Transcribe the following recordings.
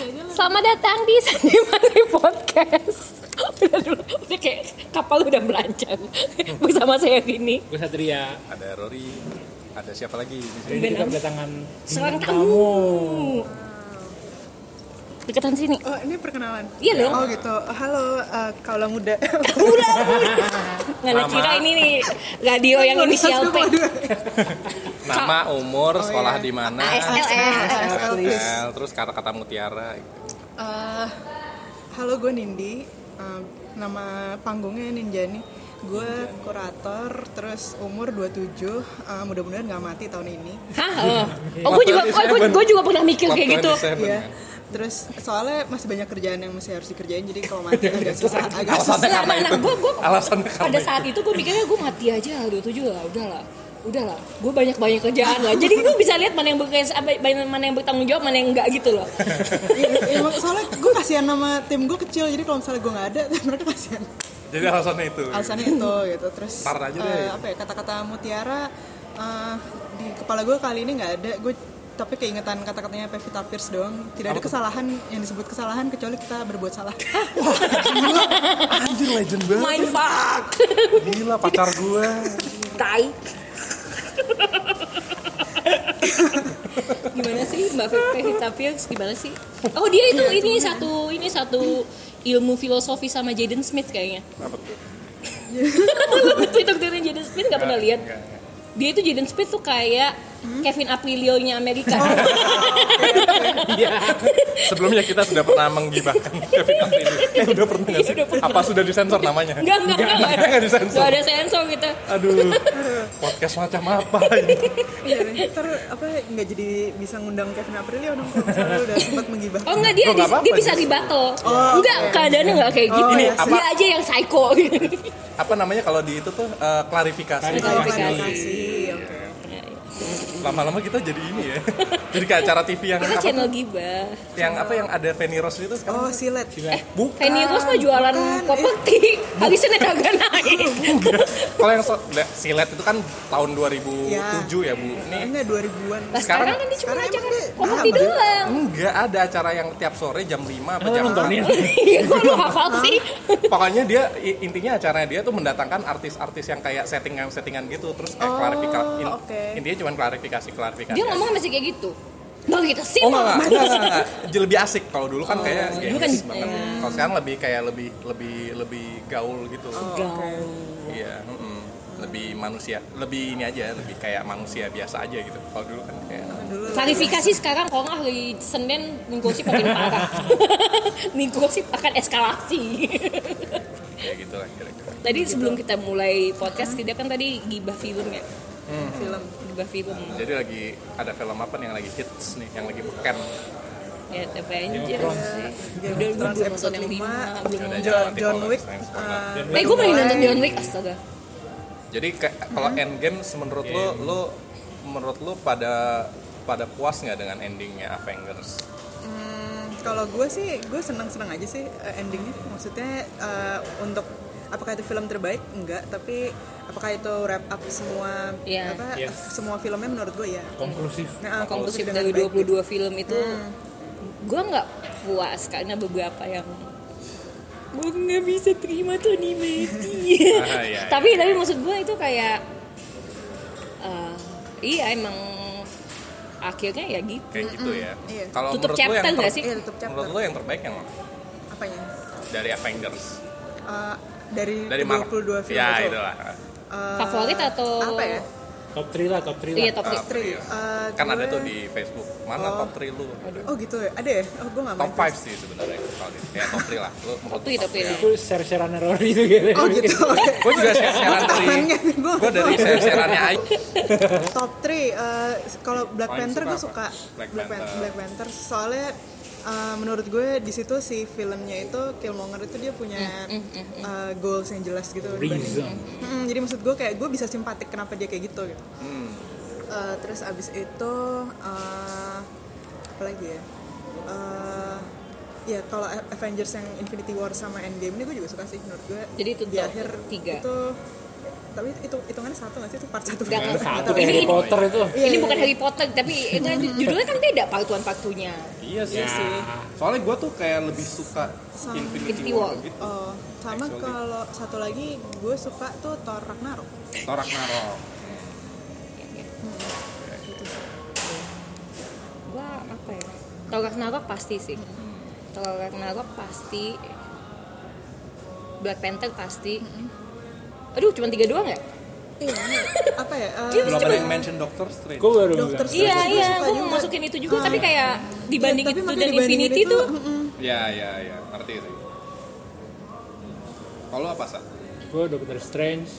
ini lah. Selamat datang di Sandi Mandi Podcast. Udah dulu, udah kayak kapal udah merancang bersama saya gini. Gue Satria. ada Rory, ada siapa lagi di Hari sini? ini kita Benar. kedatangan Seorang bintang tamu. Deketan sini. Oh, ini perkenalan. Iya dong. Oh gitu. Halo, eh, kaulah muda. Nggak ada Lama. kira ini nih radio yang inisial P. Nama, Oh, umur, sekolah iya. di mana? ASL. ASL, please. ASL, terus kata-kata mutiara. Eh, halo, gue Nindi. Eh, nama panggungnya Ninjani. Gue kurator, terus umur 27. Eh, Mudah-mudahan nggak mati tahun ini. Hah? Oh, oh gue juga, oh, gue, gue juga pernah mikir kayak gitu. 127, Iya. kan? Terus soalnya masih banyak kerjaan yang masih harus dikerjain, jadi kalau mati agak susah. Agak susah. Alasannya Nah, karena nah, nah, itu. gue, gue Alasannya pada karena itu. saat itu gue mikirnya gue mati aja dua tujuh lah, udahlah, udahlah. Gue banyak banyak kerjaan lah. Jadi gue bisa lihat mana yang berkes, apa- mana yang bertanggung jawab, mana yang enggak gitu loh. Iya, iya, soalnya gue kasihan sama tim gue kecil, jadi kalau misalnya gue nggak ada, mereka kasihan. Jadi alasannya itu. alasannya itu gitu terus Ntar aja deh. eh, apa ya kata-kata mutiara eh, di kepala gue kali ini nggak ada gue tapi keingetan kata-katanya Pevita Pierce doang tidak ada kesalahan yang disebut kesalahan kecuali kita berbuat salah Anjir legend banget. Mindfuck, Gila pacar gue. tai. gimana sih Mbak Fevita Pierce gimana sih? Oh dia itu ini satu ini satu ilmu filosofi sama Jaden Smith kayaknya. Apa tuh? Lu Twitter Twitter Jaden Smith nggak pernah lihat? Dia itu Jaden Smith tuh kayak Kevin Aprilio-nya Amerika. Iya. Sebelumnya kita sudah pernah menggibahkan Kevin Aprilio. Eh, udah pernah nggak sih? Iya, udah pernah. Apa sudah disensor namanya? Enggak, enggak, enggak, enggak, ada. Nggak disensor. Nggak ada sensor gitu. Aduh, podcast macam apa ini? iya ntar apa nggak jadi bisa ngundang Kevin Aprilio dong kalau misalnya udah sempat menggibah Oh enggak, dia, Oh, nggak dis- apa-apa, dia bisa justru. dibatal. enggak, keadaannya enggak kayak gitu. Ini apa? Dia aja yang psycho. gitu. Apa namanya kalau di itu tuh eh, klarifikasi. Kalau klarifikasi. klarifikasi, oke. Lama-lama kita jadi ini ya. Jadi kayak acara TV yang Kita apa channel gibah. yang apa yang ada Feni Rose itu sekarang oh silet eh, bukan Fanny Rose mah jualan bukan. properti. Iya. Hari Senin harga naik. kalau yang so, nah, silet itu kan tahun 2007 ya bu ini enggak 2000-an Nah, sekarang Sekarang- kan dia cuma sekarang acara emang dia- properti Nah, doang. enggak ada acara yang tiap sore jam 5 Oh, apa Lu jam nontonin? Iya, kok lu hafal sih? 6. pokoknya dia i- intinya acaranya dia tuh mendatangkan artis-artis yang kayak settingan-settingan gitu terus kayak Oh, klarifikasi oke. intinya cuma klarifikasi klarifikasi Dia ngomong masih kayak gitu. Bang kita sih. Oh Bang. enggak, enggak, enggak, enggak, enggak. Jadi lebih asik kalau dulu Oh, kan kayak iya. dulu kan- gengsi banget. Kalau sekarang lebih kayak lebih lebih lebih gaul gitu. Oh, Gaul. Iya, mm-mm. lebih manusia, lebih ini aja, lebih kayak manusia biasa aja gitu. Kalau dulu kan kayak Klarifikasi sekarang kok nggak hari Senin negosip makin parah. negosip akan eskalasi. kayak gitu lah kira-kira. tadi sebelum kita mulai podcast tidak kan tadi gibah film ya. Hmm. Film gibah film. Jadi lagi ada film apa nih yang lagi hits nih, yang lagi beken. Ya Avengers. Ya, Udah udah Thrones belum episode nonton yang lima. lima, belum Yaudah, nonton. John, nanti John kalau Wick selain eh, spoiler. Eh gue pengen nonton John Wick astaga. Jadi kayak kalau Hmm. Endgame menurut lu lu menurut lu pada pada puas nggak dengan endingnya Avengers? Hmm, kalau gue sih gue senang-senang aja sih eh, endingnya maksudnya eh, untuk apakah itu film terbaik enggak tapi apakah itu wrap up semua Iya. apa Iya. semua filmnya menurut gue ya Konklusif. nah, eh, Ah, Konklusif konklusif dengan gitu. dari baik. 22 film itu Hmm. gue nggak puas karena beberapa yang gue nggak bisa terima Tony Meti. Ah, iya, iya. tapi tapi maksud gue itu kayak eh, iya emang akhirnya ya gitu. Kayak gitu ya. iya. Kalau Tutup menurut lu yang chapter nggak ter- sih? Iya, tutup chapter. menurut lu yang terbaik yang mana? apanya dari Avengers Eh, dari, dari Marvel. 22 film ya itu itulah eh, Favorit atau apa ya Top 3 lah, top 3 lah. Iya top Ah, three. Tri, iya. eh, kan ada gue- tuh di Facebook mana Oh. top 3 lu oh gitu ya ada ya oh gue nggak top main 5 sih sebenarnya kalau gitu. ya top 3 lah lu menurut three, top three. Itu share-sharean error itu gitu. oh gitu oke. gue juga share-sharean dari Tangannya, gua- gue dari share-shareannya Ayu top 3 kalau Black Paling Panther suka gue apa? suka Black Pan- Panther. Black Panther soalnya eh, menurut gue di situ si filmnya itu Killmonger itu dia punya Mm, eh, goals yang jelas gitu dibanding- Reason. Mm, jadi maksud gue kayak gue bisa simpatik kenapa dia kayak gitu gitu Hmm. Eh, terus abis itu eh, apa lagi ya Eh, ya kalau A- Avengers yang Infinity War sama Endgame ini gue juga suka sih menurut gue Jadi itu di top akhir tiga. itu tapi itu hitungannya satu nggak sih itu part satu Nggak, nggak. Satu Ini- Harry ini- Potter itu. Iya, ini bukan Harry Potter tapi itu judulnya kan beda part one part two-nya. Iya sih. Ya. Soalnya gue tuh kayak lebih suka Infinity Infinity War. War gitu. oh sama Actually. kalau satu lagi gue suka tuh Thor Ragnarok Thor Ragnarok. Gua apa ya? Thor Ragnarok pasti sih. Thor Ragnarok pasti. Black Panther pasti. Aduh, cuma tiga doang ya? iya apa ya eh, Iya, Belum ada yang mention Doctor Strange. Gue baru Dokter bilang. Strange Iya, gua iya, suka gue juga. mau masukin itu juga, Ah. tapi kayak dibanding Iya, tapi itu makanya dan dibandingin Infinity itu, tuh mm-mm. Ya ya ya, ngerti sih. Kalau apa sih? Gue Doctor Strange,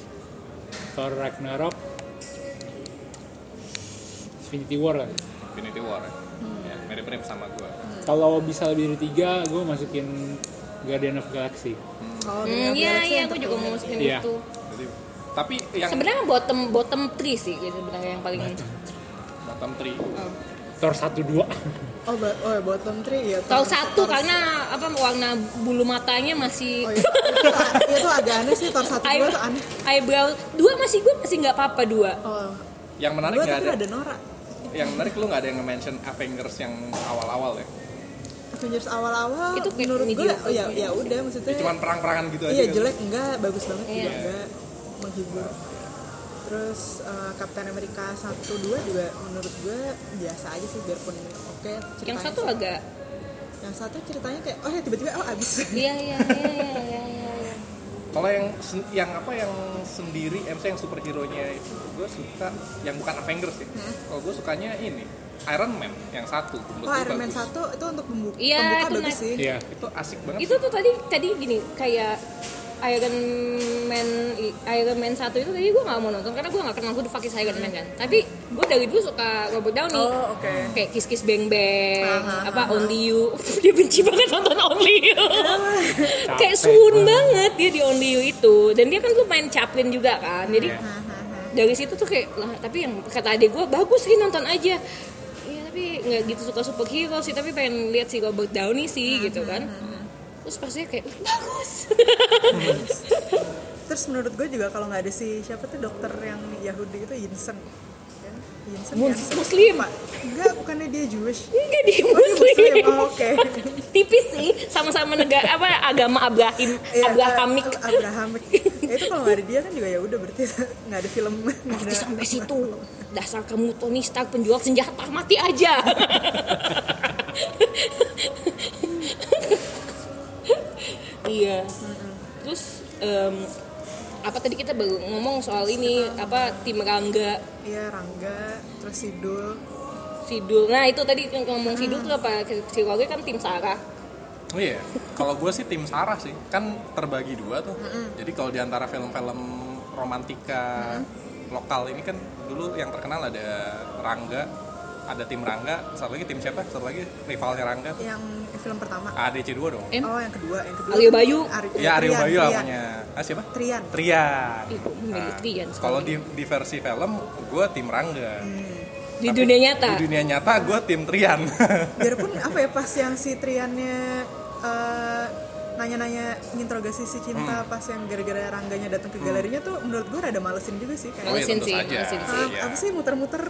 Thor Ragnarok, Infinity War kali. Infinity War. Ya, Hmm. ya mirip-mirip sama gue. Kalau bisa lebih dari tiga, gue masukin Guardian of Galaxy. Hmm, oh Guardian of iya, Galaxy iya, yang gue juga mau masukin Iya. itu. Jadi, tapi yang Sebenarnya bottom bottom three sih gitu sebenarnya yang paling bottom three Thor 1 2. ter- oh, ba- oh bottom three ya tahu satu karena apa warna bulu matanya masih oh, iya. itu, itu agak aneh sih Thor satu dua tuh eyebrow, aneh eyebrow dua masih gue masih nggak apa-apa dua. oh yang menarik dua nggak tapi ada, ada Nora yang menarik lu nggak ada yang nge-mention Avengers yang awal-awal ya. Avengers awal-awal Itu itu kayak menurut gue mediocre. oh ya ya udah maksudnya ya cuman perang-perangan gitu aja. Iya kan? jelek enggak, bagus banget Iya. juga enggak, menghibur. Terus eh, Captain America 1 2 juga menurut gue biasa aja sih biarpun oke ceritanya. Yang satu sih. agak yang satu ceritanya kayak oh ya tiba-tiba oh abis. iya iya iya iya iya. iya. Kalau yang sen- yang apa yang sendiri, eh, maksudnya yang superhero nya itu gue suka yang bukan Avengers ya. Kalau gue sukanya ini Iron Man yang satu. menurut Hmm. Oh gua Iron Man bagus. 1 itu untuk pembuka, Iya, pembuka itu bagus nice. sih. Iya. Eh, Itu asik banget. itu tuh tadi tadi gini kayak Iron Man Iron Man satu itu tadi gue nggak mau nonton karena gue nggak kenal who the fuck is Iron Man kan tapi gue dari dulu suka Robert Downey Oh, oke. kayak Kiss Kiss Bang Bang Aha, apa Only You dia benci banget nonton Only You kayak suun banget dia di Only You itu dan dia kan tuh main Chaplin juga kan Iya. jadi dari situ tuh kayak lah tapi yang kata adik gue bagus sih nonton aja iya tapi nggak gitu suka superhero sih tapi pengen lihat si Robert Downey sih gitu kan terus pastinya kayak bagus Terus menurut gue juga kalau nggak ada si siapa tuh dokter yang Yahudi itu Yinsen. Kan? Yinsen Mus- Jansen. Muslim. Pak, Enggak, bukannya dia Jewish. enggak di Oh, dia muslim Muslim. Oh, oke. tipis sih sama-sama negara apa agama Abraham Iya, Abrahamik eh, Abrahamik. Ya, itu kalau nggak ada dia kan juga ya udah berarti nggak ada film. nggak Pasti ada- sampai situ dasar kamu Tony Stark penjual senjata mati aja iya terus em, apa tadi kita baru ngomong soal ini apa tim Rangga Iya Rangga, terus Sidul. Sidul nah itu tadi yang ngomong Sidul tuh apa si Rory kan tim Sarah Oh iya, kalau gue sih tim Sarah sih, kan terbagi dua tuh. Hmm. Jadi kalau di antara film-film romantika lokal ini kan dulu yang terkenal ada Rangga, ada tim Rangga, satu lagi tim siapa? Satu lagi rivalnya Rangga tuh. Yang film pertama. ADC 2 dong. Eh, Oh yang kedua, yang kedua. Aryo Bayu. Ari- Ya Aryo Trian, Bayu Trian. namanya. Ah siapa? Trian. Trian. Ih, gua memilih Nah, Trian sekarang. Kalau di, di versi film, gue tim Rangga. Hmm. di Tapi dunia nyata Di dunia nyata gue tim Trian. Biarpun apa ya pas yang si Triannya eh, nanya-nanya interogasi si Hmm. cinta pas yang gara-gara Rangganya datang ke galerinya tuh menurut gue rada malesin juga Oh sih kayak. iya Malesin tentu sih, saja. malesin sih. Ah, Iya. Apa sih muter-muter?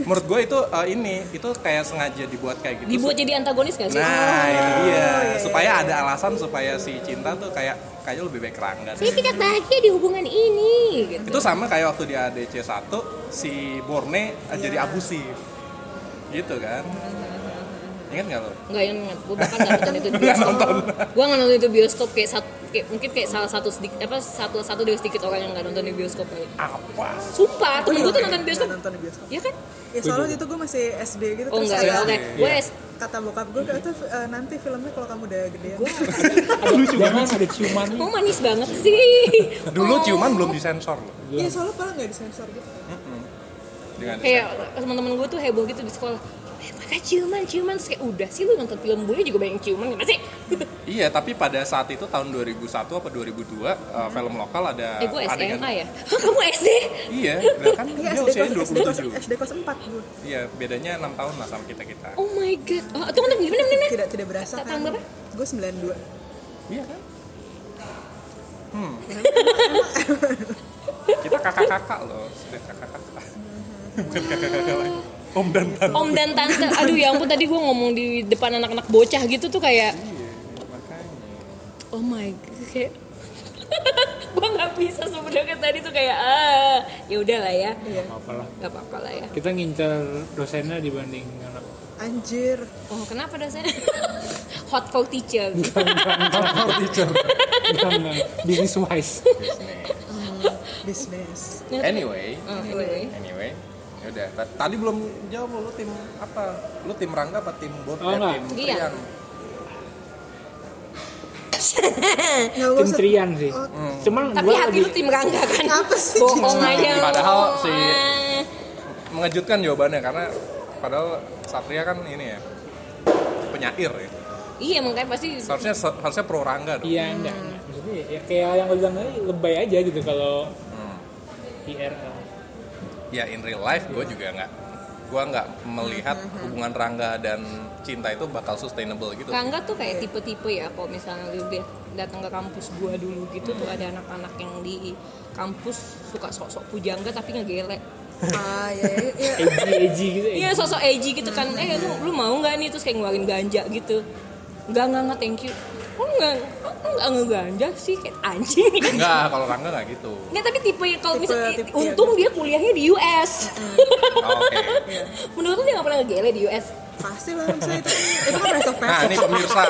Menurut gue itu eh, ini, itu kayak sengaja dibuat kayak gitu. dibuat jadi Oh, antagonis gak sih Nah, itu dia. iya, iya, supaya ada alasan supaya si cinta tuh kayak kayaknya lebih baik Rangga. saya tidak bahagia di hubungan ini gitu. Itu sama kayak waktu di ADC 1 si Borne Iya. eh, jadi abusif. Gitu kan? Hmm. Ingat nggak lo? Enggak yang ingat, gue bahkan nggak nonton itu di Nggak bioskop. nonton. Gue nggak nonton itu bioskop kayak, sat, kayak mungkin kayak salah satu sedikit apa satu satu dari sedikit orang yang nggak nonton di bioskop kali. Oh. Apa? Sumpah, Oh iya, temen gue tuh nonton bioskop. Nggak Nonton di bioskop. Iya kan? Ya soalnya gitu gue masih SD gitu Oh terus enggak, kayak oke. Gue es- Iya. kata bokap gue itu eh, nanti filmnya kalau kamu udah gede gue Lucu banget ada ciuman. mau manis banget sih. Dulu Oh. ciuman belum disensor loh. Iya soalnya padahal nggak disensor gitu. Iya, Dengan Kayak teman-teman gue tuh heboh gitu di sekolah. Eh, Mereka ciuman, ciuman. Terus kayak udah sih lu nonton film bule juga banyak ciuman ya, gimana sih? Iya, tapi pada saat itu tahun 2001 apa 2002 eh, film lokal ada kan? eh gue adegan- SMA ya? Hah kamu SD? Iya, kan Iya dia SD usianya kelas SD kelas 27. SD kelas 4 gue. Iya, bedanya 6 tahun lah sama kita-kita. Oh my god. Oh, tunggu, tunggu, gimana, gimana? Tidak tidak berasa Ta- kan. tahun berapa? Gue 92. Iya kan? Hmm. Kita kakak-kakak loh, sudah kakak-kakak. Bukan kakak-kakak lagi. Om dan tante. Om dan tante, aduh ya ampun tadi gue ngomong di depan anak-anak bocah gitu tuh kayak Iya, makanya. oh my god kayak gue nggak bisa sebenarnya tadi tuh kayak ah ya udahlah ya apalah. nggak apa-apa lah ya Kita ngincer dosennya dibanding anak. Anjir. oh kenapa dosennya hot cow teacher Kalau teacher. Enggak, enggak. Business wise. Bisnis. Anyway, oh, anyway anyway. Ya udah, ta- tadi belum jawab lu tim apa? Lu tim Rangga apa tim Bot? Oh, Eh, enggak. tim Iya. Priang. Eh, Nggak Tim usah- Trian sih. Hmm. Cuman tapi gue hati lebih lu tim rangga kan Apa Oh, sih? bohong aja lu. Padahal si- Ah. Mengejutkan jawabannya karena padahal Satria kan ini ya penyair ya. iya makanya pasti Seharusnya seharusnya pro Rangga dong. Iya, enggak, enggak. Maksudnya ya, kayak yang gue bilang tadi lebay aja gitu kalau IRL. Hmm. ya in real life gue juga nggak gue nggak melihat hubungan Rangga dan cinta itu bakal sustainable gitu Rangga tuh kayak tipe-tipe ya kalau misalnya lu dia datang ke kampus gua dulu gitu tuh ada anak-anak yang di kampus suka sok-sok pujangga tapi ngegelek Ah, ya, ya, ya. Edgy, edgy gitu. Eh. Iya edgy. sosok edgy gitu kan. Eh lu lu mau nggak nih terus kayak ngeluarin ganja gitu. Enggak enggak enggak thank you. Kok enggak kok enggak ngeganja sih kayak anjing. enggak kalau Rangga nggak iya. gitu Nggak tapi tipe yang kalau Tipe- misalnya tipe- untung dia kuliahnya di US. Oh, oke Menurut lu dia nggak pernah ngegele di US? Pasti lah saya itu. Itu kan rest of nah person. ini pemirsa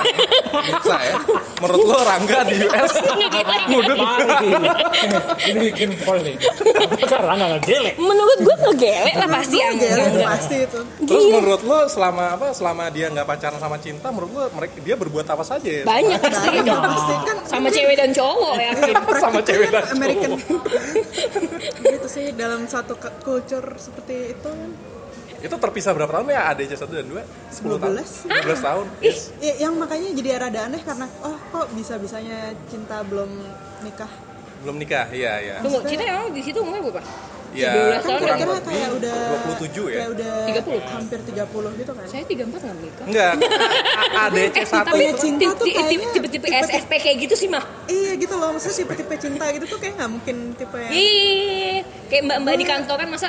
pemirsa ya menurut lo Rangga di US ngudut Ini bikin pol nih. Apakah Rangga nggak gelek? Menurut gua ngegele lah pasti yang Iya, itu enggak. pasti itu. terus Iya. menurut lo selama apa selama dia nggak pacaran sama cinta menurut lo mereka dia berbuat apa saja ya Banyak pasti Iya, pasti kan "Iya, sama cewek dan cowok ya. sama cewek dan American cowok gitu sih dalam satu ke- culture seperti itu kan. itu terpisah berapa tahun ya ADC satu dan dua sepuluh tahun 12. 12 tahun Ya, yang makanya jadi rada aneh karena oh kok bisa bisanya cinta belum nikah belum nikah iya iya Tunggu, Cita emang di situ umurnya berapa? 12 ya kan tahun kurang kira-kira lebih kayak udah 27 ya kayak udah 30. hampir 30 gitu kan Saya 34 nggak menikah. Enggak, ADC Eh, satu kan? tapi ya, cinta tuh tipe- tipe- kayaknya- tipe-tipe SSP kayak gitu sih mah. iya gitu loh maksudnya tipe-tipe cinta gitu tuh kayak nggak mungkin tipe yang Iya, kayak mbak-mbak di kantor kan masa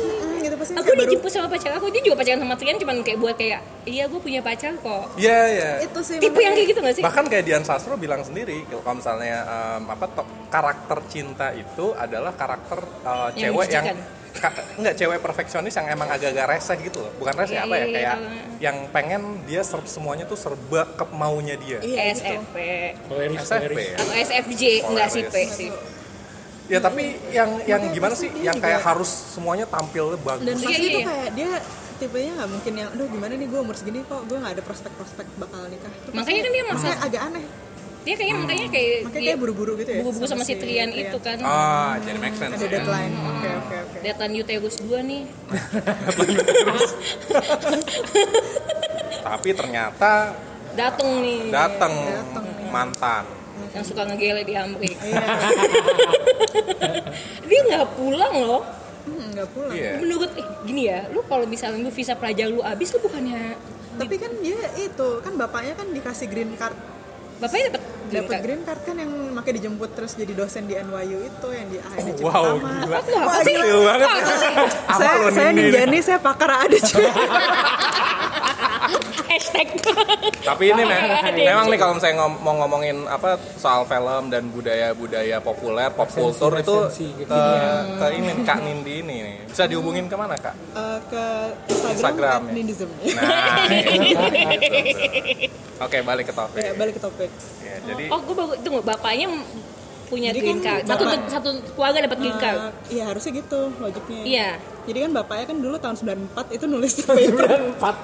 Mm, gitu pasti aku kayak baru dijemput sama pacar aku dia juga pacaran sama Trian cuman kayak buat kayak iya gue punya pacar kok Iya, iya. itu sih tipe yang kayak gitu gak sih Bahkan kayak Dian Sastro bilang sendiri kalau kalau misalnya em, apa to- karakter cinta itu adalah karakter eh, Yang cewek yang menjijikan. ka- enggak cewek perfeksionis yang emang agak-agak reseh gitu loh. Bukan reseh Iya, apa ya iya, kayak iya. yang pengen dia ser- semuanya tuh serba ke maunya dia. Iya, gitu. SFP Koleris, SFP koleris. ya. atau SFJ enggak sih P sih Ya tapi yang yang Makanya gimana sih pasti dia yang kayak juga- harus semuanya tampilnya dan bagus. Iya, iya, pasti tuh iya. kayak dia tipenya nggak mungkin yang aduh gimana nih gue umur segini kok gue nggak ada prospek-prospek bakal nikah Itu Makanya kan dia pasti- masa- maksudnya agak aneh dia kayaknya makanya kayak Iya. makanya dia kayak buru-buru gitu ya buru-buru sama si Trian itu kan Iya. Ah, jadi make sense. ada ya. deadline oke oke oke Datan uterus gue nih Tapi ternyata dateng nih datang Dateng. iya. mantan. yang suka ngegele di Amerika iya dia nggak pulang loh Hmm, nggak pulang Iya. menurut eh, gini ya lu kalau misalnya lu visa pelajar lu habis lu bukannya tapi kan dia itu kan bapaknya kan dikasih green card bapaknya dapat dapat green card kan yang makai dijemput terus jadi dosen di NYU itu yang di AIDC Wow, pertama. gila. Wah, apa sih? gila. Gila banget. Apa sih? Apa saya lo saya ini? Ninjani saya pakar Eh, AIDC hashtag Tapi ini mem- Ada yang memang nih kalau saya ngom- mau ngomongin apa soal film dan budaya-budaya populer, pop culture itu esensi ke, kekinian. ke ini Kak Nindi ini nih. Bisa dihubungin kemana Kak? Eh, ke Instagram, Instagram, ya. at Nindism. Nah, itu. oke balik ke topik. Ya, balik ke topik Ya, jadi Oh, gue baru tunggu bapaknya m- punya Jadi green kan card. Satu bapak- satu keluarga dapat green card. Eh, Iya harusnya gitu logiknya Iya. jadi kan bapaknya kan dulu tahun 94 itu nulis paper Empat.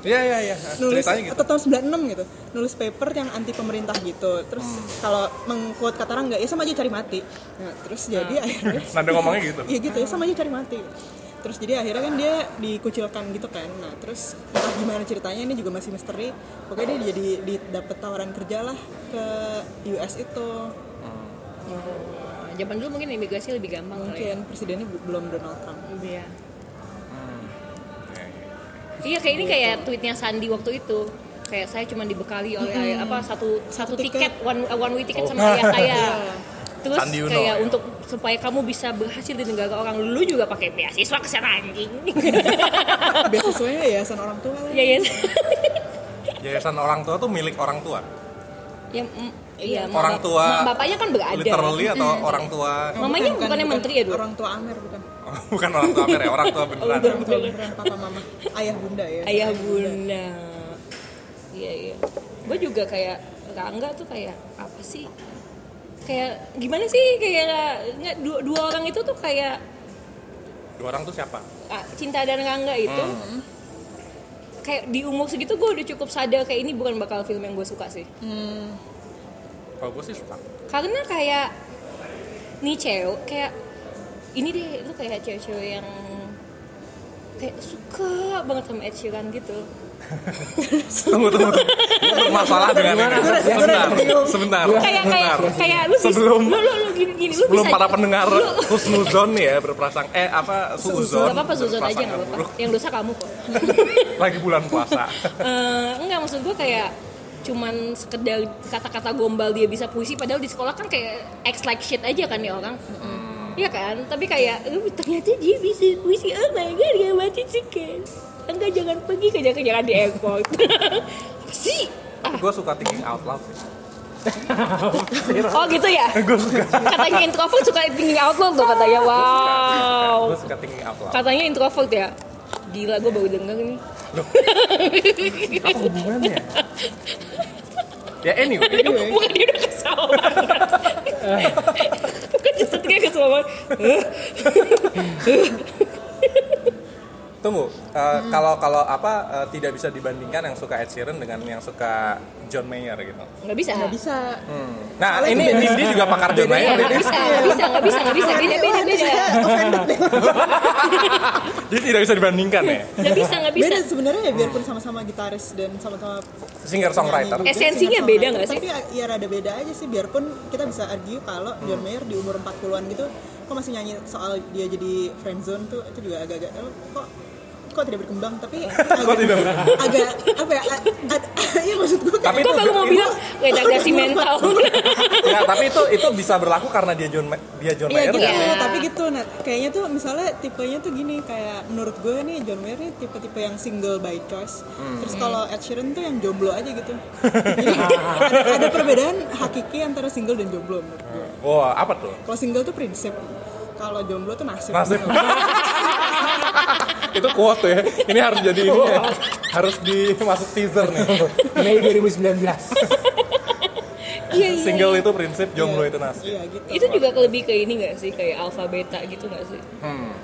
iya iya iya, nulis ceritanya gitu. atau tahun 96 gitu nulis paper yang anti pemerintah gitu terus Hmm. kalau mengquote kata Rangga ya sama aja cari mati Nah, terus jadi Ah. akhirnya Nada ngomongnya gitu. ya gitu ya sama aja cari mati terus jadi akhirnya kan dia dikucilkan gitu kan nah terus entah gimana ceritanya ini juga masih misteri pokoknya dia jadi di- dapet tawaran kerja lah ke US itu Oh, Zaman dulu mungkin imigrasi lebih gampang kali ya. mungkin presidennya bu- belum Donald Trump Iya. Ya, ya. Hmm, Iya, kayak ini kayak Gitu. tweetnya Sandi waktu itu. Kayak Hmm. saya cuma dibekali oleh apa satu satu tiket, tiket. one one way tiket sama ayah saya. terus Oh. Iya. Sandi Uno, kayak ya. untuk supaya kamu bisa berhasil di negara orang lu juga pakai beasiswa kesana anjing Beasiswanya yayasan orang tua lah. ya ya Yayasan orang tua tuh milik orang tua. ya mm, iya mak- Orang tua. mak- bapaknya kan berada Hmm. Literally atau orang tua Oh, Mamanya bukannya menteri ya, Iya, Dul? Orang tua Amer bukan. bukan orang tua Amer ya, orang tua Oh, beneran. iya. Orang tua beneran papa mama. Ayah bunda ya. ayah bunda iya iya gue juga kayak Rangga tuh kayak apa sih kayak gimana sih kayak nggak dua, dua orang itu tuh kayak Dua orang tuh siapa? ah, cinta dan Rangga itu Hmm. kayak di umur segitu gue udah cukup sadar kayak ini bukan bakal film yang gue suka sih Hmm, Kalau gue sih suka. karena kayak nih cewek kayak ini deh lu kayak cewek-cewek yang kayak suka banget sama Ed Sheeran gitu Tunggu tunggu. tunggu. Gue bermasalah dengan ini. Sebentar, sebentar. kayak kayak sebentar. kayak lu bisa- Sebelum- lu, lu, lu gini gini lu Sebelum bisa para pendengar husnuzon ya berprasang eh apa suzon? Gak apa-apa Suzon aja gak apa-apa berprasangka buruk. Yang dosa kamu kok Lagi bulan puasa. Eh, Enggak maksud gue kayak Cuman sekedar kata-kata gombal dia bisa puisi Padahal di sekolah kan kayak Acts like shit aja kan ya orang Hmm. Iya kan Tapi kayak "Eh, Ternyata dia bisa puisi Oh my god gak mati suka Enggak jangan pergi kejar-kejaran di airport Apa sih? Ah, gue suka thinking out loud. sih. oh gitu ya? Katanya introvert suka thinking out loud tuh katanya Wow Gue suka thinking out loud. Katanya introvert ya? Gila gue baru denger nih Apa hubungannya? Ya anyway, Bukan dia udah kesal banget. Bukan justru dia kesal banget. Eh, tunggu. Eh, Kalau kalau apa eh, tidak bisa dibandingkan yang suka Ed Sheeran dengan yang suka John Mayer gitu. Nggak bisa. nggak bisa. Hmm. Nah ini ini dia juga pakar John Iya, Mayer. Nggak Dia, bisa, nggak bisa, nggak bisa, nggak bisa. Beda, beda, beda. Saya offended nih. dia tidak bisa dibandingkan ya. Nggak bisa, nggak bisa. Beda sebenarnya ya biarpun sama-sama gitaris dan sama-sama Singer songwriter. penyanyi. Iya, Esensinya Singer-songwriter. beda nggak sih? Tapi ya rada beda aja sih biarpun kita bisa argue kalau Hmm. John Mayer di umur 40-an gitu kok masih nyanyi soal dia jadi friendzone tuh itu juga agak-agak eh, kok kok tidak berkembang tapi agak, tidak? agak apa ya a- a- ya maksud gue kayak- Tapi Gue baru mau itu- bilang redaksi mental. Iya, Nah, tapi itu itu bisa berlaku karena dia John Ma- dia John Mayer. Iya gitu, nggak? Iya. tapi gitu. Nah, kayaknya tuh misalnya tipenya tuh gini kayak menurut gue nih John Mayer nih tipe-tipe yang single by choice. Hmm. Terus kalau Iya. Ed Sheeran tuh yang jomblo aja gitu. Jadi ada, ada perbedaan hakiki antara single dan jomblo menurut gue. Wah, apa tuh? Kalau single tuh prinsip, kalau jomblo tuh nasib. Nasib. itu quote ya. Ini harus jadi ini ya. Harus dimasuk teaser nih. Mei 2019. Iya, iya. Single itu prinsip, jomblo Iya, itu nasib. Iya gitu. Itu juga lebih ke ini nggak sih? Kayak alfa beta gitu nggak sih? Hmm.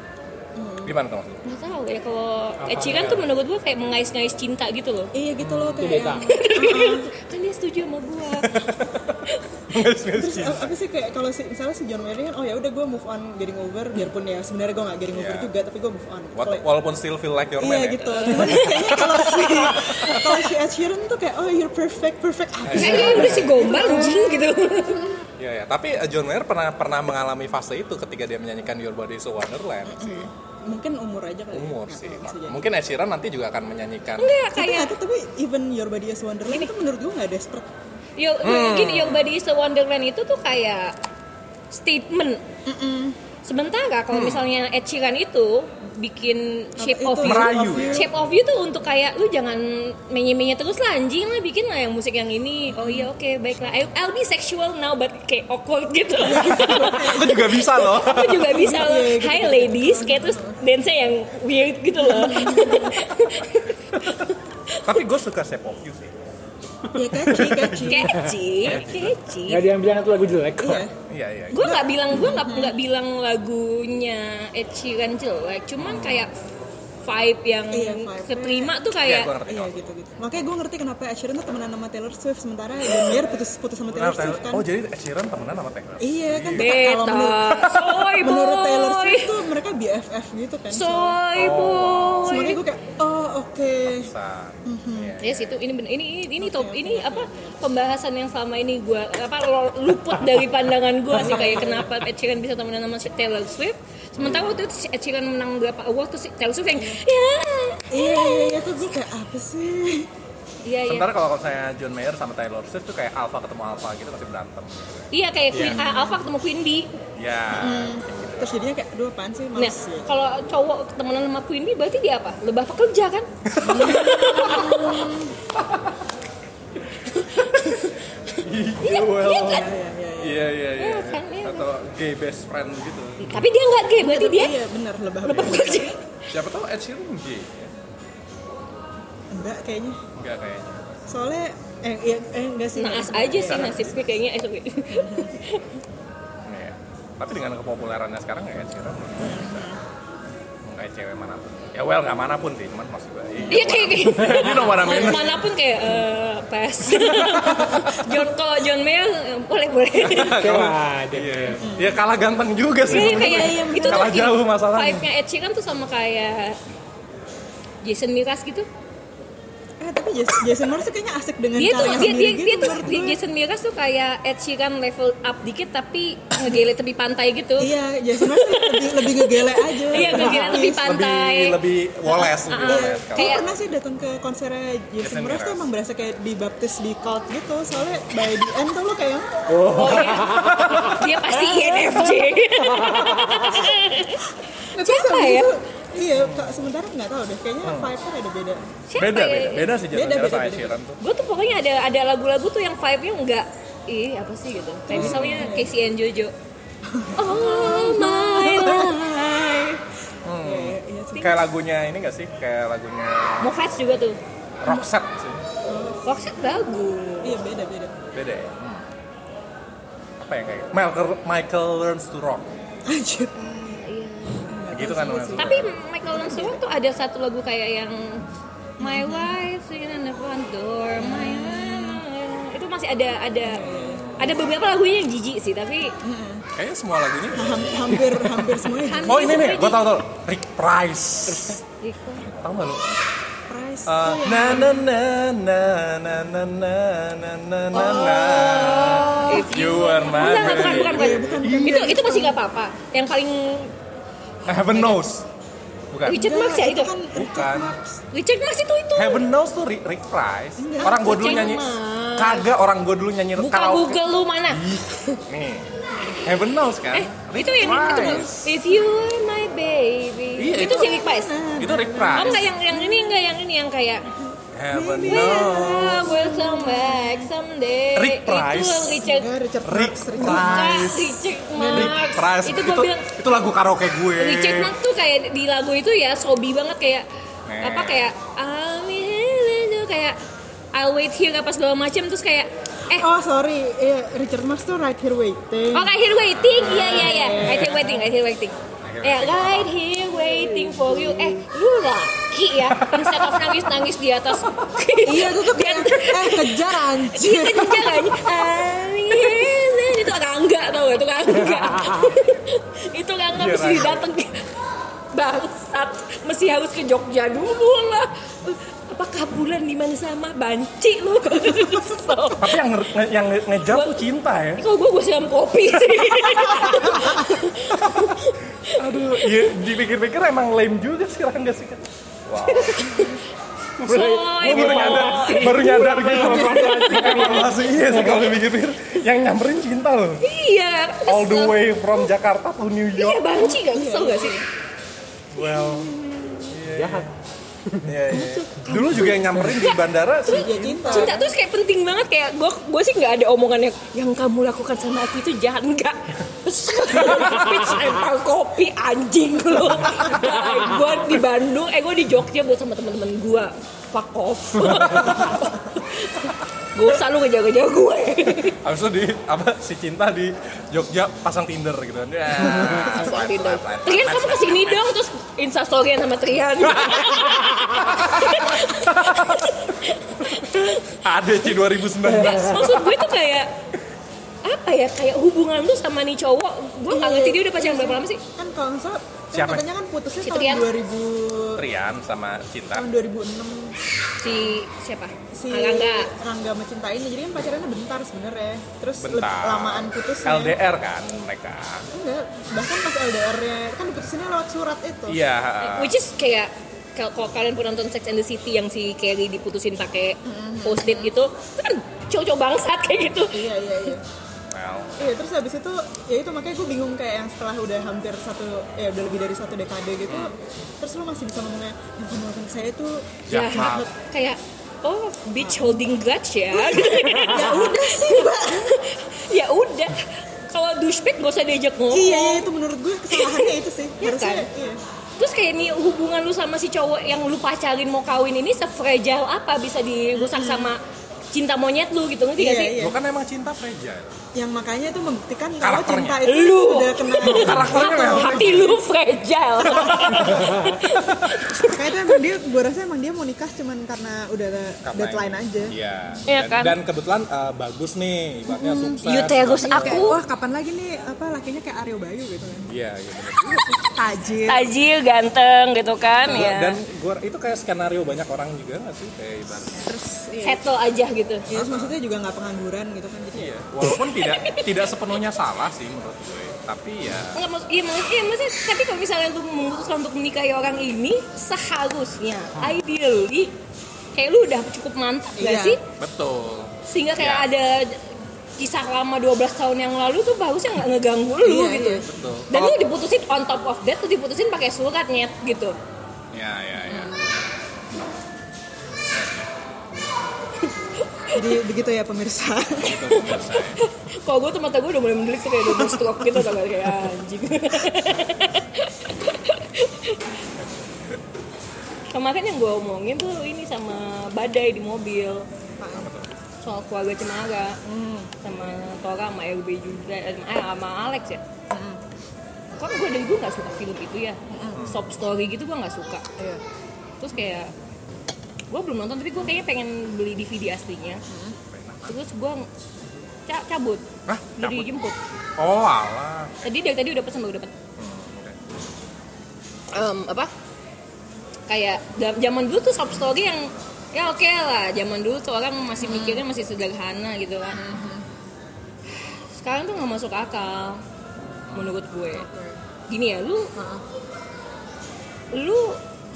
Gimana tuh maksudnya? Nggak tahu ya kalau Ed Sheeran tuh menurut gue kayak mengais-ngais cinta gitu loh. Iya gitu loh kayak beta. yang- Kan dia setuju sama gue. terus eh, apa sih kayak kalau si, misalnya si John Mayer ini kan oh ya udah gue move on getting over biarpun ya sebenarnya gue nggak getting over Iya. juga tapi gue move on. What- Kalau- walaupun still feel like your man Iya ya. gitu. Cuman kayaknya kalau si kalau si Ed Sheeran tuh kayak oh you're perfect perfect Ah, apa sih? Kan dia udah si gombal anjing gitu. Iya, ya. Tapi eh, John Mayer pernah pernah mengalami fase itu ketika dia menyanyikan Your Body Is a Wonderland sih. Mungkin umur aja kali. ya. Umur Nggak sih. tahu, bisa jadi. Mungkin Ed Sheeran nanti juga akan menyanyikan Nggak, Tapi kayak nggak tahu, tapi even Your Body Is Wonderland itu menurut gue nggak desperate. Yo, gini, Your Body is a Wonderland itu tuh kayak statement. Sementara kalau misalnya Ed Sheeran itu bikin Shape Itu of You. Merayu ya. Shape of You tuh untuk kayak lu jangan menye-menye terus lah anjing lah bikin lah yang musik yang ini. Oh iya oke baiklah. I- I'll be sexual now but kayak awkward gitu. Itu juga bisa loh. Aku juga bisa loh. Hi ladies kayak terus dance yang weird gitu loh. Tapi gue suka Shape of You sih. Ya catchy catchy. Catchy, catchy. Gak ada yang bilang itu lagu jelek kok. Iya. Iya, iya. gue nggak bilang gue nggak nggak bilang lagunya Ed Sheeran jelek cuman kayak vibe yang Hmm. Iya, vibe-nya. keterima tuh Iya, kayak gue ngerti. Iya gitu gitu. Makanya gue ngerti kenapa Ed Sheeran tuh temenan sama Taylor Swift sementara John Mayer putus putus sama Benar, Taylor Swift kan. Oh, jadi Ed Sheeran temenan sama Taylor. Iya kan kalau beta menurut soy menurut Taylor boy Swift tuh mereka BFF gitu kan. soy Semuanya boy gue kayak oh oke. Pantesan. Iya. ya situ ini bener- ini ini, ini top ini apa pembahasan yang selama ini gue apa lo- luput dari pandangan gue sih kayak kenapa Ed Sheeran bisa temenan sama Taylor Swift sementara waktu itu Ed Sheeran menang berapa award tuh si Taylor Swift yang ya Iya iya iya tuh gue kayak apa sih? Iya, iya. Sementara kalau misalnya John Mayer sama Taylor Swift tuh kayak Alpha ketemu Alpha gitu pasti berantem. gitu ya. Iya kayak Queen Iya. A- Alpha ketemu Queen B. Ya. terus jadinya kayak aduh apaan sih Nah, males gitu. kalau cowok temenan sama Queen B berarti dia apa? Lebah pekerja kan? Iya, well. iya kan? Iya, iya, iya. Iya, iya, iya. Iya kan, iya. Atau gay best friend gitu. Tapi dia nggak gay, berarti dia iya benar lebah lebah pekerja. Siapa tahu Ed Sheeran gay. ya? enggak kayaknya Enggak kayaknya. soalnya eh, iya, eh enggak sih Naas Nah, aja sih nasibnya kayaknya Eh, esok. Iya. Tapi dengan kepopulerannya sekarang ya Ed Sheeran bisa Mhm. nggak cewek manapun. Ya well nggak manapun sih, cuman maksud gue. Iya kayak kayak You know what I mean. mana manapun kayak eh, pas. John kalau John Mayer eh, boleh boleh. Kalau- ada. Iya. Ya kalah ganteng juga sih. Iya, sebenarnya. kayak itu kalah tuh jauh masalahnya. Vibe-nya Ed Sheeran tuh sama kayak Jason Mraz gitu. eh tapi Jason, Jason Mraz tuh kayaknya asik dengan dia tuh dia caranya dia, dia sendiri gitu tuh menurut dia gue. Jason Mraz tuh kayak Ed Sheeran level up dikit tapi ngegele tepi pantai gitu. iya Jason Mraz tuh lebih lebih ngegele aja Iya, ngegele tepi Iya. pantai. Lebih lebih woles, lebih woles. Iya, Kalau- kayak Kayak- pernah sih datang ke konsernya Jason Jason Mraz tuh Mraz. emang berasa kayak dibaptis di cult gitu soalnya by the end tuh lo kayak Oh, iya. dia pasti E INFJ. Siapa habis ya? itu, iya kak sementara nggak tahu deh kayaknya Hmm. vibe-nya ada beda Siapa beda, ya? beda, beda sih Beda, jatuhnya beda, sama Ed beda. Sheeran tuh. Gue tuh pokoknya ada ada lagu-lagu tuh yang vibe-nya enggak ih apa sih gitu. Iya. Kayak misalnya Casey and Jojo. Oh my life. Iya, iya, iya sih. Kayak lagunya ini gak sih? Kayak lagunya Mofats juga tuh. Roxette sih. Roxette bagus. iya beda beda Beda ya? Hmm. Apa yang kayak Michael, Michael Learns to Rock. anjir Gitu kan maksudnya. Tapi Michael Learns to Rock tuh ada satu lagu kayak yang My wife singing in the front door, my wife. Itu masih ada ada ada beberapa lagunya yang jijik sih, tapi Hmm. Kayaknya semua lagunya. Ham- hampir hampir semuanya Hampir Oh ini nih, seperti- gue tau tau. Rick Price. Tau gak lu? price Oh, iya. Uh, tuh na na na na na na na na na na na. If you were my Enggak, enggak, Oh, iya, bukan, baby. bukan, bukan. Itu itu masih nggak apa-apa. Yang paling Heaven knows. Bukan. Richard Marx ya itu. kan Bukan. Richard Marx itu itu. Heaven knows tuh Rick, Rick Price. Enggak. Orang gue dulu Kucing nyanyi. mah. Kagak orang gue dulu nyanyi Buka Google lu mana? Ih, Nih. Heaven knows kan. Eh, itu yang itu bukan. Price. If you were my baby. Iya, itu itu- si Rick Price. Itu Rick Oh Price. enggak ya? yang yang ini enggak yang ini yang kayak Heaven I knows. will come back someday. Rick Price. Itu Richard enggak Richard Rick Marx Richard Bukan, Price. Richard Rick Marx. Price. Itu gue bilang itu lagu karaoke gue. Richard Marx tuh kayak di lagu itu ya sobi banget kayak Nah. apa kayak I'll be here, tuh kayak I'll wait here apa segala macam terus kayak eh oh sorry iya Richard Marx tuh right here waiting Oh, right here waiting. Iya, iya, iya. Right here waiting, right here waiting. Ya, right here waiting for you. Eh, lu laki ya. Instead of nangis-nangis di atas. iya itu tuh kayak eh Iya, kejar anjir kan dia nyanyi. I'm here. Itu kagak tau gak? Itu kagak. Itu kagak Iya, mesti Rangga. dateng. Bangsat. Mesti harus ke Jogja dulu lah. Apakah bulan di mana sama banci lu? So. Tapi yang nge- nge- yang nge- ngejar tuh cinta ya. Kalau gue gue siram kopi Iya. sih. Aduh, iya dipikir-pikir emang lame juga sih Rangga sih. Wow. Soy, Gue baru boy. nyadar, baru nyadar gitu. Emang masih iya sih kalau dipikir-pikir. Yang nyamperin cinta loh. Iya, All the kesel. way from Jakarta to New Iya, York. banci gak kesel gak sih? Well, Jahat. Iya, iya. Dulu juga yang nyamperin di bandara sih. iya cinta Cinta tuh kayak penting banget kayak gue gue sih nggak ada omongan yang yang kamu lakukan sama aku itu jahat enggak. Bitch, empang kopi anjing lu. gue di Bandung, eh gue di Jogja gue sama teman-teman gue fuck off. gue selalu ngejaga-jaga gue. Habis itu di apa si cinta di Jogja pasang Tinder gitu kan. Ya. swipe, swipe, swipe. Trian kan kamu kesini dong terus instastoryan sama Trian. ADC 2019. maksud gue tuh kayak apa ya kayak hubungan lu sama nih cowok gue nggak ngerti dia udah pacaran berapa lama sih kan kalau nggak salah kan Siapa? katanya kan putusnya Si Trian. tahun Iya. 2000 Rian sama Cinta. tahun 2006 si siapa si Angga Rangga mencintainya jadi kan pacarannya bentar sebenarnya terus lebih Bentar. lamaan putusnya ya? LDR kan mereka. enggak bahkan pas LDR-nya kan diputusinnya lewat surat itu Iya. which is kayak Kal- kalau kalian pernah nonton Sex and the City yang si Carrie diputusin pakai Mm-hmm. post-it gitu, itu kan cowok-cowok bangsat kayak gitu. iya iya iya well Iya terus habis itu ya itu makanya gue bingung kayak yang setelah udah hampir satu ya udah lebih dari satu dekade gitu terus lu masih bisa ngomongnya yang kamu lakukan ke saya itu Ya, Jahat. kayak oh bitch holding grudge ya. Gitu. ya udah sih mbak ya udah. Kalau douchebag gak usah diajak ngomong. iya Oh. iya, itu menurut gue kesalahannya itu sih Iya harusnya kan? iya. Terus kayak nih hubungan lu sama si cowok yang lu pacarin mau kawin ini sefragile apa bisa dirusak sama cinta monyet lu gitu ngerti gak Mm-hmm. Iya, sih? iya. Gua kan emang cinta fragile yang makanya itu membuktikan kalau Karakternya. cinta itu Lu. sudah kena karakternya Atau- memang. Hati lu fragile. Iya. makanya itu emang dia gue rasa emang dia mau nikah cuman karena udah ada Karena- deadline aja iya Iya kan? Hmm. dan, Iya, dan kebetulan eh, bagus nih ibaratnya sukses Uterus Kayak, aku wah kapan lagi nih apa lakinya kayak Aryo Bayu gitu kan iya iya bener. tajir tajir ganteng gitu kan Gua- ya. dan gua itu kayak skenario banyak orang juga nggak sih kayak ibaratnya terus iya. Settle aja gitu. Ya, terus maksudnya juga nggak pengangguran gitu kan jadi iya walaupun tidak tidak sepenuhnya salah sih menurut gue tapi ya Enggak maksud, iya, maksud, iya maksudnya, tapi kalau misalnya lu memutuskan untuk menikahi orang ini, seharusnya, ideally, kayak lu udah cukup mantap gak Ah. Iya. sih? betul Sehingga kayak Iya. ada kisah lama 12 tahun yang lalu tuh bagusnya nggak ngeganggu lu Iya, gitu. iya. betul Dan lu diputusin on top of that, tuh diputusin pakai surat nyet gitu. ya ya ya jadi begitu ya pemirsa itu pemirsa ya. Kalau gue tuh mata gue udah mulai mendelik tuh kayak udah mau stroke gitu tau gak? kayak anjing. Kemarin yang gue omongin tuh ini sama badai di mobil soal keluarga Cemara sama Tora sama LB juga eh, eh, sama Alex ya kan gue dari gue nggak suka film itu ya sob story gitu gue nggak suka Iya. terus kayak gue belum nonton tapi gue kayaknya pengen beli DVD aslinya terus gue ca- cabut Hah? udah Cabut? dijemput oh alah tadi dari tadi udah pesan baru dapat Hmm, oke. Em, apa kayak da- zaman dulu tuh sob story yang ya oke lah zaman dulu tuh orang masih Hmm. mikirnya masih sederhana gitu kan sekarang tuh nggak masuk akal menurut gue gini ya lu lu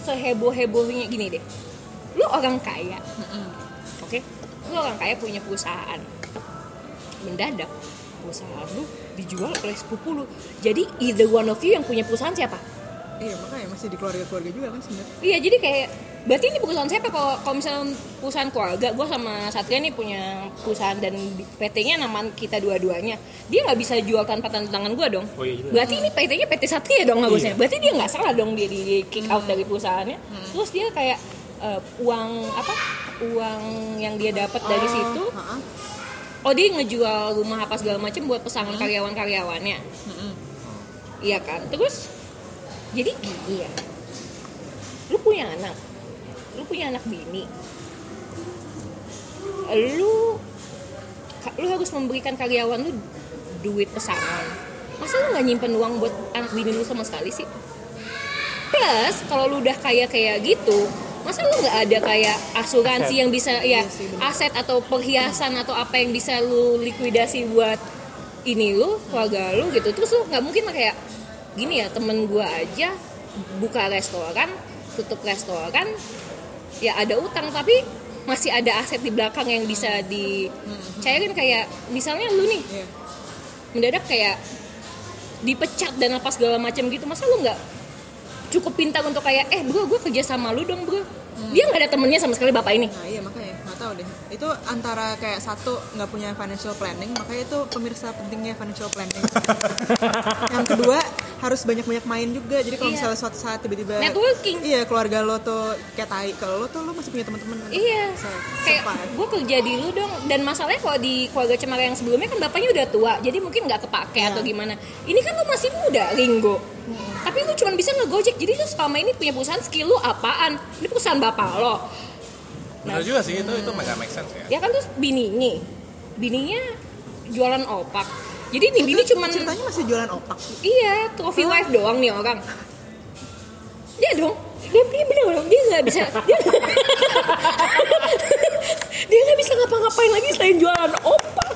seheboh hebohnya gini deh lu orang kaya Hmm, oke lu orang kaya punya perusahaan mendadak perusahaan lu dijual oleh sepupu lu jadi either one of you yang punya perusahaan siapa iya makanya masih di keluarga keluarga juga kan sebenarnya Iya jadi kayak berarti ini perusahaan siapa kalau kalau misalnya perusahaan keluarga gue sama Satria nih punya perusahaan dan di- PT-nya nama kita dua-duanya dia nggak bisa jual tanpa tanda tangan gue dong Oh, iya, jelas. berarti ini PT-nya PT Satria dong harusnya berarti dia nggak salah dong dia di di kick out dari perusahaannya terus dia kayak eh, uang apa uang yang dia dapat dari situ Ha-ha. oh dia ngejual rumah apa segala macam buat pesangon karyawan-karyawannya iya kan terus jadi gini ya lu punya anak lu punya anak bini lu ka- lu harus memberikan karyawan lu duit pesangon masa lu nggak nyimpen uang buat anak bini lu sama sekali sih plus kalau lu udah kaya kayak gitu masa lu nggak ada kayak asuransi yang bisa ya aset atau perhiasan atau apa yang bisa lu likuidasi buat ini lu keluarga lu gitu terus lu nggak mungkin kayak gini ya temen gua aja buka restoran tutup restoran ya ada utang tapi masih ada aset di belakang yang bisa dicairin kayak misalnya lu nih Iya. mendadak kayak dipecat dan apa segala macam gitu masa lu nggak cukup pintar untuk kayak eh bro gue kerja sama lu dong bro dia nggak ada temennya sama sekali bapak ini Nah iya makanya nggak tahu deh. Itu antara kayak satu nggak punya financial planning, makanya itu pemirsa pentingnya financial planning. yang kedua harus banyak-banyak main juga. Jadi kalau Iya. misalnya suatu saat tiba-tiba Networking. Iya keluarga lo tuh kayak tai ke lo tuh lo masih punya teman-teman. iya Bisa kayak survive. gue kerja di lu dong dan masalahnya kalau di keluarga cemara yang sebelumnya kan bapaknya udah tua jadi mungkin nggak kepake atau gimana ini kan lu masih muda Ringo tapi lu cuma bisa ngegojek jadi lu selama ini punya perusahaan skill lu apaan ini perusahaan bapak lo Nah. bener juga sih itu itu mega make sense ya ya kan terus bininya bininya jualan opak jadi nih bini cuman ceritanya masih jualan opak. gitu. Iya, trophy wife doang nih orang. Dia dong, dia, dia bener dong, dia nggak bisa, dia dia nggak bisa ngapa-ngapain lagi selain jualan opak.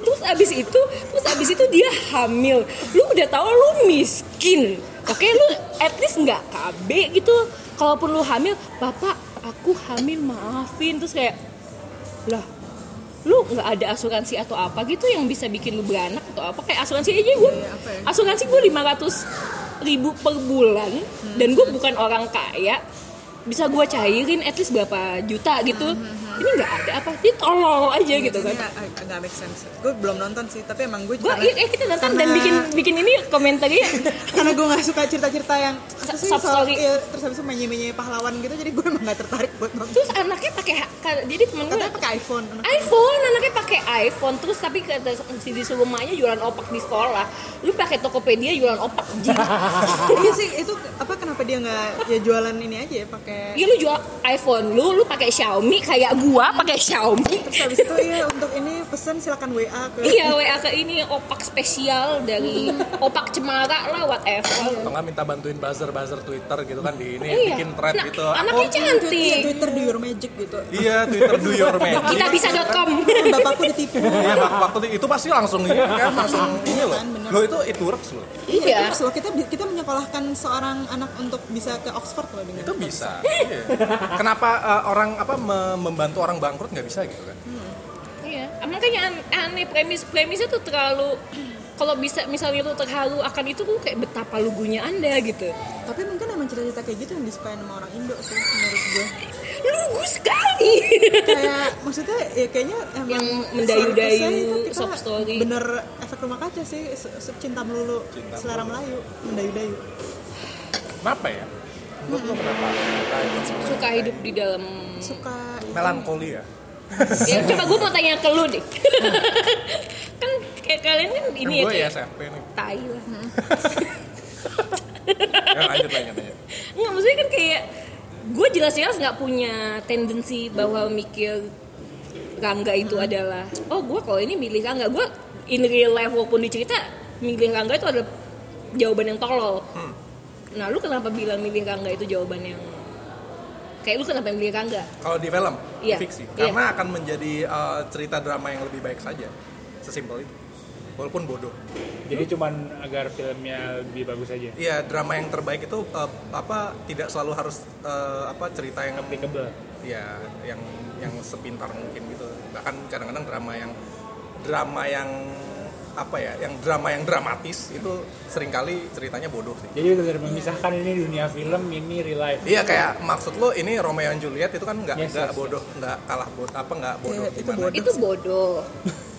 Terus abis itu, terus abis itu dia hamil. Lu udah tahu lu miskin, oke? Lu at least nggak KB gitu. kalaupun lu hamil bapak aku hamil maafin terus kayak lah lu nggak ada asuransi atau apa gitu yang bisa bikin lu beranak atau apa kayak asuransi aja gue Iya, apa ya? asuransi gue 500 ribu per bulan dan gue bukan orang kaya bisa gue cairin at least berapa juta gitu ini nggak ada apa sih tolol aja gitu kan Ini ag- agak eh, make sense. Gue belum nonton sih, tapi emang gue gue eh kita nonton dan bikin bikin ini komentarnya karena gue gak suka cerita-cerita yang apa sih, Sob soal story. iya, terus habis itu menye-menye pahlawan gitu jadi gue emang gak tertarik buat nonton terus anaknya pakai ha- ka- jadi temen gue katanya pakai iPhone anak. iPhone anaknya pakai iPhone terus tapi kata si disuruh emaknya jualan opak di sekolah lu pakai Tokopedia jualan opak jing iya sih itu apa kenapa dia nggak ya jualan ini aja ya pakai Iya lu jual iPhone lu, lu pakai Xiaomi kayak gua pakai Xiaomi. terus habis itu ya untuk ini pesan silakan WA ke iya WA ke ini opak spesial dari opak cemara lah whatever. atau nggak minta bantuin buzzer buzzer Twitter gitu kan di ini Iya. bikin thread Nah, gitu anaknya Oh, Iya, cantik. Twitter do your magic gitu iya Twitter do your magic Kita bisa.com. bapakku ditipu Iya, waktu, waktu itu- itu pasti langsung ini kan langsung ini loh. Kan, bener. Lo itu it works loh. Iya. terus loh kita kita menyekolahkan seorang anak untuk bisa ke Oxford loh dengan Itu bisa. Iya. Kenapa eh, orang apa me- membantu orang bangkrut nggak bisa gitu kan? Iya. Makanya an- aneh premis-premisnya tuh terlalu kalau bisa misalnya lu terharu akan itu lu kayak betapa lugunya Anda gitu. tapi mungkin emang cerita-cerita kayak gitu yang disukain sama orang Indo sih menurut gue Lugu sekali. kayak maksudnya ya kayaknya emang Yang mendayu-dayu, surplusnya itu kita sob story. bener efek rumah kaca sih se- se- cinta melulu Cinta selera melayu mendayu-dayu Kenapa ya? Menurut lo kenapa? Nah, Suka hidup di dalam suka Melankoli ya. ya, coba gue mau tanya ke lu deh kan kayak kalian kan ini ya gue kayak ya SFP nih. tai lah Ya, lanjut lanjut lanjut. Nggak, maksudnya kan kayak gue jelas-jelas nggak punya tendensi bahwa mikir Rangga itu adalah oh gue kalau ini milih Rangga gue in real life walaupun di cerita milih Rangga itu adalah jawaban yang tolol nah lu kenapa bilang milih Rangga itu jawaban yang kayak lu kenapa milih Rangga Kalau di film, di Iya. fiksi, Iya. karena akan menjadi eh, cerita drama yang lebih baik saja, sesimpel itu. Walaupun bodoh. Jadi cuman agar filmnya lebih bagus aja. Iya, drama yang terbaik itu eh, apa tidak selalu harus eh, apa cerita yang Applicable. ya yang yang sepintar mungkin gitu bahkan kadang-kadang drama yang drama yang apa ya yang drama yang dramatis itu seringkali ceritanya bodoh sih Jadi benar memisahkan ini dunia film, ini real life. iya kayak maksud lo ini Romeo and Juliet itu kan nggak Yes, nggak yes, bodoh nggak kalah bodoh apa nggak bodoh Iya, itu gimana gitu. bodoh. itu bodoh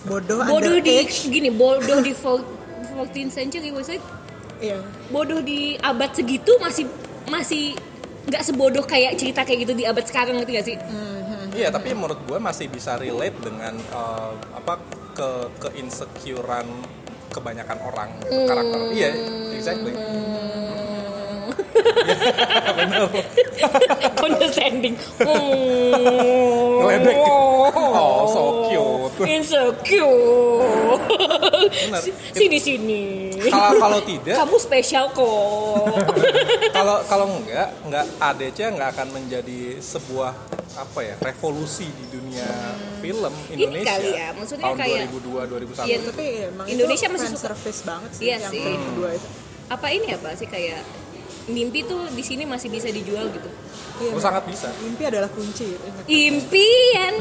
bodoh bodoh di underage. gini bodoh di fol- 14th century maksudnya iya bodoh di abad segitu masih masih nggak sebodoh kayak cerita kayak gitu di abad sekarang gitu gak sih Iya, tapi menurut gue masih bisa relate dengan eh, apa ke keinsecurean kebanyakan orang karakter. Hmm. Iya, exactly. condescending oh Ngeledek. Oh, so cute. insecure Bener. sini sini Kalau kalau tidak, kamu spesial kok kalau kalau enggak, enggak ADC nggak akan menjadi sebuah apa ya revolusi di dunia film Indonesia Hmm. kali ya, maksudnya tahun kayak- 2002 2001 Iya, gitu. tapi emang Indonesia itu masih fan suka. service banget sih Iya yang sih. film kedua itu Iya, apa ini apa sih kayak mimpi tuh di sini masih bisa dijual gitu iya, Oh, sangat bisa mimpi adalah kunci ingat. impian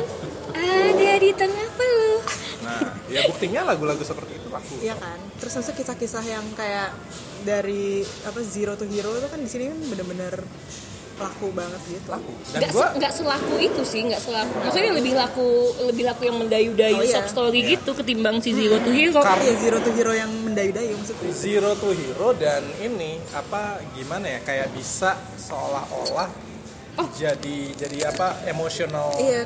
ada di tengah peluh nah ya buktinya lagu-lagu seperti itu aku iya kan terus maksudnya kisah-kisah yang kayak dari apa zero to hero itu kan di sini kan bener-bener laku banget gitu laku dan nggak gue se- nggak selaku itu sih nggak selaku maksudnya lebih laku lebih laku yang mendayu-dayu Oh, iya. sub story gitu ketimbang si Zero to Hero Kar- Iya, zero to hero yang mendayu-dayu maksudnya Zero to Hero dan ini apa gimana ya kayak bisa seolah-olah Oh. jadi jadi apa emosional Iya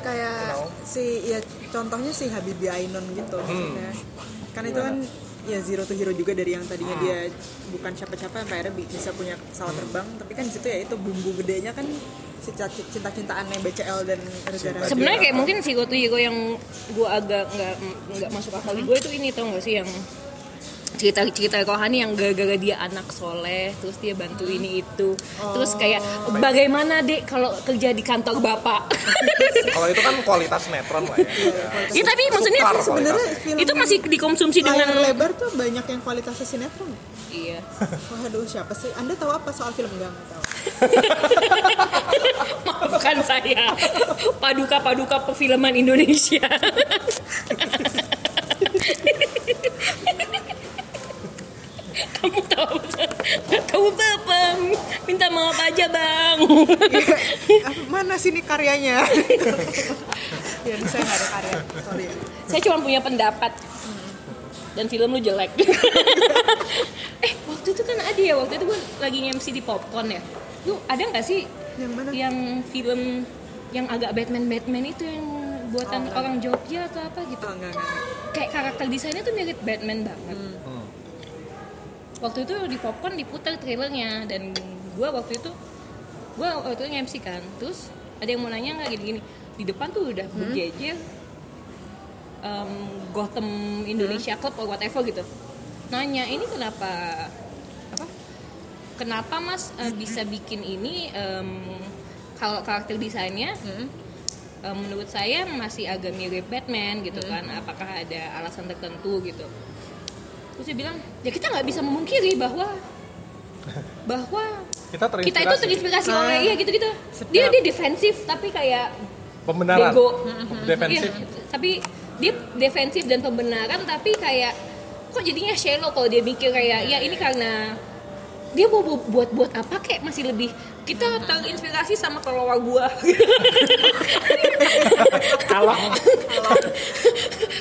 you kayak know. si ya contohnya si Habibie Ainun gitu maksudnya. Kan itu kan ya zero to hero juga dari yang tadinya dia bukan siapa-siapa yang akhirnya bi- bisa punya pesawat terbang tapi kan di situ ya itu bumbu gedenya kan si ca- cinta-cintaannya BCL dan negara Cinta. sebenarnya kayak mungkin si Zero to Hero yang gue agak nggak nggak masuk akal di gue itu ini tau gak sih yang cerita cerita rohani yang gara-gara dia anak soleh terus dia bantu ini itu terus kayak bagaimana dek kalau kerja di kantor bapak kalau itu kan kualitas netron lah ya ya tapi maksudnya Sukar. sebenarnya film itu masih dikonsumsi layar dengan lebar tuh banyak yang kualitasnya sinetron Iya. Waduh, siapa sih? Anda tahu apa soal film enggak? Nggak tahu. Maafkan saya. Paduka-paduka perfilman Indonesia. Kamu tahu Kamu tahu apa? Minta maaf aja, Bang. Apa- Ah, Mana sini karyanya? ya, saya nggak ada karya. Sorry. ya. saya cuma punya pendapat dan film lu jelek eh waktu itu kan ada ya waktu itu gue lagi MC di popcorn ya lu ada nggak sih Yang mana? yang film yang agak Batman Batman itu yang buatan orang Jogja atau apa gitu Oh, enggak, enggak. kayak karakter desainnya tuh mirip Batman banget waktu itu di popcorn diputar trailernya dan gue waktu itu gue waktu itu MC kan terus ada yang mau nanya nggak gini-gini di depan tuh udah berjejer em, Gotham Indonesia Club or whatever gitu nanya ini kenapa apa kenapa mas eh, bisa bikin ini em, kalau karakter desainnya eh, menurut saya masih agak mirip Batman gitu kan Hmm. apakah ada alasan tertentu gitu terus dia bilang ya kita nggak bisa memungkiri bahwa bahwa Kita terinspirasi. kita Nah, itu terinspirasi Ah. oleh iya gitu gitu dia dia defensif tapi kayak Pembenaran. Bego. Nah, Defensif. Iya, tapi dia defensif dan pembenaran tapi kayak kok jadinya shallow kalau dia mikir kayak ya ini karena dia mau bu- buat buat apa kek masih lebih kita terinspirasi sama kelelawar gua Kalau Oh,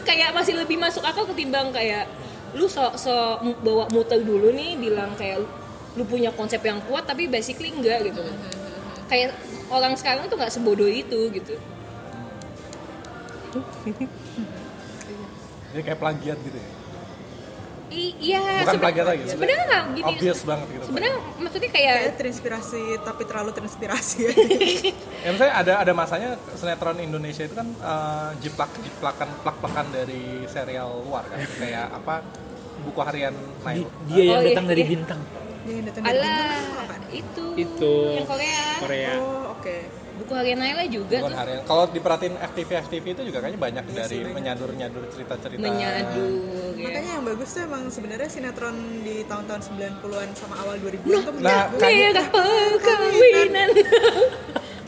kayak masih lebih masuk akal ketimbang kayak lu so so bawa muter dulu nih bilang kayak lu punya konsep yang kuat tapi basically enggak gitu kayak orang sekarang tuh nggak sebodoh itu gitu Jadi kayak plagiat gitu ya. I- iya Bukan sebe- plagiat lagi, sebenarnya nggak Nah, gini Obvious banget gitu. sebenarnya maksudnya kayak Saya terinspirasi tapi terlalu terinspirasi. Ya misalnya ada ada masanya sinetron Indonesia itu kan eh, jiplak jiplakan plak plakan dari serial luar kan. Kayak apa buku harian Nail. di- dia Oh, yang iya, datang dari iya. bintang Jangan datang dari Alah, Ya. bintang apa? itu, Itu. yang Korea. Korea. Oh, oke. Buku harian Naila juga Bukan tuh Iya harian. Kalau diperhatiin FTV FTV itu juga kayaknya banyak dari menyadur-nyadur cerita-cerita. menyadu. ya. Makanya yang bagus tuh emang sebenarnya sinetron di tahun-tahun 90-an sama awal 2000-an tuh nah, menurut gue kayak- Merah perkawinan.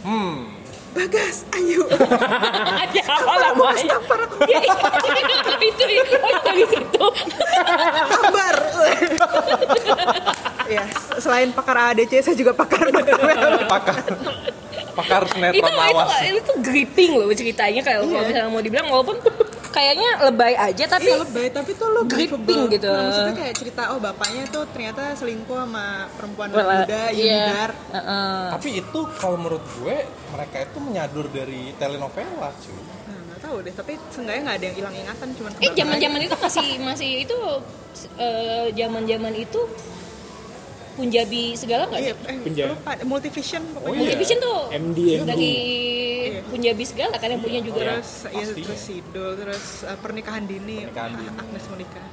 Hmm. Bagas, ayo. Ada apa namanya? Ya, iya. itu ya. Oh, itu dari situ. Kabar. ya, se- selain pakar ADC saya juga pakar Martabel. Pakar pakar itu sinetron itu awas. itu gripping loh ceritanya kayak kalau misalnya mau dibilang walaupun kayaknya lebay aja tapi Iya lebay, tapi tuh lo Gripping believable. gitu. Nah, maksudnya kayak cerita oh bapaknya tuh ternyata selingkuh sama perempuan Wala- muda, iya. Yudar. Heeh. Tapi itu kalau menurut gue mereka itu menyadur dari telenovela cuy. Nah, nggak tahu deh, tapi seenggaknya nggak ada yang hilang ingatan cuman Eh kebakaran. zaman-zaman itu masih masih itu eh, zaman-zaman itu Punjabi segala nggak Iya, sih? eh, Penjara. lupa, multivision Oh, pokoknya. iya. Multivision tuh MD dari Punjabi segala kan yang punya juga Iya. Terus, ya, Pastinya. terus Sidul, terus eh, pernikahan dini, Pernikahan Ah, dini. Agnes Monica.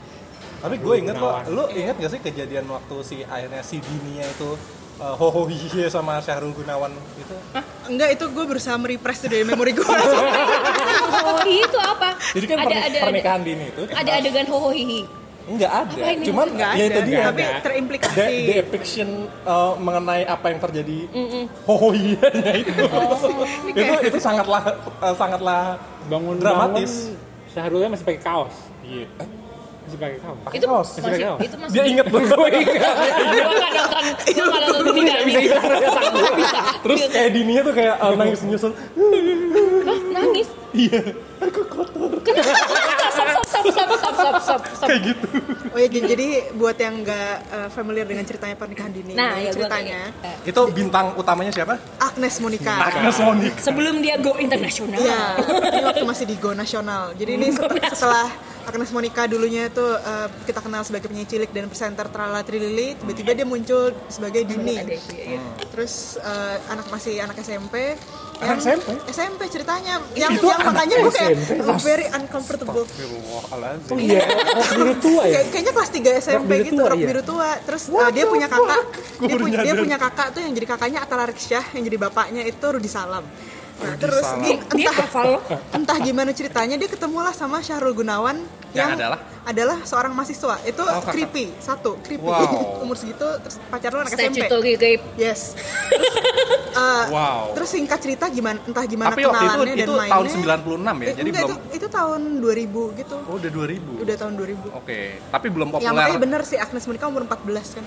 Tapi gue inget lo, Gunawan. lo inget gak sih kejadian waktu si akhirnya si Dinia itu uh, hoho hihihi sama Syahrul Gunawan itu? Enggak, itu gue berusaha merepress tuh dari memori gue. Oh, itu apa? Jadi kan ada perni- ada ada, pernikahan Dini itu kan ada adegan hoho hihi. nggak ada, Apa ini cuman kan Nggak ya itu ada, dia tapi Nggak. terimplikasi. de depiction uh, mengenai apa yang terjadi hoho hihihinya itu. Oh, iya. itu itu sangatlah uh, sangatlah bangun Dramatis. bangun, seharusnya masih pakai kaos Iya. masih pakai kaos eh, Pakai Itu kaos. masih Pakai kaos. itu masih. Iya, Dia inget banget. Oh, Gua iya. nggak nonton, gua nggak nonton ini nggak bisa. Nggak bisa. Iya, Iya, Iya. Terus kayak Dinia tuh kayak uh, nangis nyusul. Hah, nangis. Iya, aku kotor Stop, stop, stop, stop, stop, stop, stop. kayak gitu. oh ya, jadi- jadi buat yang nggak eh, familiar dengan ceritanya pernikahan dini, Nah, ya ini gua ceritanya kayak- Itu bintang utamanya siapa? Agnes Monica. Agnes Monica. Sebelum dia go internasional. Iya, ini waktu masih di Go Nasional. Jadi ini set- setelah Agnes Monica dulunya itu eh, kita kenal sebagai penyanyi cilik dan presenter Tralala Trilili, tiba-tiba dia muncul sebagai Dini. Hmm. Ada itu, iya, iya. Terus eh, anak masih anak SMP. Anak SMP? SMP ceritanya. Yang, Itu yang anak makanya gue kayak SMP? very uncomfortable. Astagfirullahaladzim. iya rock biru Oh, tua ya iya. Kayak- kayaknya kelas 3 SMP biru gitu, tua, rok iya. biru tua. Terus What eh, dia the punya kakak, fuck? Gua dia, baru punya- dia nyadar. punya kakak tuh yang jadi kakaknya Atta Syah, yang jadi bapaknya itu Rudi Salam. Nah, Rudy terus Salam. gim- dia entah hafal loh. entah gimana ceritanya dia ketemulah sama Syahrul Gunawan Yang yang, adalah? adalah seorang mahasiswa. Itu Oh, kakak. creepy, satu, creepy. Wow. Umur segitu terus pacar lu anak SMP. statutory rape Yes. Terus, eh, Wow. Terus singkat cerita gimana entah gimana Tapi waktu itu kenalannya dan itu mainnya. tahun 96 ya, Eh, jadi enggak, belum itu, itu tahun 2000 gitu. Oh, udah 2000. Udah tahun 2000. Oke, tapi belum Yang Oh, populer. makanya bener sih Agnes menikah umur 14 kan.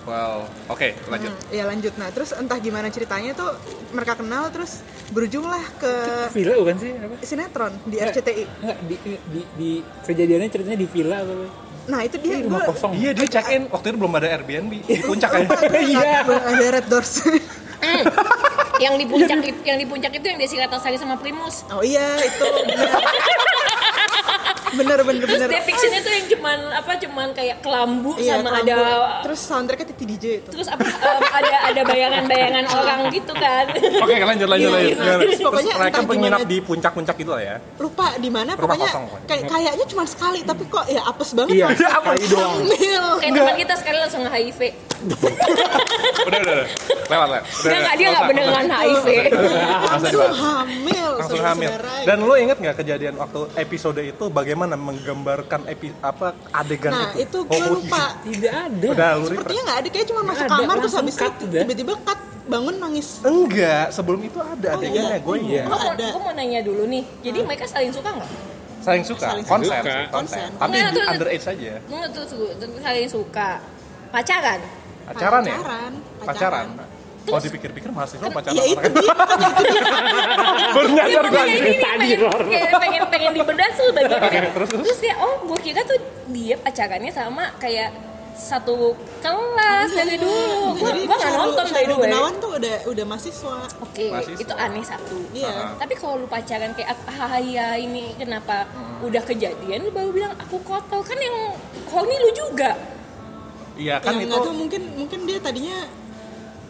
Wow. Oke, lanjut. Hmm, ya lanjut. Nah, terus entah gimana ceritanya tuh mereka kenal terus berujunglah ke Villa bukan sih? Apa? sinetron di Eh. RCTI. Nggak, Di, di, di kejadiannya ceritanya di villa apa? apa? Nah, itu dia Ini rumah gua- kosong. Iya, dia check in waktu itu belum ada Airbnb di puncak ya. Lupa, gua nggak- Iya. gua- ada Red Doors. yang di puncak itu, yang di puncak itu yang Desi Ratnasari sama Primus oh iya, itu bener. bener bener terus bener. depictionnya tuh yang cuman apa cuman kayak kelambu Iya, sama kelambu. ada terus soundtracknya Titi DJ itu. terus apa um, ada ada bayangan-bayangan orang gitu kan Oke, lanjut lanjut lanjut. Iya, Terus terus pokoknya mereka entah penginap gimana- di puncak-puncak itu lah ya. Lupa di mana Rumah pokoknya kosong, pokoknya. kayak kayaknya cuma sekali tapi kok ya apes banget Iya, langsung apa doang. hamil. kayak teman kita sekali langsung HIV Udah udah. udah. Lewat lah. dia nggak dia nggak beneran HIV Langsung hamil. langsung hamil. saudara-saudara. Dan lo inget nggak kejadian waktu episode itu bagaimana menggambarkan epi, apa adegan Nah, itu? itu gue Oh, lupa. Tidak ada. Udah lu Sepertinya nggak ada, kayak cuma masuk ada, kamar terus langsung habis cut itu udah. tiba-tiba cut bangun nangis. Enggak, sebelum itu Oh, ada adegannya gue iya. Gua mau, gua mau nanya dulu nih, jadi mereka saling suka nggak? Saling suka, Saling konsen, suka. sih, konsen. Konsen. Tapi Enggak, di tuh- underage saja. Nggak tuh, tuh, tuh, saling suka Pacaran? Acaran ya? Pacaran, Pacaran. pacaran. Kalau dipikir-pikir mahasiswa pacaran Ya itu orang kan? dia, makanya itu dia. Baru nyadar Dia gua pengen dari ini, tadi, pengen- Ror. kayak pengen, pengen dibedah tuh bagian Oke, ini. terus, terus. Terus dia, oh gue kira tuh dia pacarannya sama kayak satu kelas dari dulu Gue Jadi gua gak Syahrul- nonton by the Syahrul way Gunawan tuh udah udah mahasiswa. Oke, Mahasiswa. itu aneh satu Iya. Ah. Tapi kalau lu pacaran kayak, ah ya ini kenapa udah kejadian lu baru bilang aku kotor Kan yang horny lu juga Iya kan itu. ya, nggak tahu, mungkin mungkin dia tadinya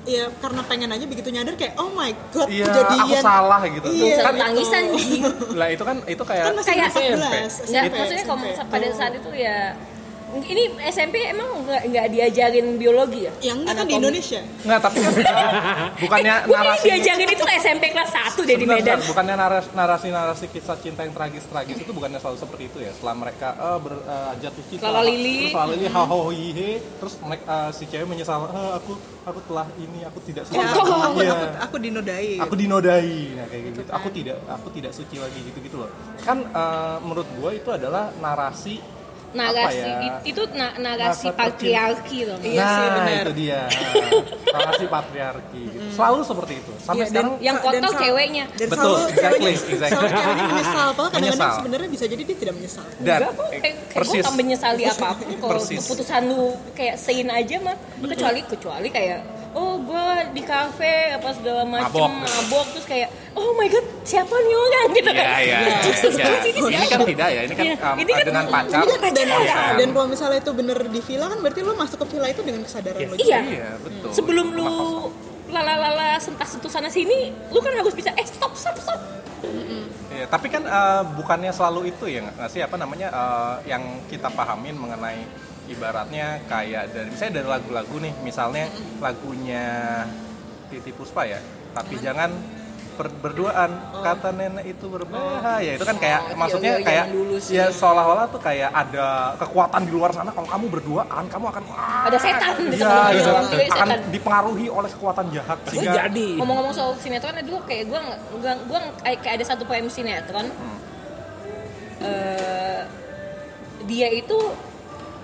ya karena pengen aja begitu nyadar kayak oh my god Iya, kejadian. aku salah gitu. Iya. Bukan Kan itu- tangisan, Ji Lah itu kan itu kayak Kan masih Kayak Iya. Gitu. 14, SMP. Enggak, maksudnya kalau SMP. pada saat itu ya ini SMP emang nggak nggak diajarin biologi ya? Ya enggak kan Anatomi. di Indonesia. Enggak, tapi kan bukannya Gue narasi Eh, diajarin itu SMP kelas 1 deh di Sebentar, Medan. sebentar. bukannya naras- narasi-narasi kisah cinta yang tragis-tragis itu bukannya selalu seperti itu ya setelah mereka eh, ber- eh, jatuh cinta Lala lili. Hmm. terus lala lili ha, ho, ho, hi, he. terus mereka eh, si cewek menyesal "Eh, aku aku telah ini aku tidak suci Ya, Kotor. aku, aku, Iya. aku, aku dinodai. aku dinodai nah kayak gitu aku tidak aku tidak suci lagi gitu gitu loh kan eh, menurut gua itu adalah narasi apa Narasi ya? it- itu na- narasi Masa patriarki loh. Iya sih, nah benar. itu dia narasi patriarki gitu. selalu seperti itu sampai Hmm. Iya, dan sekarang yang Dan kotor sal- ceweknya. Dan Betul, selalu exactly, ceweknya- exactly. selalu ceweknya menyesal, padahal kadang-kadang Menyesal. sebenarnya bisa jadi dia tidak menyesal. dan Enggak kok, eh, kayak gue tak menyesali apapun kalau Persis. keputusan lu kayak sein aja mah kecuali kecuali kayak oh gue di kafe apa segala macem Mabok. mabok. terus kayak oh my god siapa nih orang gitu Iya, kan iya. Jesus iya. Christ, ini Ini siapa? kan tidak ya, ini kan Iya. um, Ini kan- dengan pacar. Iya. Tapi kan dan, konsen. dan kalau misalnya itu bener di villa kan berarti lo masuk ke villa itu dengan kesadaran lo iya Iya, betul. sebelum lu Rumah kosong. lala-lala sentak sentuh sana sini lu kan harus bisa eh stop stop stop Iya, tapi kan eh, bukannya selalu itu ya nggak sih apa namanya eh, yang kita pahamin mengenai ibaratnya kayak dari misalnya dari lagu-lagu nih, misalnya lagunya Titi Puspa ya, tapi jangan ber- berduaan kata nenek itu berbahaya itu kan kayak Oh, maksudnya iya, iya, kayak zaman dulu sih. ya seolah-olah tuh kayak ada kekuatan di luar sana kalau kamu berduaan kamu akan wah, Ada setan. Iya, Iya, gitu. iya, iya, akan setan. dipengaruhi oleh kekuatan jahat Pasti sehingga jadi. ngomong-ngomong soal sinetron dulu kayak gue gue gue kayak ada satu poem sinetron Eh, dia itu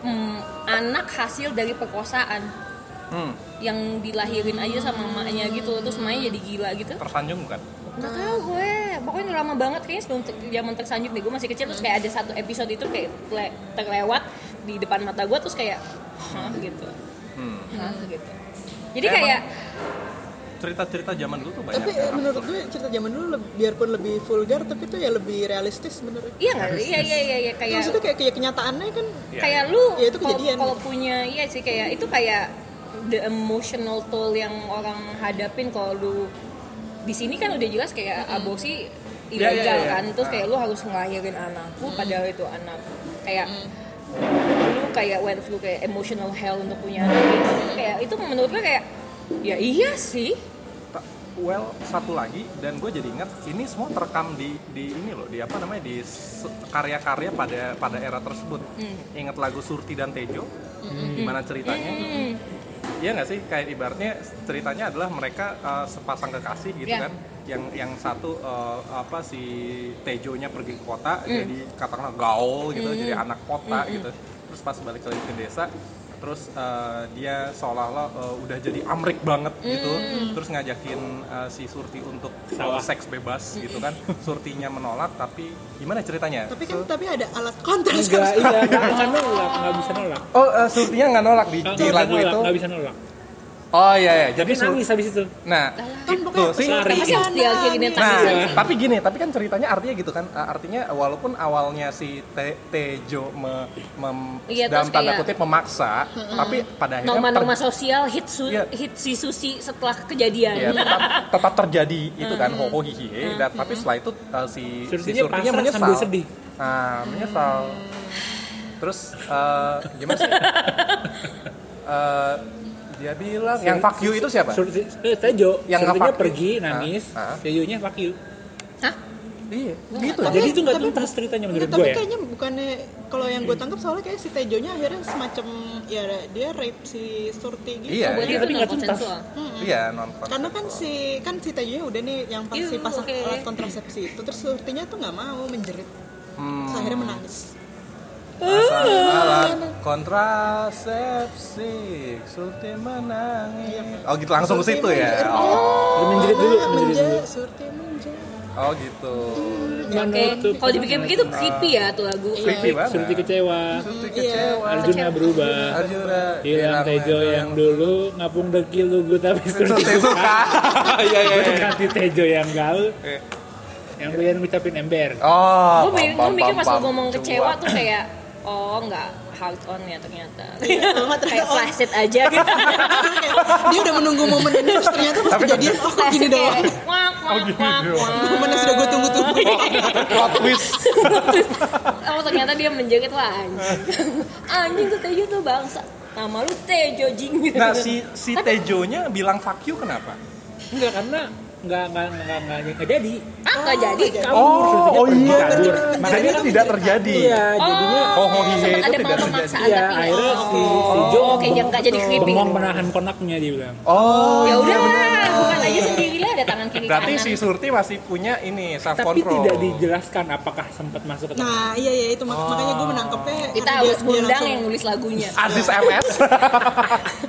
mm, anak hasil dari perkosaan Hmm, yang dilahirin aja sama emaknya gitu terus emaknya jadi gila gitu tersanjung bukan? nggak tahu gue pokoknya lama banget kayaknya sebelum ter- zaman tersanjung deh gue masih kecil terus kayak ada satu episode itu kayak tele- terlewat di depan mata gue terus kayak hah gitu Hmm. hah gitu jadi Emang- kayak cerita-cerita zaman dulu tuh banyak. Tapi eh, menurut gue cerita zaman dulu lebih- biarpun lebih vulgar tapi itu ya lebih realistis sebenarnya. iya nggak iya iya iya, iya kayak Maksudnya kayak, kayak kenyataannya kan Iya. kayak lu Ya, itu kalau- kejadian. kalau punya iya sih kayak itu kayak the emotional toll yang orang hadapin kalau lu di sini kan udah jelas kayak aborsi Iya, iya, Ya, ilegal iya. kan terus Ah. kayak lu harus ngelahirin anakku padahal itu anak kayak lu kayak went through kayak emotional hell untuk punya anak gitu. kayak itu menurut gue kayak ya iya sih Ta- well satu lagi dan gue jadi ingat ini semua terekam di di ini loh di apa namanya di se- karya-karya pada pada era tersebut ingat lagu Surti dan Tejo gimana ceritanya Iya nggak sih kayak ibaratnya ceritanya adalah mereka eh, sepasang kekasih gitu Iya. kan yang yang satu eh, apa si Tejonya pergi ke kota jadi katakanlah gaul gitu jadi anak kota gitu terus pas balik lagi ke desa terus eh, dia seolah-olah eh, udah jadi amrik banget gitu terus ngajakin eh, si Surti untuk eh, Sawah. seks bebas gitu kan Surtinya menolak tapi gimana ceritanya tapi kan tapi ada alat kontras Enggak, kan iya, nggak bisa nolak, nggak bisa nolak. oh eh, Surtinya nggak nolak di, Nggak di bisa lagu nolak, itu nggak bisa nolak. oh iya iya Tapi jadi Sur- nangis habis itu. nah kan Tuh, pokoknya sih. Lari. Masih setia Iya, kayak gini Nah, tangisan sih. tapi gini, tapi kan ceritanya artinya gitu kan. Uh, Artinya walaupun awalnya si Te- Tejo me, mem- Iya, dalam terus tanda kayak- kutip memaksa, tapi pada akhirnya norma-norma ter- sosial hit su Iya. hit si Susi setelah iya, kejadian. tetap, tetap terjadi itu kan hoho hihi. dan tapi setelah itu uh, si si Surtinya Surtinya pasrah menyesal. sambil sedih. Nah, menyesal. Terus uh, gimana sih? Uh, dia bilang yang fuck you itu siapa? Surti, eh, Tejo, Yang Surtinya nggak fuck you. pergi, Ah, nangis, ah. Tejonya fuck you. Hah? Iya, gitu. Tapi- Jadi itu nggak tapi- tuntas ceritanya Nggak, menurut tapi gue ya. kayaknya bukannya kalau yang gue tangkap soalnya kayak si Tejonya akhirnya semacam ya dia rape si Surti gitu. Iya, Buat iya, itu tapi nggak nggak tuntas. konsensual. iya nonton. Karena kan si kan si Tejonya udah nih yang pas si Yuh, pasang oke. alat kontrasepsi itu terus Surtinya tuh nggak mau menjerit. Hmm. Terus akhirnya menangis. Pasang Ah. alat kontrasepsi Sulti menangis Oh gitu langsung ke Surti situ ya? menjerit. Oh, Menjerit dulu, Ah, menjerit menjerit, dulu. Surti menjerit. oh gitu Oke. Kalau dipikir-pikir itu creepy ya tuh lagu. Nah. Creepy Surti banget kecewa, Iya. Surti kecewa Arjuna berubah. Arjuna Hilang Tejo yang dulu ngapung dekil lugu tapi Surti Surti suka Iya iya iya Berkati Tejo yang gaul, Iya. yang doyan ngucapin ember. Oh, Gue mikir, pam, pam, mikir pas pam, lu pam. ngomong kecewa Cuap. tuh kayak oh nggak hard on ya ternyata. kalau nggak kayak ternyata on. flaccid aja gitu. dia udah menunggu momen ini terus ternyata pas kejadian oh kok gini Flaccid doang. kayak wak Oh, wak wak wak. Momennya sudah gue tunggu-tunggu. iya. Plot twist Oh ternyata dia menjerit lah anjing. anjing tuh Tejo tuh bangsa. Nama lu Tejo jing. Ah, Nah si, si Tejonya bilang fuck you kenapa? Enggak karena enggak enggak enggak enggak, enggak jadi. Ah nggak jadi. Kabur, Surtinya pergi, kabur. Oh, iya. Makanya itu tidak terjadi Iya, jadinya Oh, oh, iya, sempet ada itu mau tidak pemaksaan Iya, tapi akhirnya oh. si, si Jo Oh, Oke, yang nggak jadi creepy. bengong menahan konaknya dia bilang. Oh Ya udah, iya bener. bukan aja sendirilah ada tangan kiri Berarti kanan. si Surti masih punya ini self Tapi control tidak dijelaskan apakah sempat masuk ke tangan. Nah iya iya itu mak- makanya gue menangkapnya kita karena harus dia gundang langsung- Nah, yang nulis lagunya. Aziz MS Iya.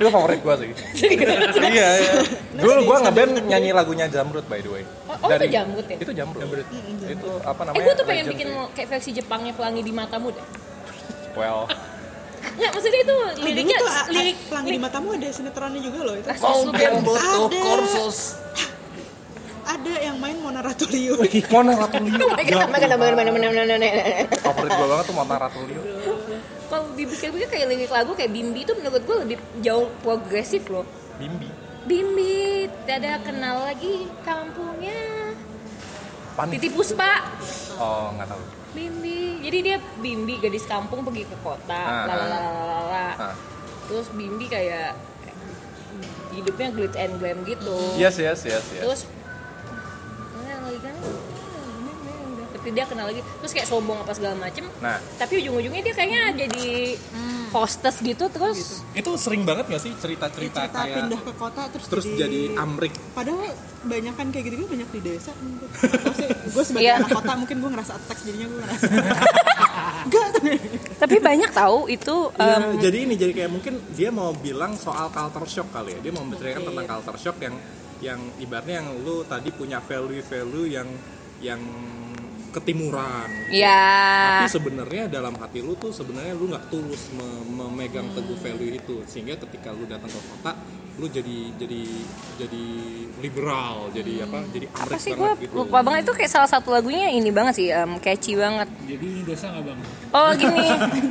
itu favorit gue sih iya iya dulu gue ngeband nyanyi lagunya Jamrut by the way Oh, oh, itu Jamrut ya? itu Jamrut, itu apa namanya eh, gue tuh pengen legend bikin sih. kayak versi Jepangnya Pelangi di Matamu deh. well Nggak, maksudnya itu Liriknya liriknya gitu, tuh ah, lirik ah, pelangi di matamu ada sinetronnya juga loh itu. Kau kan butuh kursus. Ada yang main Oh Mona Ratuliu. Mona Ratulio Kalau favorit gue banget tuh Mona Ratulio dipikir-pikir kayak lirik lagu kayak Bimbi itu menurut gue lebih jauh progresif loh. Bimbi Bimbi tidak kenal lagi kampungnya. Pan Titi Puspa. oh nggak tahu Bimbi. Jadi dia Bimbi gadis kampung pergi ke Ah, kota. Lalalala. ah. Terus Bimbi kayak hidupnya glitz and glam gitu. yes yes yes yes Terus nah, lagi kan tapi dia kenal lagi terus kayak sombong apa segala macem Nah. tapi ujung-ujungnya dia kayaknya jadi hostess gitu terus itu sering banget gak sih cerita-cerita Iya, Cerita pindah ke kota terus, terus jadi amrik Padahal banyak kan kayak gitu-gitu banyak di desa. gue sebagai Iya. anak kota mungkin gue ngerasa attack jadinya gue ngerasa. Enggak. tapi banyak tahu itu Iya, jadi ini jadi kayak mungkin dia mau bilang soal culture shock kali ya. Dia mau menceritakan tentang culture shock yang yang ibaratnya yang lu tadi punya value-value yang yang ketimuran. gitu. ya Tapi sebenarnya dalam hati lu tuh sebenarnya lu nggak tulus me- Hmm. memegang teguh value itu sehingga ketika lu datang ke kota lu jadi jadi jadi liberal, jadi apa? Jadi Hmm. apa amrik sih gue banget gitu. lupa banget itu kayak salah satu lagunya ini banget sih em, catchy banget Jadi ini dosa nggak bang? oh gini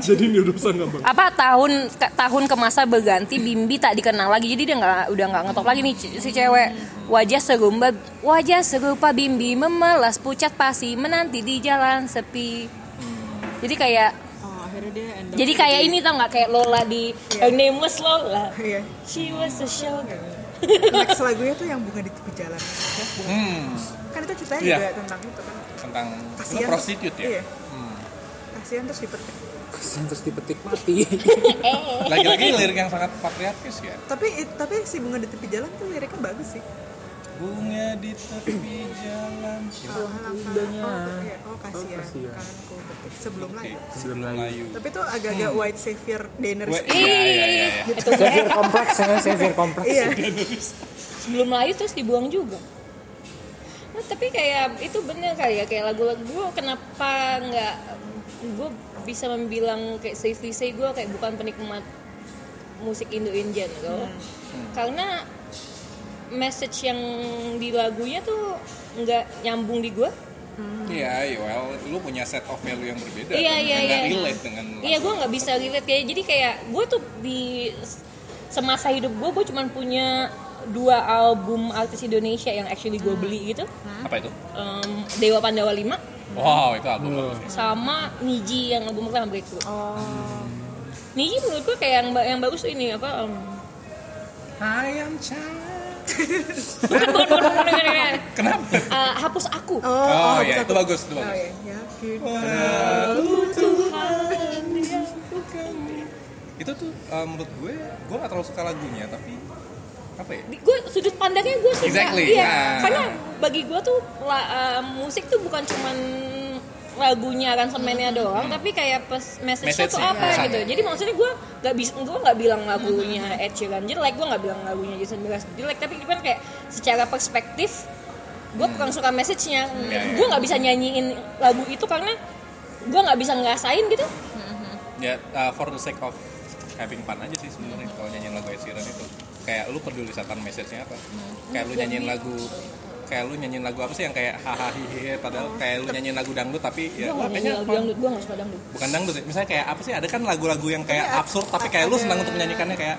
jadi ini dosa nggak bang? apa tahun ke- tahun ke masa berganti Bimbi tak dikenal lagi jadi dia nggak udah nggak ngetop lagi nih c- si cewek wajah serupa wajah serupa Bimbi memelas pucat pasi menanti di jalan sepi jadi kayak Oh, akhirnya dia end up. jadi kayak ini tau nggak kayak Lola di Her name was Lola Iya. she was a showgirl next lagunya tuh yang bunga di tepi jalan ya, bunga. Hmm, kan itu ceritanya Iya. juga tentang itu kan tentang itu Kasihan. prostitute ya. Iya. Hmm. kasihan terus dipetik Kasian terus dipetik mati. Lagi-lagi lirik yang sangat patriarkis ya. tapi tapi si bunga di tepi jalan tuh liriknya bagus sih Bunga di tepi jalan. oh, indahnya. oh, iya. oh Oh, kasihan kasihan. kanku petik sebelum Oke, layu Sebelum layu. tapi tuh agak-agak Hmm. white savior dinner Wah, sih. Iya, iya, iya, iya. Severe kompleks ya, severe kompleks. iya sebelum layu terus dibuang juga Nah, tapi kayak itu bener kayak kayak lagu-lagu gue kenapa nggak gue bisa membilang kayak safely say gue kayak bukan penikmat musik Indo in general karena message yang di lagunya tuh nggak nyambung di gue Iya, iya, well, lu punya set of value yang berbeda. Iya, dan iya, yang nggak iya. relate dengan Iya, gue nggak bisa relate kayak jadi kayak gue tuh di semasa hidup gue gue cuman punya dua album artis Indonesia yang actually gue beli gitu apa itu? Em, Dewa Pandawa 5 Wow, itu album bagus ya. sama Niji yang album pertama Breakthrough. oh Niji menurut gue kayak yang, ba- yang bagus tuh ini apa? em, Ayam Chan. bukan, bukan, bukan, bukan, bukan, bukan. Kenapa? Eh, hapus aku. oh, Oh, oh, iya, bisa itu tuh. bagus, itu oh, bagus. iya. Yakin. Itu tuh eh, menurut gue, gue gak terlalu suka lagunya, tapi apa ya? Di- gue sudut pandangnya gue suka Exactly, iya nah. karena bagi gue tuh la- eh, musik tuh bukan cuman lagunya aransemennya doang tapi kayak pes, message-nya tuh Hmm. Message-nya, apa pesannya. gitu jadi maksudnya gue nggak bisa gue nggak bilang lagunya Hmm. Ed Sheeran jelek gue nggak bilang lagunya Jason Mraz jelek tapi kan kayak secara perspektif Hmm. gue kurang suka message-nya Iya, iya. gue nggak bisa nyanyiin lagu itu karena gue nggak bisa ngerasain gitu Ya, eh, for the sake of having fun aja sih sebenarnya kalau nyanyiin lagu Ed Sheeran itu. Kayak lu peduli setan message-nya apa? Kayak lu nyanyiin lagu kayak lu nyanyiin lagu apa sih yang kayak hahaha padahal kayak lu nyanyiin lagu dangdut tapi ya gue nggak nyanyi kayaknya lagu fun. dangdut gue nggak suka dangdut bukan dangdut ya. misalnya kayak apa sih ada kan lagu-lagu yang kayak Tapi ada- absurd tapi kayak lu ada- senang untuk menyanyikannya kayak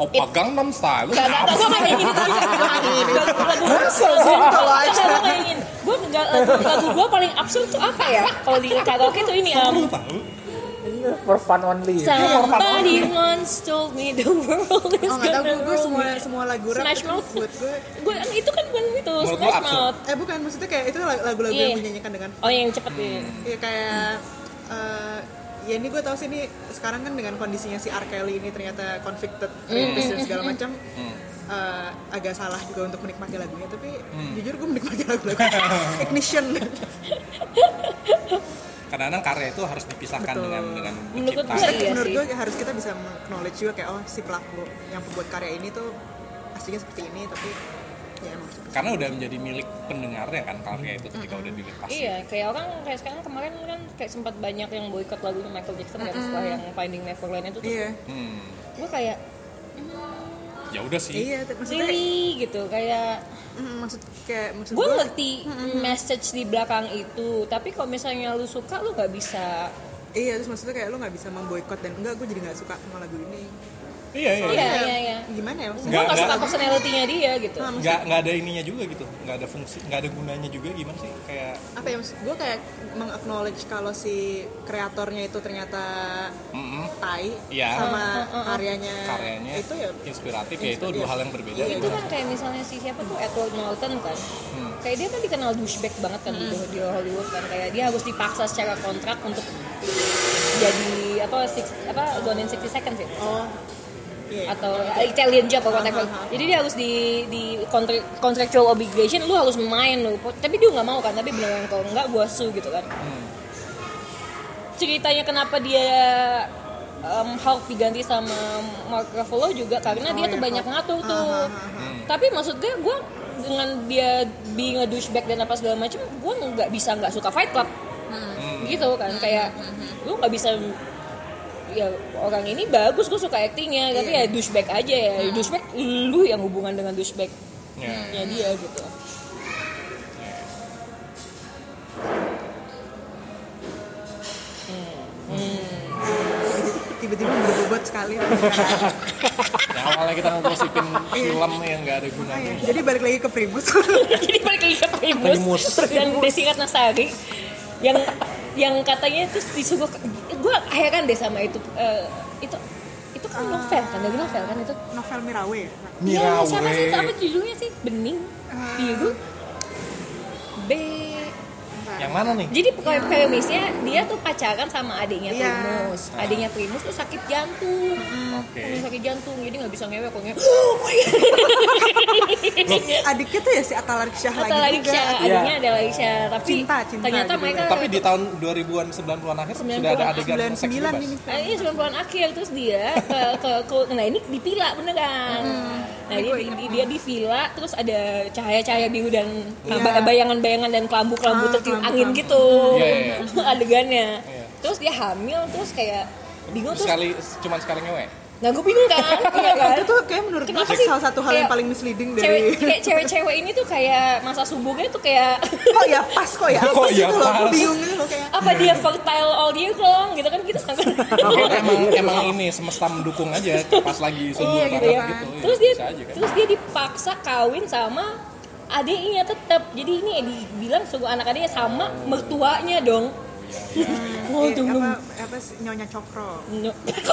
Oppa Gangnam Style lu Gak, gak tau, gue gak kayak gini Tolong aja. Gue kayak gini Gue gak, lagu, lagu gue paling absurd tuh apa ya? Kalau di karaoke tuh ini um, Iya, For fun only. Somebody once told me the world is Oh, nggak tahu gonna gue, gue roll semua me semua lagu rap Smash itu Mouth buat gue Gue, itu kan bukan itu, Menurut lu Smash absurd. Mouth eh bukan maksudnya kayak itu lagu-lagu Iya. yang dinyanyikan dengan Oh yang cepet ya Hmm, ya kayak eh, ya ini gue tahu sih ini sekarang kan dengan kondisinya si R. Kelly ini ternyata convicted Mm. rapist dan segala macam eh, agak salah juga untuk menikmati lagunya tapi Mm. jujur gue menikmati lagu-lagu ignition kadang-kadang karya itu harus dipisahkan Betul. dengan dengan Menurut pencipta. gue Iya menurut sih. gue harus kita bisa acknowledge juga kayak oh si pelaku yang pembuat karya ini tuh aslinya seperti ini tapi ya emang seperti karena udah menjadi milik pendengarnya kan karya itu ketika udah dilepas Iya, kayak orang kayak sekarang kemarin kan kayak sempat banyak yang boykot lagunya Michael Jackson kan setelah yang Finding Neverland itu iya Hmm, Gue kayak ya udah sih iya tapi maksudnya really gitu kayak mm, maksud kayak maksud gue gue ngerti message di belakang itu tapi kalau misalnya lu suka lu nggak bisa iya terus maksudnya kayak lo nggak bisa memboikot dan enggak gue jadi nggak suka sama lagu ini iya iya, Iya, iya. Kayak, iya, iya. gimana ya gue maksudnya nggak Nggak- suka nggak- personality-nya dia gitu Nah, maksud- nggak nggak ada ininya juga gitu nggak ada fungsi nggak ada gunanya juga gimana sih kayak apa ya maksud gue kayak meng-acknowledge kalau si kreatornya itu ternyata mm-mm, Nah, tai Iya. sama karyanya karyanya itu ya inspiratif ya itu dua hal yang berbeda itu gitu. kan kayak misalnya si siapa tuh Edward Norton kan kayak dia kan dikenal douchebag banget kan di di Hollywood kan kayak dia harus dipaksa secara kontrak untuk jadi apa six, apa Gone in 60 Seconds ya oh iya atau Italian job atau whatever. Jadi dia harus di di kontra- contractual obligation lu harus main lu. Tapi dia nggak mau kan, tapi beneran kalau nggak gua sue gitu kan. Ceritanya kenapa dia um, Hulk diganti sama Mark Ruffalo juga karena dia tuh banyak ngatur tuh. Tapi maksud gue gua dengan dia being a douchebag dan apa segala macam, gua nggak bisa nggak suka Fight Club. Gitu kan kayak lu nggak bisa ya orang ini bagus gue suka actingnya tapi ya Iya. douchebag aja ya Hmm. douchebag lu yang hubungan dengan douchebagnya Ya. dia gitu tiba-tiba berbobot sekali Nah, awalnya kita ngegosipin film yang nggak ada gunanya Iya, jadi balik lagi ke Primus jadi balik lagi ke Primus Primus. dan Desi Ratnasari yang yang katanya terus disuruh gue heran deh sama itu Eh, itu itu Ah. kan novel kan dari novel kan itu novel Mirawe Iya, ya? siapa sih itu? Mirawe. Apa judulnya sih? Bening, Ah. biru, B. Yang mana nih? Jadi Iya. pokoknya premisnya dia tuh pacaran sama adiknya Iya. Primus. Adiknya Primus tuh sakit jantung. Oke. Primus sakit jantung, jadi nggak bisa ngewek kok ngewek. Iya. adiknya tuh ya si Atalark Syah Atau lagi Laiksya, juga adiknya ada Laiksya. Tapi Cinta, cinta ternyata gitu. mereka Iya. Tapi di tahun 2000-an 90-an akhir sudah ada 90-an, adegan seks 99 bebas. ini Nah, ini 90-an akhir terus dia ke, ke, ke- nah ini di villa beneran. Hmm. Nah, dia, di- dia di villa terus ada cahaya-cahaya biru dan Iya. ba- bayangan-bayangan dan kelambu-kelambu Ah, tertiup kelambu-kelambu. angin gitu. Iya, iya, Adegannya. Iya. Terus dia hamil terus kayak bingung terus. Sekali cuman sekali ngewe. Nah, gue bingung kan. Iya kan? itu tuh kayak menurut gue Kenapa sih? salah satu hal yang Kayak paling misleading Cewek dari kayak cewek-cewek ini tuh kayak masa subuhnya tuh kayak kok ya pas kok ya Kok apa sih ya itu loh aku pas? bingung gitu loh kayak apa dia fertile all year long gitu kan kita sangka emang emang ini semesta mendukung aja pas lagi subuh Iya gitu banget ya. gitu. Iya, Terus dia bisa aja kan. terus dia dipaksa kawin sama adiknya tetap. Jadi ini dibilang suku anak adiknya sama mertuanya dong. Wow, eh, dong dong. apa, apa sih, nyonya cokro No. Oh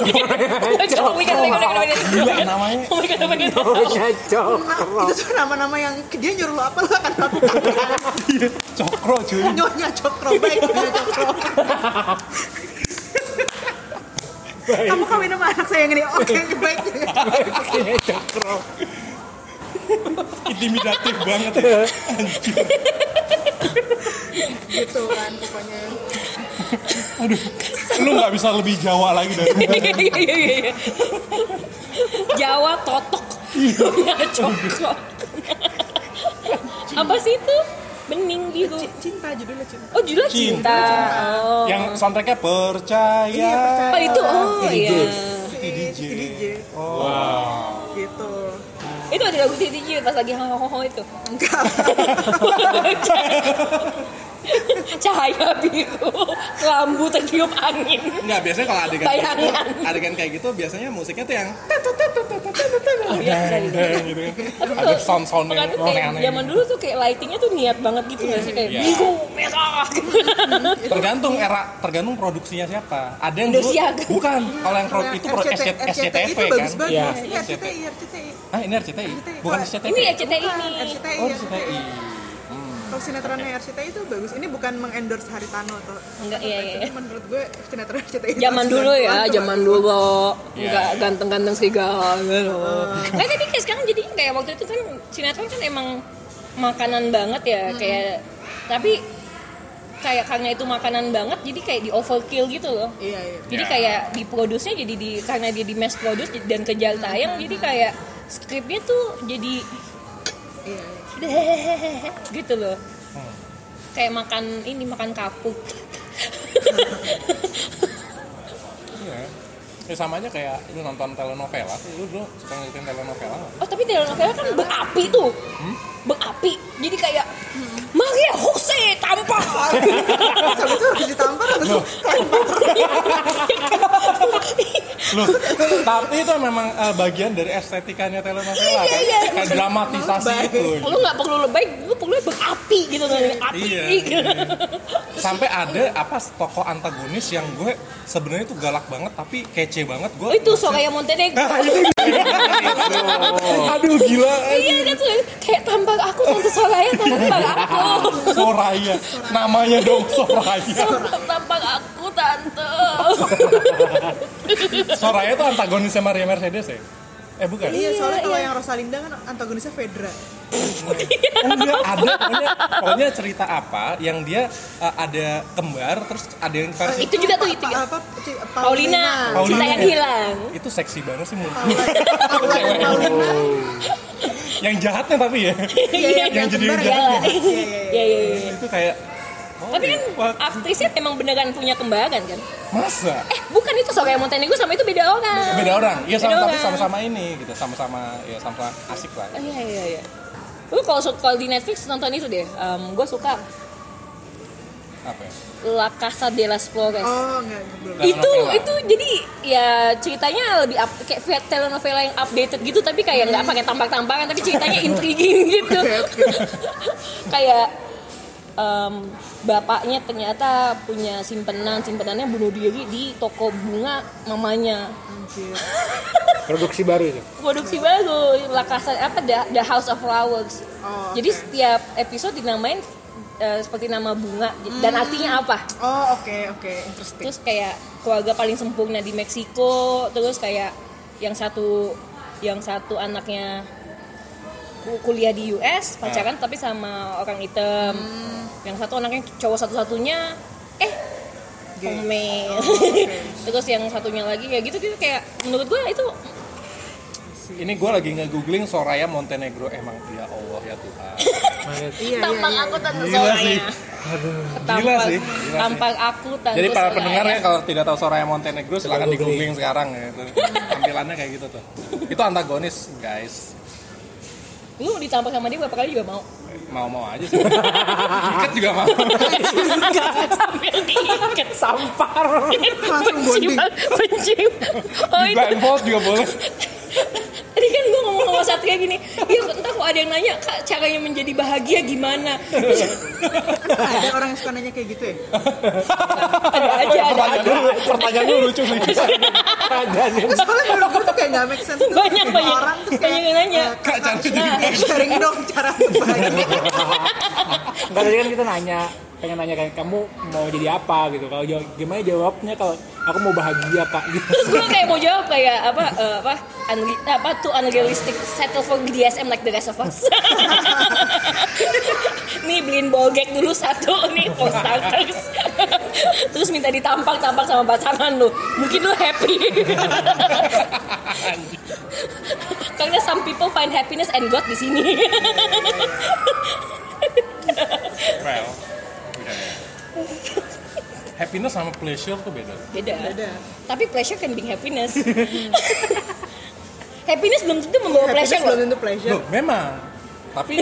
my God, oh my God, oh my God. Gila namanya. Oh my God, oh my God. Oh, Nah, itu tuh nama-nama yang dia nyuruh lo apa lo akan lakukan Cokro cuy. kan nyonya cokro baik nyonya cokro kamu kawin sama anak saya yang ini oke baik Intimidatif banget. gitu kan pokoknya Lu nggak bisa lebih Jawa lagi dari gua. Iya, iya, iya, iya, iya. Jawa totok. Ya, cokro. Apa sih itu? Bening biru. C- cinta judulnya cinta Oh, judulnya cinta. Oh. Yang soundtracknya percaya. Oh, itu. Oh, iya. TDJ. TDJ. Oh. Wow. gitu Itu ada lagu Titi Jill pas lagi hohoho itu. enggak Cahaya biru, kelambu tertiup angin. Enggak, biasanya kalau adegan gitu, Bayangan. adegan kayak gitu biasanya musiknya tuh yang Iya, iya, iya. gitu kan. Tapi Ada kalau sound-sound Maka yang tuh kayak aneh-aneh. zaman dulu tuh kayak lightingnya tuh niat banget gitu nggak sih kayak Iya. biru merah. tergantung era tergantung produksinya siapa ada yang dulu Indosiaga. bukan kalau yang pro, itu pro SCT, SCTV itu kan bagus banget Iya. ya. ini RCTI RCTI ah ini RCTI bukan SCTV Ini RCTI ini. Bukan, RCTI ya? oh RCTI kalau Oh, sinetronnya RCTI itu bagus ini bukan mengendorse Haritano tuh Enggak iya iya. Tapi menurut gue sinetron RCTI itu Zaman dulu ya, 90-an tuh zaman bagus. dulu Iya. nggak ganteng-ganteng serigala gitu. Nah, tapi kayak sekarang jadi kayak waktu itu kan sinetron kan emang makanan banget ya kayak tapi kayak karena itu makanan banget jadi kayak di overkill gitu loh. iya iya Jadi Ya. kayak diproduce-nya jadi di karena dia di mass produce dan kejar tayang jadi kayak skripnya tuh jadi iya gitu loh. Kayak makan ini makan kapuk. Iya. ya sama aja kayak lu nonton telenovela lu dulu suka ngikutin telenovela nggak? Oh tapi telenovela kan berapi tuh Berapi Jadi kayak Maria Jose tampar Oh, Habis itu harus ditampar habis itu Loh, tapi itu memang eh, bagian dari estetikanya telenovela Iya, kan iya, iya. kayak dramatisasi Lebay. itu Lu gak perlu lebay Lu perlu berapi gitu kan Api Iya, gitu. iya. sampai ada apa tokoh antagonis yang gue sebenarnya tuh galak banget tapi kece banget Oh, gue Itu Soraya Montenegro aduh gila eh." Iya kan tuh Kayak tampar aku Tante Soraya tampar aku Iya. Soraya namanya dong Soraya Tampar aku Tante Soraya itu antagonisnya Maria Mercedes ya eh bukan iya soalnya kalau yang Rosalinda kan antagonisnya Fedra Oh, enggak, ada pokoknya, pokoknya cerita apa yang dia eh, ada kembar terus ada yang versi Itu juga tuh itu Pa- ya apa Ci- Paulina, Paulina. Cinta yang hilang itu seksi banget sih menurut Oh. gue. Paulina Paulina yang jahatnya tapi ya Iya, yang jadi kembar yang Iya Iya iya iya itu kayak oh, Tapi kan fuck. aktrisnya emang beneran punya kembaran kan? masa Eh bukan itu Soraya Montenegro sama itu beda orang. beda orang ya Beda sama tapi orang. sama-sama ini gitu sama-sama ya sama-sama asik lah Oh, iya iya iya. Lu kalau su- kalau di Netflix nonton itu deh. gue suka apa ya La Casa de las Flores. oh enggak enggak, belum itu telenovela. itu jadi ya ceritanya lebih up, kayak fe- telenovela yang updated gitu tapi kayak nggak pakai tampak-tampakan tapi ceritanya intriguing gitu kayak em, bapaknya ternyata punya simpenan simpenannya bunuh diri di toko bunga mamanya Anjir. Produksi baru itu. produksi baru lakasan apa the, The House of Flowers Oh, jadi oke. setiap episode dinamain eh, seperti nama bunga dan Hmm. artinya apa Oh oke oke interesting. terus kayak keluarga paling sempurna di Meksiko terus kayak yang satu yang satu anaknya ku- kuliah di US Ah. pacaran tapi sama orang hitam Hmm. yang satu anaknya cowok satu-satunya eh Gay. Oh, homemade oke. terus yang satunya lagi ya gitu gitu kayak menurut gua itu Ini gue lagi nge-googling Soraya Montenegro emang ya Allah ya Tuhan. Iya iya. tampang aku tanpa Gila soalnya sih. Gila tampang sih, gila sih. tampang aku tanpa Jadi para soalnya. pendengar ya kalau tidak tahu Soraya Montenegro silahkan di googling. googling sekarang ya. Itu Tampilannya kayak gitu tuh. Itu antagonis guys. lu ditampar sama dia berapa kali juga mau Mau-mau aja sih. Ikat juga mau. sambil diikat Sampar. Langsung benci bonding. banget, benci oh itu Iya, Blindfold juga boleh. tadi kan gue ngomong sama Satria gini iya entah kok ada yang nanya kak caranya menjadi bahagia gimana Terus, Ada orang yang suka nanya kayak gitu ya. ada aja ada Iya. Pertanyaan aja lu, pertanyaan lu lucu sih. Adanya. Terus Kan soalnya menurut gue tuh kayak gak make sense. Terus Banyak, banyak. Orang tuh kayak, Banyak yang nanya. eh, Kak, Kak, Kak, eh, sharing dong cara bahagia. Enggak tadi kan kita nanya pengen nanya kayak kamu mau jadi apa gitu kalau jawab gimana jawabnya kalau aku mau bahagia kak gitu terus gue kayak mau jawab kayak apa eh, apa unre- apa tuh unrealistic settle for DSM like the rest of us nih beliin bolgek dulu satu nih for starters terus minta ditampar tampar sama pasangan lu mungkin lu happy karena some people find happiness and God di sini Well, udah ya. Happiness sama pleasure tuh beda. beda. Beda. Tapi pleasure can be happiness. happiness belum tentu membawa Happiness pleasure belum loh. tentu Iya. pleasure. Loh, memang. Tapi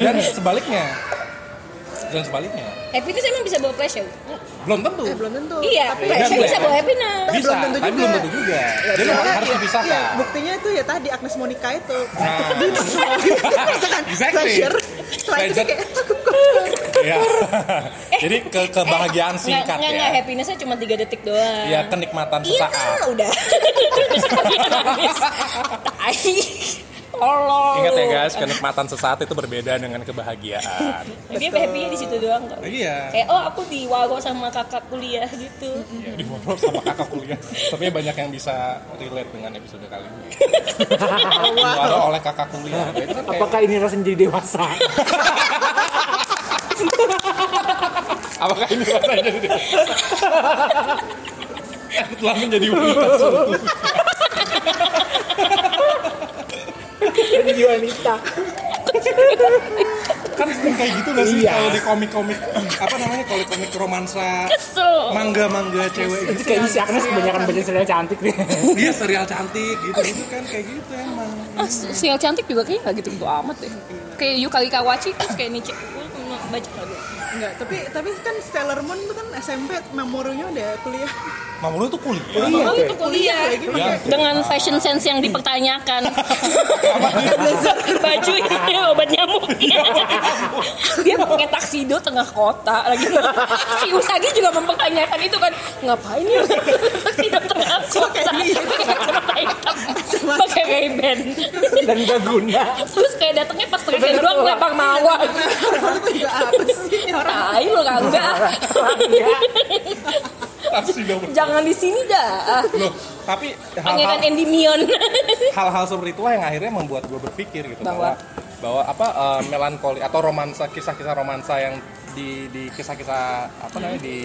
dan sebaliknya. Dan sebaliknya. Happiness emang bisa bawa pleasure. Belum tentu. Eh, belum tentu. iya, Tapi pleasure Iya, bisa iya. bawa happiness. Tapi Bisa, belum tentu tapi juga. belum tentu juga. Jadi Soalnya harus ya- dipisahkan. ya, buktinya itu ya tadi Agnes Monica itu. Nah. Itu kan Exactly. pleasure. Selain itu Pleasure. kayak cukup kok. Iya. Jadi ke kebahagiaan singkat Eh, nggak, ya. Nggak, happinessnya cuma 3 detik doang. Ya kenikmatan Iya, sesaat. udah. Terus dia nangis. Tai. Tolong. Ingat ya lu. guys, kenikmatan sesaat itu berbeda dengan kebahagiaan. Dia happy-nya di situ doang kok. Iya. Kayak oh aku diwago sama kakak kuliah gitu. Iya, diborong sama kakak kuliah. Tapi ya banyak yang bisa relate dengan episode kali ini. Diwaro oleh kakak kuliah. Itu kan kayak- apakah ini rasanya jadi dewasa Apakah ini rasanya jadi dewasa? Aku telah menjadi wanita sungguh. jadi wanita Kan kayak gitu gak sih Iya. kalau di komik-komik apa namanya kalau di komik romansa Kesel. mangga-mangga cewek itu kayaknya si Agnes kebanyakan baca serial cantik nih dia serial cantik gitu itu kan kayak gitu emang Ah, sial cantik juga kayaknya nggak gitu-gitu amat deh. Kayak Yukari Kawachi terus kayak Nice. Gue baca lagu. Enggak, tapi tapi kan Stellar Moon itu kan SMP memorinya udah kuliah. Mamulu tuh kuliah Iya, Oh, oke. itu kuliah. Lagi pakai Ya. Dengan fashion sense yang dipertanyakan. Baju ini obat nyamuk. Dia pakai taksido tengah kota lagi. Si Usagi juga mempertanyakan itu kan, ngapain ya taksido tengah kota? Pakai kacamata hitam, pakai Ray-Ban. dan gak guna Terus kayak datangnya pas tengah doang lapang mawar. Orang tuh juga apa sih Iya. ini orang? Tai lu kagak. Enggak. taksido Jangan di sini dah. loh tapi Pangeran hal-hal Endymion. hal-hal seperti itulah yang akhirnya membuat gue berpikir gitu Bahwa? bahwa bahwa apa eh, melankoli atau romansa kisah-kisah romansa yang di di kisah-kisah apa namanya di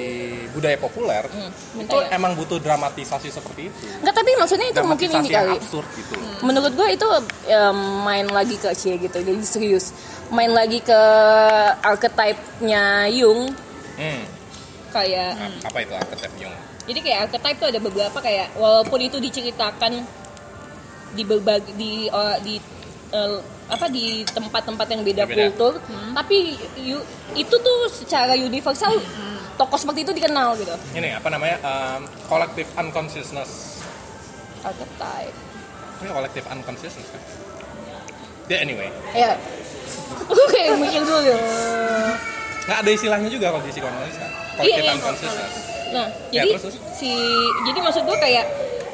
budaya populer itu betul Hmm. ya. emang butuh dramatisasi seperti itu Enggak tapi maksudnya itu mungkin ini dramatisasi yang kali. absurd gitu Menurut gue itu em, main lagi ke Cie gitu. Jadi serius. Main lagi ke archetype-nya Jung Hmm. kayak Ap- Hmm. apa itu archetype Jung jadi kayak archetype tuh ada beberapa kayak walaupun itu diceritakan di berbagi di eh, di eh, apa di tempat-tempat yang beda Berbeda. kultur, tapi yu- itu tuh secara universal tokoh seperti itu dikenal gitu. ini apa namanya em, collective unconsciousness Archetype. Ini kolektif unconsciousness kan? Ya anyway, Ya. Oke, mikir dulu. nggak ada istilahnya juga kalau di psikoanalisa kalau Iya, kita iya, konsisten Nah, Ya, jadi terus, terus. si jadi maksud gue kayak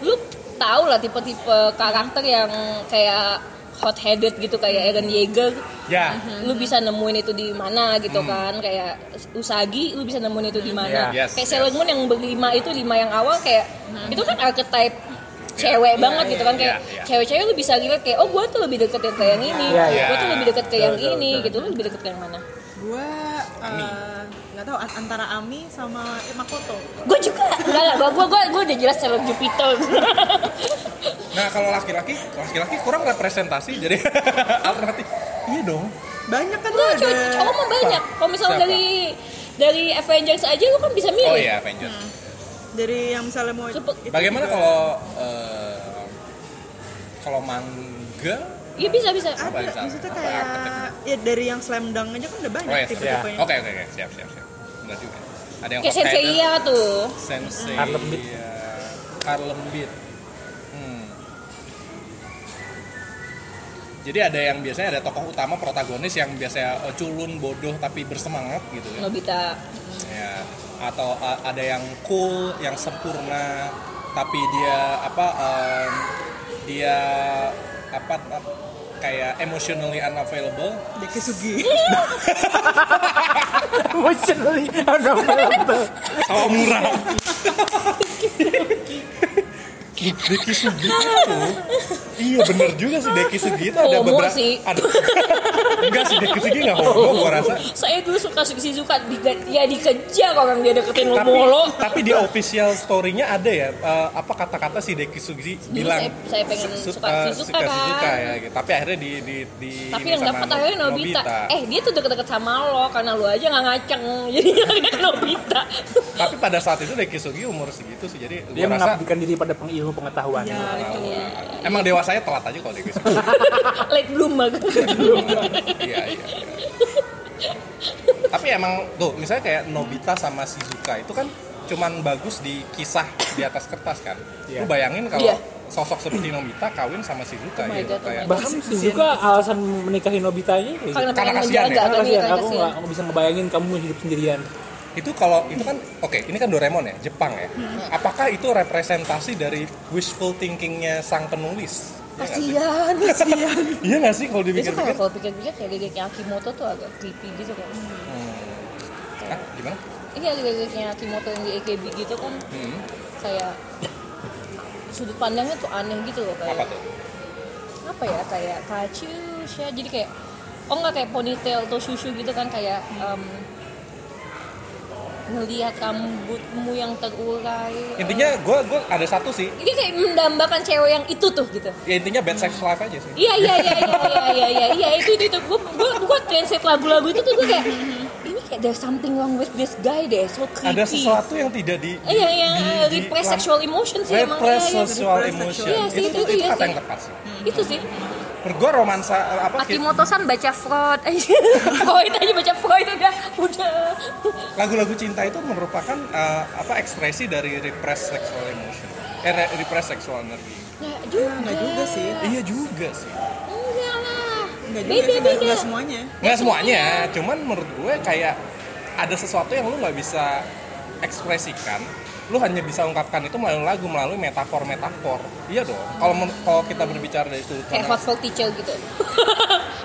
lu tahu lah tipe-tipe karakter yang kayak hot headed gitu kayak Eren Yeager ya lu Hmm. bisa nemuin itu di mana gitu Hmm. kan kayak Usagi lu bisa nemuin itu di Hmm. mana Iya. Yes, kayak yes. Sailor Moon yang berlima itu lima yang awal kayak Hmm. itu kan archetype Ya. cewek banget gitu kan kayak Iya, iya. cewek-cewek lu bisa lihat kayak oh gue tuh lebih deket ke yang ini Iya, gua iya. tuh lebih deket ke yang Betul, betul, ini betul. gitu lu lebih deket ke yang mana Gua eh, nggak tahu an- antara Ami sama eh, Makoto. gue juga enggak enggak gue gue gue udah jelas Sailor Jupiter nah kalau laki-laki laki-laki kurang representasi jadi alternatif iya dong Banyak kan lu Enggak, ada. cowok, cowok mah banyak. Kalau misalnya Siapa? dari dari Avengers aja lu kan bisa milih. oh iya Avengers Hmm. Dari yang misalnya mau Sepe- itu bagaimana juga. kalau eh, kalau manga Iya bisa bisa. Apa ada misalnya? maksudnya Apa kayak archetype-nya? ya dari yang slam dunk aja kan udah banyak oh iya siap. tipe-tipenya. oke oke oke siap siap siap benar juga ada yang Kayak hot-headed, Sensei iya tuh. Sensei iya. Harlem Beat. Harlem Beat. Hmm. Jadi ada yang biasanya ada tokoh utama protagonis yang biasanya eh, culun, bodoh tapi bersemangat gitu ya. Nobita. Ya. Atau a- ada yang cool, yang sempurna tapi dia apa em, dia apa ap- kayak emotionally unavailable. Deke Sugi. emotionally Oh, unavailable Sawamura. Deki Sugito. Iya bener juga sih Deki Sugito ada Homo beberapa sih. ada Enggak sih Deki Sugito enggak homo gua rasa. Saya dulu suka Shizuka di ya dikejar orang dia deketin lo Tapi, mulu. tapi di official story-nya ada ya eh, apa kata-kata si Deki Sugi bilang saya- saya pengen suka eh, Shizuka suka kan. Shizuka ya gitu. Tapi akhirnya di di di Tapi ini yang sama dapat No- akhirnya Nobita. Eh dia tuh deket-deket sama lo karena lo aja nggak ngaceng jadi akhirnya ke Nobita. Tapi pada saat itu Deki Sugi umur segitu sih. Jadi dia gua rasa Iya. mengabdikan diri pada pengilmu pengetahuan ya itu. emang dewasanya telat aja kalau Deki Sugi. Late bloomer. iya iya iya. tapi emang tuh misalnya kayak Nobita sama Shizuka itu kan cuman bagus di kisah di atas kertas kan Iya. lu bayangin kalau Iya. sosok seperti Nobita kawin sama Shizuka Oh my God, gitu oh my kayak bahkan Shizuka alasan menikahi Nobitanya kayak gitu. Karena pengen kasihan ya, menjaga karena kan iya Karena karena kasihan, aku kasihan. nggak nggak bisa ngebayangin kamu hidup sendirian itu kalau itu kan oke ini kan Doraemon ya Jepang ya apakah itu representasi dari wishful thinkingnya sang penulis Iya nggak sih? Kasihan, kasihan. iya nggak sih kalau Itu kalau dipikir-pikir kalau pikir-pikir kayak gegeknya Akimoto tuh agak creepy gitu kan. Hah, gimana Iya gegeknya Akimoto yang di AKB gitu kan Hmm, kayak sudut pandangnya tuh aneh gitu loh kayak apa tuh apa ya kayak kacus ya jadi kayak oh nggak kayak ponytail atau susu gitu kan kayak em melihat rambutmu yang terurai intinya gue gue ada satu sih ini kayak mendambakan cewek yang itu tuh gitu ya intinya bad sex life aja sih Iya iya iya iya iya iya iya iya itu itu itu gue gue gue translate lagu-lagu itu tuh gue kayak ini kayak there's something wrong with this guy deh so creepy. ada sesuatu yang tidak di Iya iya di- eh, di- repress di- sexual emotion sih emang iya, repress iya. sexual repress emotion sexual. Iya sih, itu, itu- itu, itu iya kata sih. yang tepat sih Itu sih menurut gue romansa eh, apa sih Akimoto-san baca Freud Freud aja baca Freud udah udah lagu-lagu cinta itu merupakan eh, apa ekspresi dari repress sexual emotion eh re- repress sexual energy Nggak juga Enggak juga sih. iya juga sih Enggak lah Enggak juga Beda sih, nggak- beda nggak semuanya. nggak semuanya cuman menurut gue kayak ada sesuatu yang lu nggak bisa ekspresikan lu hanya bisa ungkapkan itu melalui lagu melalui metafor metafor iya dong kalau men- kalau kita berbicara dari sudut Kayak pandang hot folk teacher gitu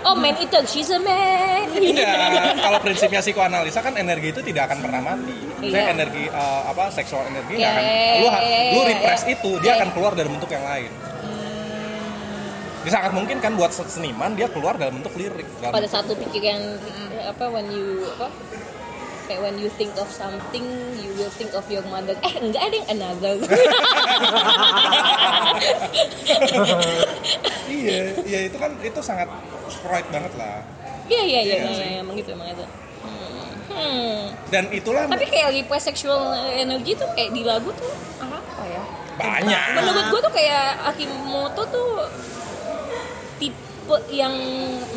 Oh man eater, she's a man Iya. Tidak, Iya. kalau prinsipnya psikoanalisa kan energi itu tidak akan pernah mati. Saya Iya. energi eh, apa seksual Iya, energi nggak akan iya, lu ha- iya, lu iya, repress iya. itu dia Iya. Hmm. akan keluar dalam bentuk yang lain. Bisa sangat mungkin kan buat se- seniman dia keluar dalam bentuk lirik. Dalam pada satu pikiran eh, apa when you apa kayak when you think of something you will think of your mother eh enggak ada yang another iya, iya itu kan itu sangat Freud banget lah. iya iya iya Iya iya, sih. iya, emang gitu emang itu Hmm. hmm. Dan itulah tapi kayak repress sexual energy tuh kayak di lagu tuh apa ya banyak. menurut gue tuh kayak Akimoto tuh tipe yang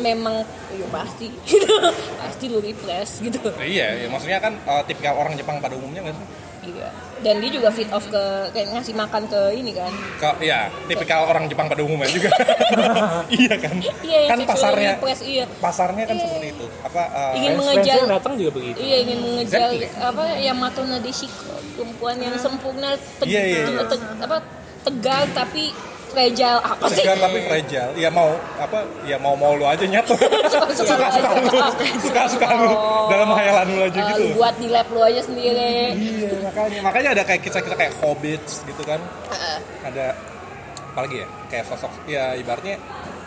memang ya pasti gitu pasti lu repress gitu Nah, Iya, iya, maksudnya kan eh, tipikal orang Jepang pada umumnya nggak sih? juga dan dia juga fit off ke kayak ngasih makan ke ini kan Ka- ya tipikal orang Jepang pada umumnya juga iya kan Iya, yang kan cucu pasarnya ngepres, iya. pasarnya kan seperti itu apa eh, Ingin Spencer mengejar. datang juga begitu. iya ingin mengejar Exactly. apa yang matona deshiko perempuan yang Hmm. sempurna teg- Iya, iya, iya. teg- apa tegar tapi fragile apa sih segar tapi fragile ya mau apa ya mau mau lu aja nyatu Suka-suka suka lu suka aja. lu suka suka lu Oh. dalam hayalan lu aja Eh, gitu lu buat di lab lu aja sendiri iya makanya makanya ada kayak kisah-kisah kayak hobbits gitu kan Heeh. ada apalagi ya kayak sosok ya ibaratnya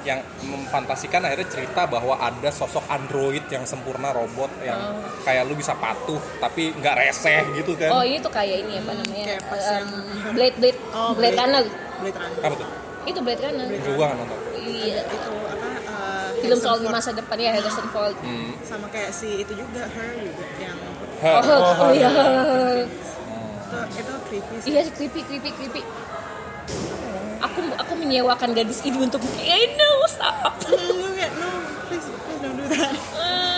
yang memfantasikan akhirnya cerita bahwa ada sosok android yang sempurna robot yang kayak lu bisa patuh tapi nggak reseh gitu oh kan ini tuh kayak ini apa namanya Kayak pas Eh, yang- em, blade blade Oh, blade Blade. runner Blade Runner. apa tuh itu blade runner gua nggak nonton iya Itu apa? eh, film Harrison soal Ford. masa depan ya Harrison Ford Hmm. sama kayak si itu juga her juga yang Hah. oh, oh iya itu, itu creepy sih. Iya, creepy, creepy, creepy. Aku aku menyewakan gadis ini untuk I know, stop. Enggak, enggak, no, please, please don't do that.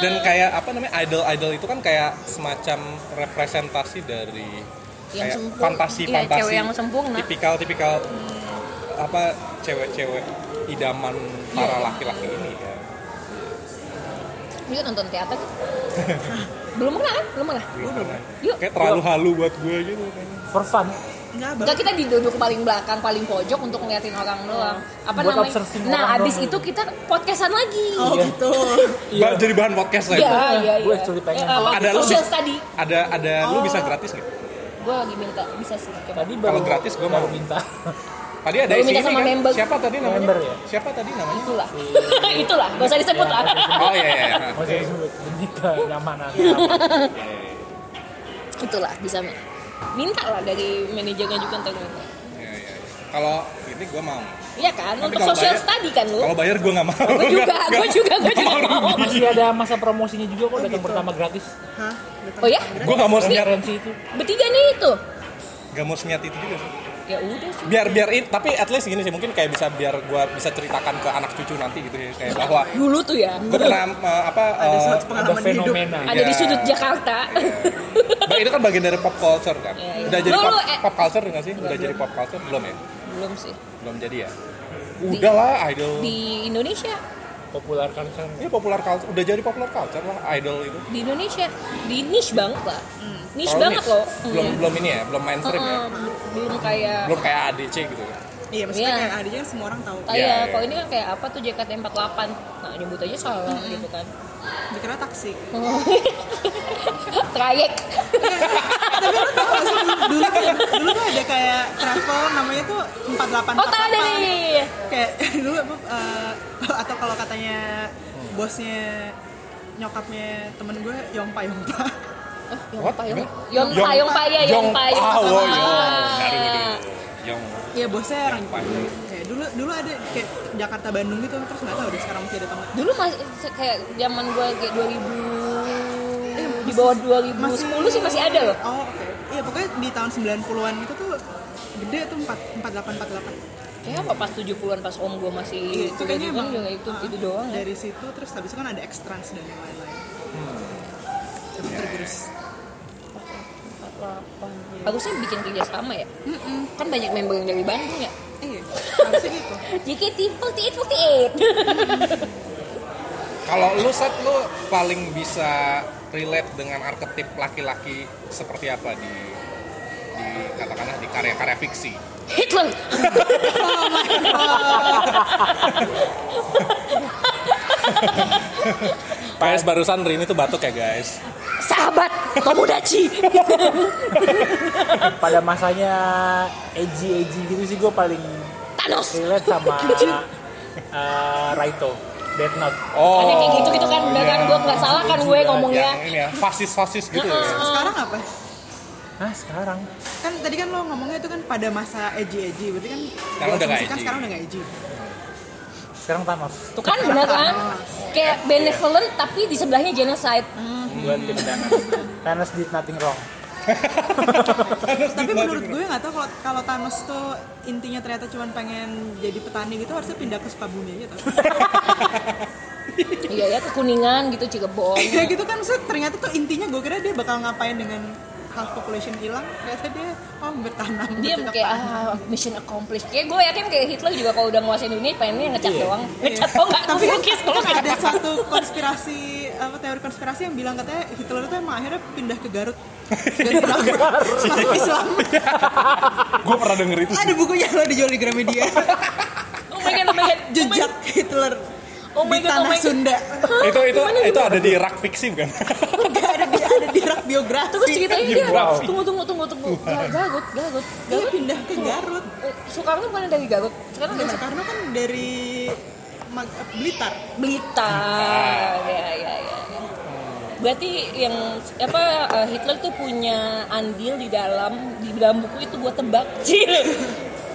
dan kayak apa namanya idol idol itu kan kayak semacam representasi dari Yang kayak sempurna. fantasi Iya, fantasi cewek yang sempurna. tipikal tipikal apa cewek-cewek idaman Iya. para laki-laki ini ya. Yuk nonton teater. Belum pernah kan? Belum pernah. Yuk. kayak terlalu halu buat gue gitu kayaknya. For fun. Enggak Enggak, gitu. bagus. kita diduduk paling belakang, paling pojok untuk ngeliatin orang doang. Apa Buat namanya? observing Nah, orang abis doang. itu kita podcastan lagi. Oh gitu. Ba- jadi bahan podcast lah itu. Iya, iya, iya. Gue actually pengen. Eh, waktu Ada lu social sih. study. ada ada lu Oh. bisa gratis nggak Gue lagi minta bisa sih. coba. Tadi Kalau baru gratis gua mau. baru minta. tadi ada Baru isi minta ini sama kan? member. siapa tadi namanya Member ya? siapa tadi namanya Itulah. Itulah, gak usah disebut lah. oh iya iya iya. Mau saya sebut demi kenyamanan. Itulah, bisa minta lah dari manajernya juga ntar minta. Iya, iya. kalau ini gue mau Iya kan, Tapi untuk kalau social bayar- study kan lu. kalau bayar gue nggak mau Gue juga, Nggak- gue nggak- juga, gue juga mau. Masih ada masa promosinya juga kok datang pertama gratis. Hah? Datang Oh ya? kamera? gue nggak mau senyap Konferensi itu. Bertiga nih itu. nggak mau senyat itu juga sih. Ya udah sih. biar biar in- tapi at least gini sih mungkin kayak bisa biar gua bisa ceritakan ke anak cucu nanti gitu ya kayak bahwa Dulu tuh ya. gua pernah eh, apa Ada eh, suatu Ada pengalaman hidup. fenomena. Ada di Iya. sudut Jakarta. Bah, itu kan bagian dari pop culture kan Iya, iya. udah jadi Lu- pop, lu, eh. pop culture nggak sih udah jadi pop culture belum ya Belum sih. belum jadi ya udahlah idol Di Indonesia, Popular kan kan. ini popular culture udah jadi popular culture lah idol itu di Indonesia, di niche banget lah. Niche Kalau banget Hmm. Oh, loh. niche. belum Hmm. belum ini ya belum mainstream ya Heeh, belum kayak belum kayak ADC gitu ya Iya, maksudnya Iya. kayak adinya semua orang tahu. kayak Iya, iya. kalau ini kan kayak apa tuh JKT48 nah nyebut aja salah Hmm. gitu kan Dikira taksi. trayek Tapi lu tau gak sih dulu- dulu tuh, dulu tuh ada kayak travel namanya tuh 488. oh tak ada nih Kayak dulu apa eh, atau kalau katanya bosnya nyokapnya temen gue Yompa Yompa. What? Yong Gimana? Yong Yong- Yong Paya Yong Paya Yong- Ah, wow, Yong. Dari dulu. Ah. Yong. Iya bosnya orang kayak dulu dulu ada kayak Jakarta Bandung gitu terus nggak tahu deh sekarang masih ada atau nggak. dulu masih se- kayak zaman gua kayak 2000 di Eh, masih- bawah 2010 sih masih ada loh Oh, oke. Iya, pokoknya di tahun 90-an itu tuh gede tuh 4 Iya, 4848. kayak apa pas 70-an pas om gua Iya, masih itu kayaknya kuliah juga emang juga itu ah, itu doang ya Dari situ terus habis itu kan ada ekstrans dan yang lain-lain. Terus Hmm. tergerus. harusnya bikin kerjasama ya kan banyak member yang dari Bandung ya Eh, iya. harusnya gitu. JKT48 Kalau lu set lu paling bisa relate dengan arketip laki-laki seperti apa di di katakanlah di karya-karya fiksi. Hitler Guys barusan Rini tuh batuk ya guys. sahabat komodachi Pada masanya edgy edgy gitu sih gue paling Thanos relate sama eh, Raito. Death Note. Oh. Ada kayak gitu-gitu kan, udah kan, gua nggak salah kan gue Oh, ngomongnya. iya. Yang ini ya, fasis-fasis gitu ya. Sekarang apa? Nah sekarang Kan tadi kan lo ngomongnya itu kan pada masa edgy-edgy, berarti kan Sekarang udah nggak asumsikan edgy. Sekarang udah nggak edgy. Ah. sekarang Thanos Tuh kan bener kan? Kayak benevolent tapi di sebelahnya genocide. buat jadi Thanos. Thanos did nothing wrong. Tapi menurut gue nggak tahu kalau kalau Thanos tuh intinya ternyata cuma pengen jadi petani gitu harusnya pindah ke Sukabumi aja tau. Iya ya ke Kuningan gitu Cirebon. Iya gitu kan maksudnya ternyata tuh intinya gue kira dia bakal ngapain dengan half population hilang ternyata dia oh bertanam dia bercocok kayak tanam. ah, mission accomplished kayak gue yakin kayak Hitler juga kalau udah nguasain dunia pengennya ngecat doang ngecat kok nggak Iya. tapi kan, ngelukis kalau kan ada satu konspirasi apa teori konspirasi yang bilang katanya Hitler itu emang akhirnya pindah ke Garut dari Frankfurt masuk Islam gue pernah denger itu ada bukunya lo dijual di Gramedia oh my god oh my god jejak Hitler oh my di god oh tanah my god Sunda itu itu itu ada di rak fiksi bukan Gak ada di ada di rak biografi terus ceritain dia Wow. tunggu tunggu tunggu tunggu Ga- gagut gagut dia gagut Iya, pindah ke Garut Eh, Soekarno bukan dari Garut Soekarno Nah, dari Soekarno kan dari Mag- eh, Blitar Blitar ya ya ya ya. berarti yang apa eh, Hitler tuh punya andil di dalam di dalam buku itu gue tebak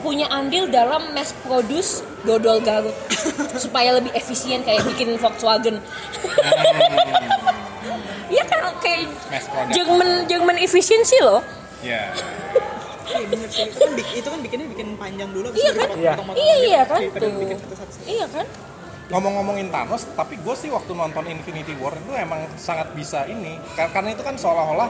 punya andil dalam mass produce dodol Garut supaya lebih efisien kayak bikin Volkswagen Iya kan kayak Mass product. Jerman Jerman efisiensi loh ya iya bener sih itu kan, bi- itu kan bikinnya bikin panjang dulu abis Iya itu kan? dipotong- Iya. potong-potong iya gitu. iya kan Daripada tuh bikin satu-satu. iya kan ngomong-ngomongin Thanos tapi gue sih waktu nonton Infinity War itu emang sangat bisa ini Kar- karena itu kan seolah-olah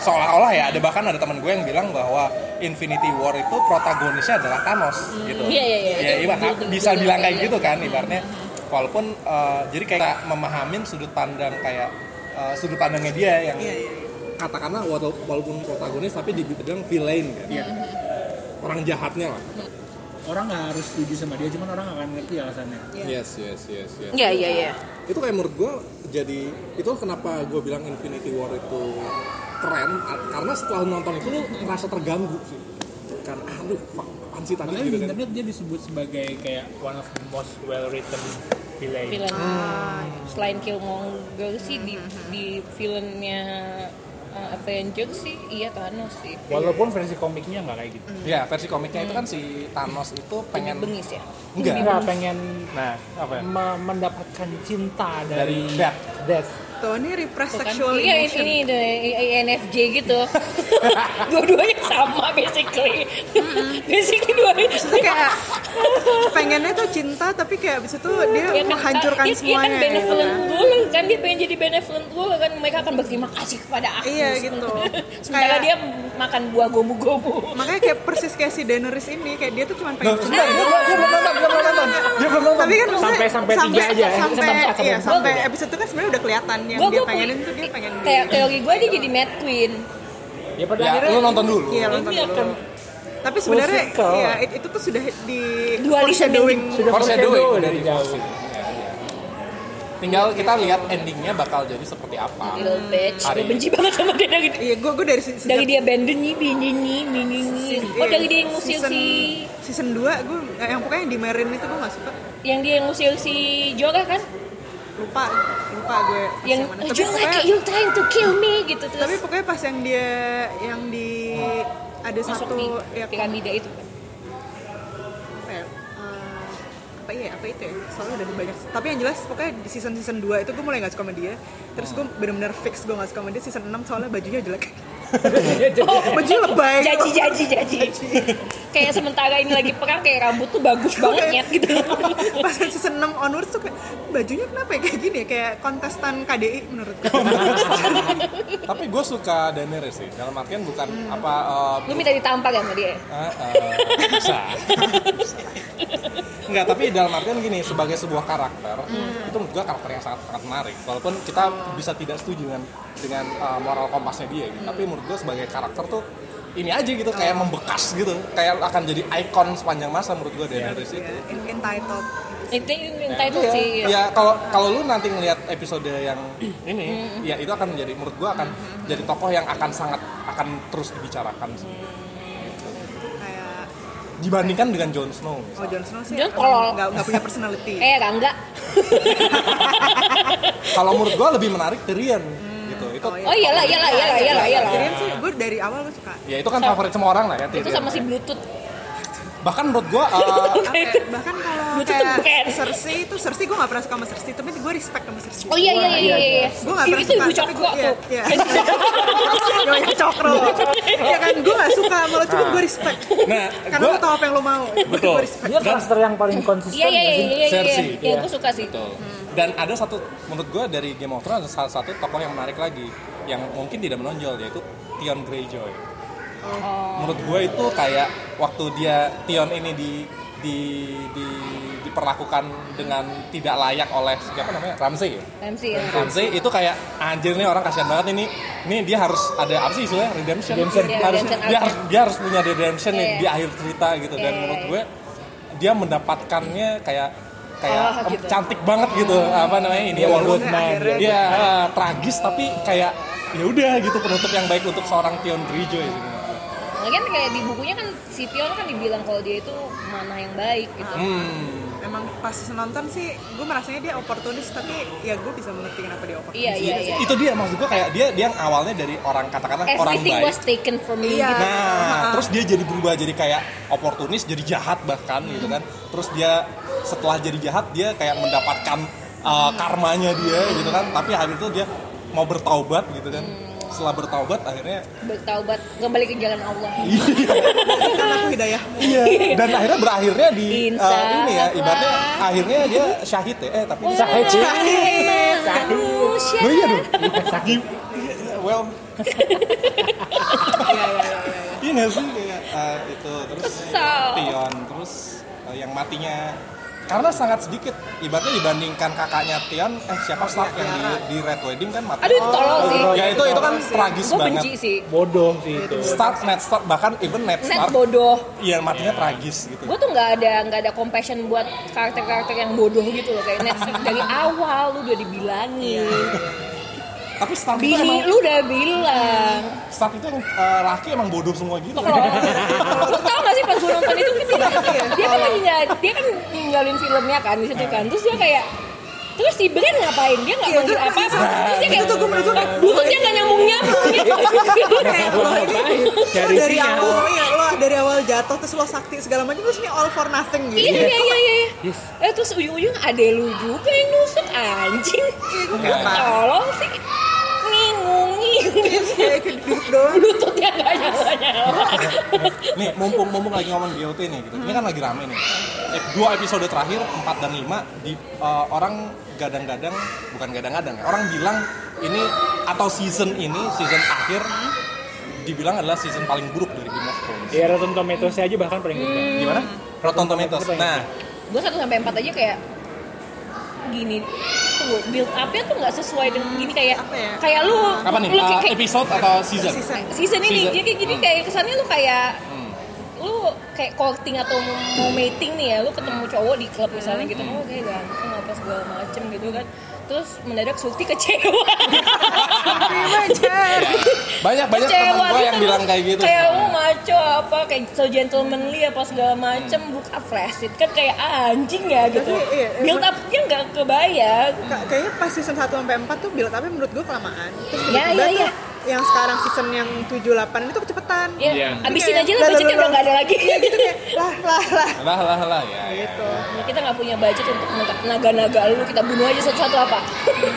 seolah-olah ya ada bahkan ada teman gue yang bilang bahwa Infinity War itu protagonisnya adalah Thanos gitu Iya, iya, iya. ya Itu ibarat- building- bisa building, bilang iya, kayak iya. gitu kan ibaratnya walaupun eh, jadi kayak kita memahamin sudut pandang kayak eh, sudut pandangnya dia yang iya iya katakanlah wala- walaupun protagonis tapi dibilang villain kan orang jahatnya lah orang nggak harus setuju sama dia cuman orang akan ngerti alasannya yes yes yes yes iya iya iya itu kayak menurut gue jadi itu kenapa gue bilang Infinity War itu keren a- karena setelah nonton itu lu merasa terganggu sih kan aduh fuck, apaan sih tadi makanya gitu di kan internet dia disebut sebagai kayak one of the most well written villain villain selain Killmonger sih di di filmnya uh, Avengers sih iya Thanos sih walaupun versi komiknya nggak kayak gitu ya versi komiknya itu kan si Thanos itu Iya. pengen Iya. bengis ya enggak nggak pengen Nah, apa ya? me- mendapatkan cinta dari, Dari death. death. tuh ini repress Tuh kan. sexual iya ini, emotion ini the INFJ gitu dua-duanya sama basically basically Ya dua itu kayak pengennya tuh cinta tapi kayak abis itu Iya, dia menghancurkan kan, dia, dia kan semuanya gitu benevolent kan. ruler kan dia pengen jadi benevolent ruler kan mereka akan berterima kasih kepada aku Iya, gitu. sementara Kayak- dia makan buah gomu-gomu makanya kayak persis kayak si Daenerys ini kayak dia tuh cuma Loh, pengen cinta sebentar, dia belum- dia belum nonton, dia belum nonton. Dia belum nonton. tapi kan maksudnya Sampai- sampai tiga aja ya. sampai Sampai akar iya, rumput. sampai episode itu kan sebenarnya udah kelihatan yang Gua- dia gua pengenin pun- tuh dia pengen gitu. di- kayak teori gue dia jadi mad queen ya pada ya akhirnya lu nonton dulu iya nonton ini dulu. akan tapi sebenarnya circle. iya it- itu tuh sudah di Dualism yang foreshadowing. sudah Foreshadowing. foreshadowing dari jauh tinggal kita lihat endingnya bakal jadi seperti apa Iya. little bitch Hari gue benci banget sama dia dari iya gue gue dari si- Hmm. sejak dari dia abandon nih binyinyi binyinyi oh dari dia yang ngusir season, si season 2 gue yang pokoknya yang di Marin itu gue gak suka yang dia yang ngusir si Jorah kan lupa lupa gue pas yang mana. "Oh, tapi Jorah pokoknya kayak you trying to kill me gitu tapi terus pokoknya pas yang dia yang di ada masuk satu di ya piramida itu kan apa ya, eh, apa iya apa itu ya soalnya udah banyak tapi yang jelas pokoknya di season season 2 itu gue mulai gak suka sama dia terus gue bener-bener fix gue gak suka sama dia season 6 soalnya bajunya jelek Oh. baju lebay jaji jaji jaji kayak sementara ini lagi perang kayak rambut tuh bagus banget nyet gitu pas season 6 onwards tuh kayak bajunya kenapa ya kayak gini ya kayak kontestan KDI menurut Iya, gue Iya, tapi gue suka Daenerys sih dalam artian bukan apa eh, lu minta ditampar ya sama dia Ah, ah, bisa Enggak, tapi dalam artian gini, sebagai sebuah karakter, itu menurut gua karakter yang sangat sangat menarik. Walaupun kita bisa tidak setuju dengan dengan uh, moral kompasnya dia, gitu. tapi menurut gua sebagai karakter tuh ini aja gitu kayak membekas gitu, kayak akan jadi ikon sepanjang masa menurut gua Daenerys ya, itu. en- entitled itu yang title Iya. sih Ya kalau kalau lu nanti ngelihat episode yang ini, ya itu akan menjadi menurut gua akan jadi tokoh yang akan sangat akan terus dibicarakan sih. kayak Dibandingkan dengan Jon Snow. misalnya. oh Jon Snow sih Jon emang tolol. nggak nggak punya personality eh enggak kalau menurut gua lebih menarik Tyrion gitu itu Oh, iya. oh iyalah iyalah iyalah iyalah iyalah Tyrion sih gue dari awal gue suka ya itu kan favorit semua orang lah ya itu Tyrion. sama si Bluetooth bahkan menurut gua eh, Apa, bahkan kalau Lu tuh keren. kayak Cersei itu Cersei gue gak pernah suka sama Cersei tapi gue respect sama Cersei Oh iya iya iya iya. iya. Gua nggak pernah itu ibu suka, tapi cokro gua- iya, tuh. iya. Yo, yang cokro ya kan gue gak suka sama lo cuma gue respect nah karena gua lo tau apa yang lo mau Betul. gue respect kan? dia karakter yang paling konsisten Iya iya nggak iya sih? iya iya. Cersei. Iya aku suka sih. Betul. dan ada satu menurut gua dari Game of Thrones ada salah satu tokoh yang menarik lagi yang mungkin tidak menonjol yaitu Theon Greyjoy. Oh. Menurut gue itu kayak waktu dia Theon ini di di di diperlakukan dengan tidak layak oleh siapa namanya Ramsey ya? Ramsey ya. Ramsey itu kayak anjir nih orang kasihan banget ini ini dia harus ada apa sih istilahnya redemption, Redemption. Iya, harus redemption dia arc. harus dia harus punya redemption nih Iya. di akhir cerita gitu dan Iya, menurut iya. gue dia mendapatkannya kayak kayak Oh, gitu. Oh. cantik banget gitu apa namanya ini walaupun Akhirnya, akhirnya. dia eh, tragis tapi kayak ya udah gitu penutup yang baik untuk seorang Theon Greyjoy gitu. Lagian kayak di bukunya kan si Pion kan dibilang kalau dia itu mana yang baik gitu. Hmm. Emang pas nonton sih, gue merasanya dia oportunis, tapi ya gue bisa mengerti kenapa dia oportunis. Iya iya iya. Itu dia maksud gue kayak dia dia yang awalnya dari orang katakanlah orang Everything baik was taken from me. Iya. gitu. Ah. Nah, terus dia jadi berubah jadi kayak oportunis, jadi jahat bahkan gitu kan. Terus dia setelah jadi jahat dia kayak mendapatkan uh, karmanya dia gitu kan. Tapi hari itu dia mau bertaubat gitu kan. Setelah bertaubat akhirnya Bertaubat kembali ke jalan Allah. iya, Karena aku hidayah. iya. Dan akhirnya berakhirnya di Insya uh, ini ya Allah. ibaratnya akhirnya dia syahid ya. Eh tapi Sahih, Iya, Ci. Manusia. Oh iya dong. Sakit. Well, Ya, Iya iya iya. iya, iya. iya nggak sih kayak uh, itu terus Kesel. Tion terus eh, yang matinya karena sangat sedikit ibaratnya dibandingkan kakaknya Tion eh siapa Stark yang di, di Red Wedding kan mati ya. Aduh itu tolol sih. ya itu itu kan tragis Gue banget benci sih. Bodoh sih itu. Stark Ned Stark bahkan even Ned Net Stark bodoh. iya matinya tragis gitu Gue tuh nggak ada nggak ada compassion buat karakter-karakter yang bodoh gitu loh kayak Net dari awal lu udah dibilangin. Iya. tapi Stark itu Bini emang lu udah bilang. Stark itu yang eh, laki emang bodoh semua gitu Lo kalau lo tau gak sih pas gue nonton itu kan dia, dia kan lagi nggak dia kan ninggalin filmnya kan di situ kan terus dia kayak terus si Ben ngapain dia nggak Iya, manggil itu- apa apa terus dia kayak Itu tuh gue menurut gue bututnya nggak nyambung nyambung gitu kayak iya. lo ini Dari dari, dari sinyal. awal ya lo dari awal jatuh terus lo sakti segala macam terus ini all for nothing gitu. iya iya iya iya Yes. eh terus ujung-ujung ada lu juga yang nusuk anjing gue Iya. kenapa? tolong sih ngingungi Iya, Kayak duduk doang. lututnya nggak nyala nyala nih mumpung mumpung lagi ngomong GOT nih gitu ini kan lagi rame nih Eh, dua episode terakhir 4 dan 5 di eh, orang gadang-gadang bukan gadang-gadang ya, orang bilang ini atau season ini season akhir dibilang adalah season paling buruk dari Game of Thrones Ya Rotten Tomatoes aja bahkan paling rendah. gimana Rotten Tomatoes nah gue satu sampai empat aja kayak gini tuh build upnya tuh nggak sesuai dengan gini kayak Apa ya? kayak lu apa nih lu Eh, kayak, episode atau season Season. season ini Season. jadi kayak gini kayak kesannya lu kayak Hmm. lu kayak courting atau mau mau mating nih ya lu ketemu cowok di klub misalnya gitu Hmm. oh kayak ganteng apa segala macem gitu kan terus mendadak Sulti kecewa banyak Iya, banyak teman gue dia yang terus bilang kayak gitu kayak lu maco apa kayak so gentlemanly apa segala macem book up flash it kan kayak anjing ya gitu Tapi, Hmm. iya, build upnya nggak kebayang Ka- kayaknya pas season 1 sampai 4 tuh build tapi menurut gue kelamaan. Terus Ya, tiba-tiba ya, tuh ya. yang sekarang season yang 7 8 itu kecepetan. Ya, Iya. abisin Kayak, aja lah budgetnya udah nggak ada lagi. Iya gitu kayak lah lah lah lah lah lah ya, ya. gitu. Nah, kita nggak punya budget untuk menangkap naga-naga lu, kita bunuh aja satu-satu apa?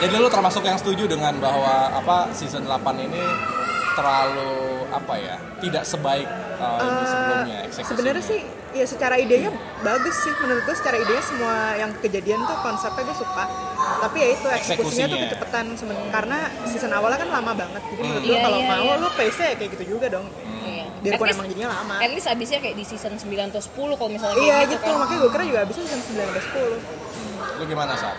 Jadi lu termasuk yang setuju dengan bahwa apa season 8 ini terlalu apa ya? Tidak sebaik uh, ini sebelumnya Eh, eksekusinya. Sebenarnya sih ya secara idenya bagus sih menurut gue secara idenya semua yang kejadian tuh konsepnya gue suka tapi ya itu eksekusinya tuh Eksekusinya. Hmm. kecepatan seben- karena season awalnya kan lama banget jadi menurut gue Iya, kalau iya, mau iya. lo pace nya kayak gitu juga dong Iya. biarpun At emang least- jadinya lama At least abisnya kayak di season 9 atau 10 kalau misalnya kayak iya gitu kan. makanya gue kira juga abisnya season 9 sampai 10 Hmm. Lu gimana, Sal?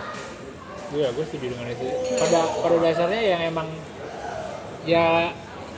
Iya, gue setuju dengan itu. Pada pada dasarnya yang emang ya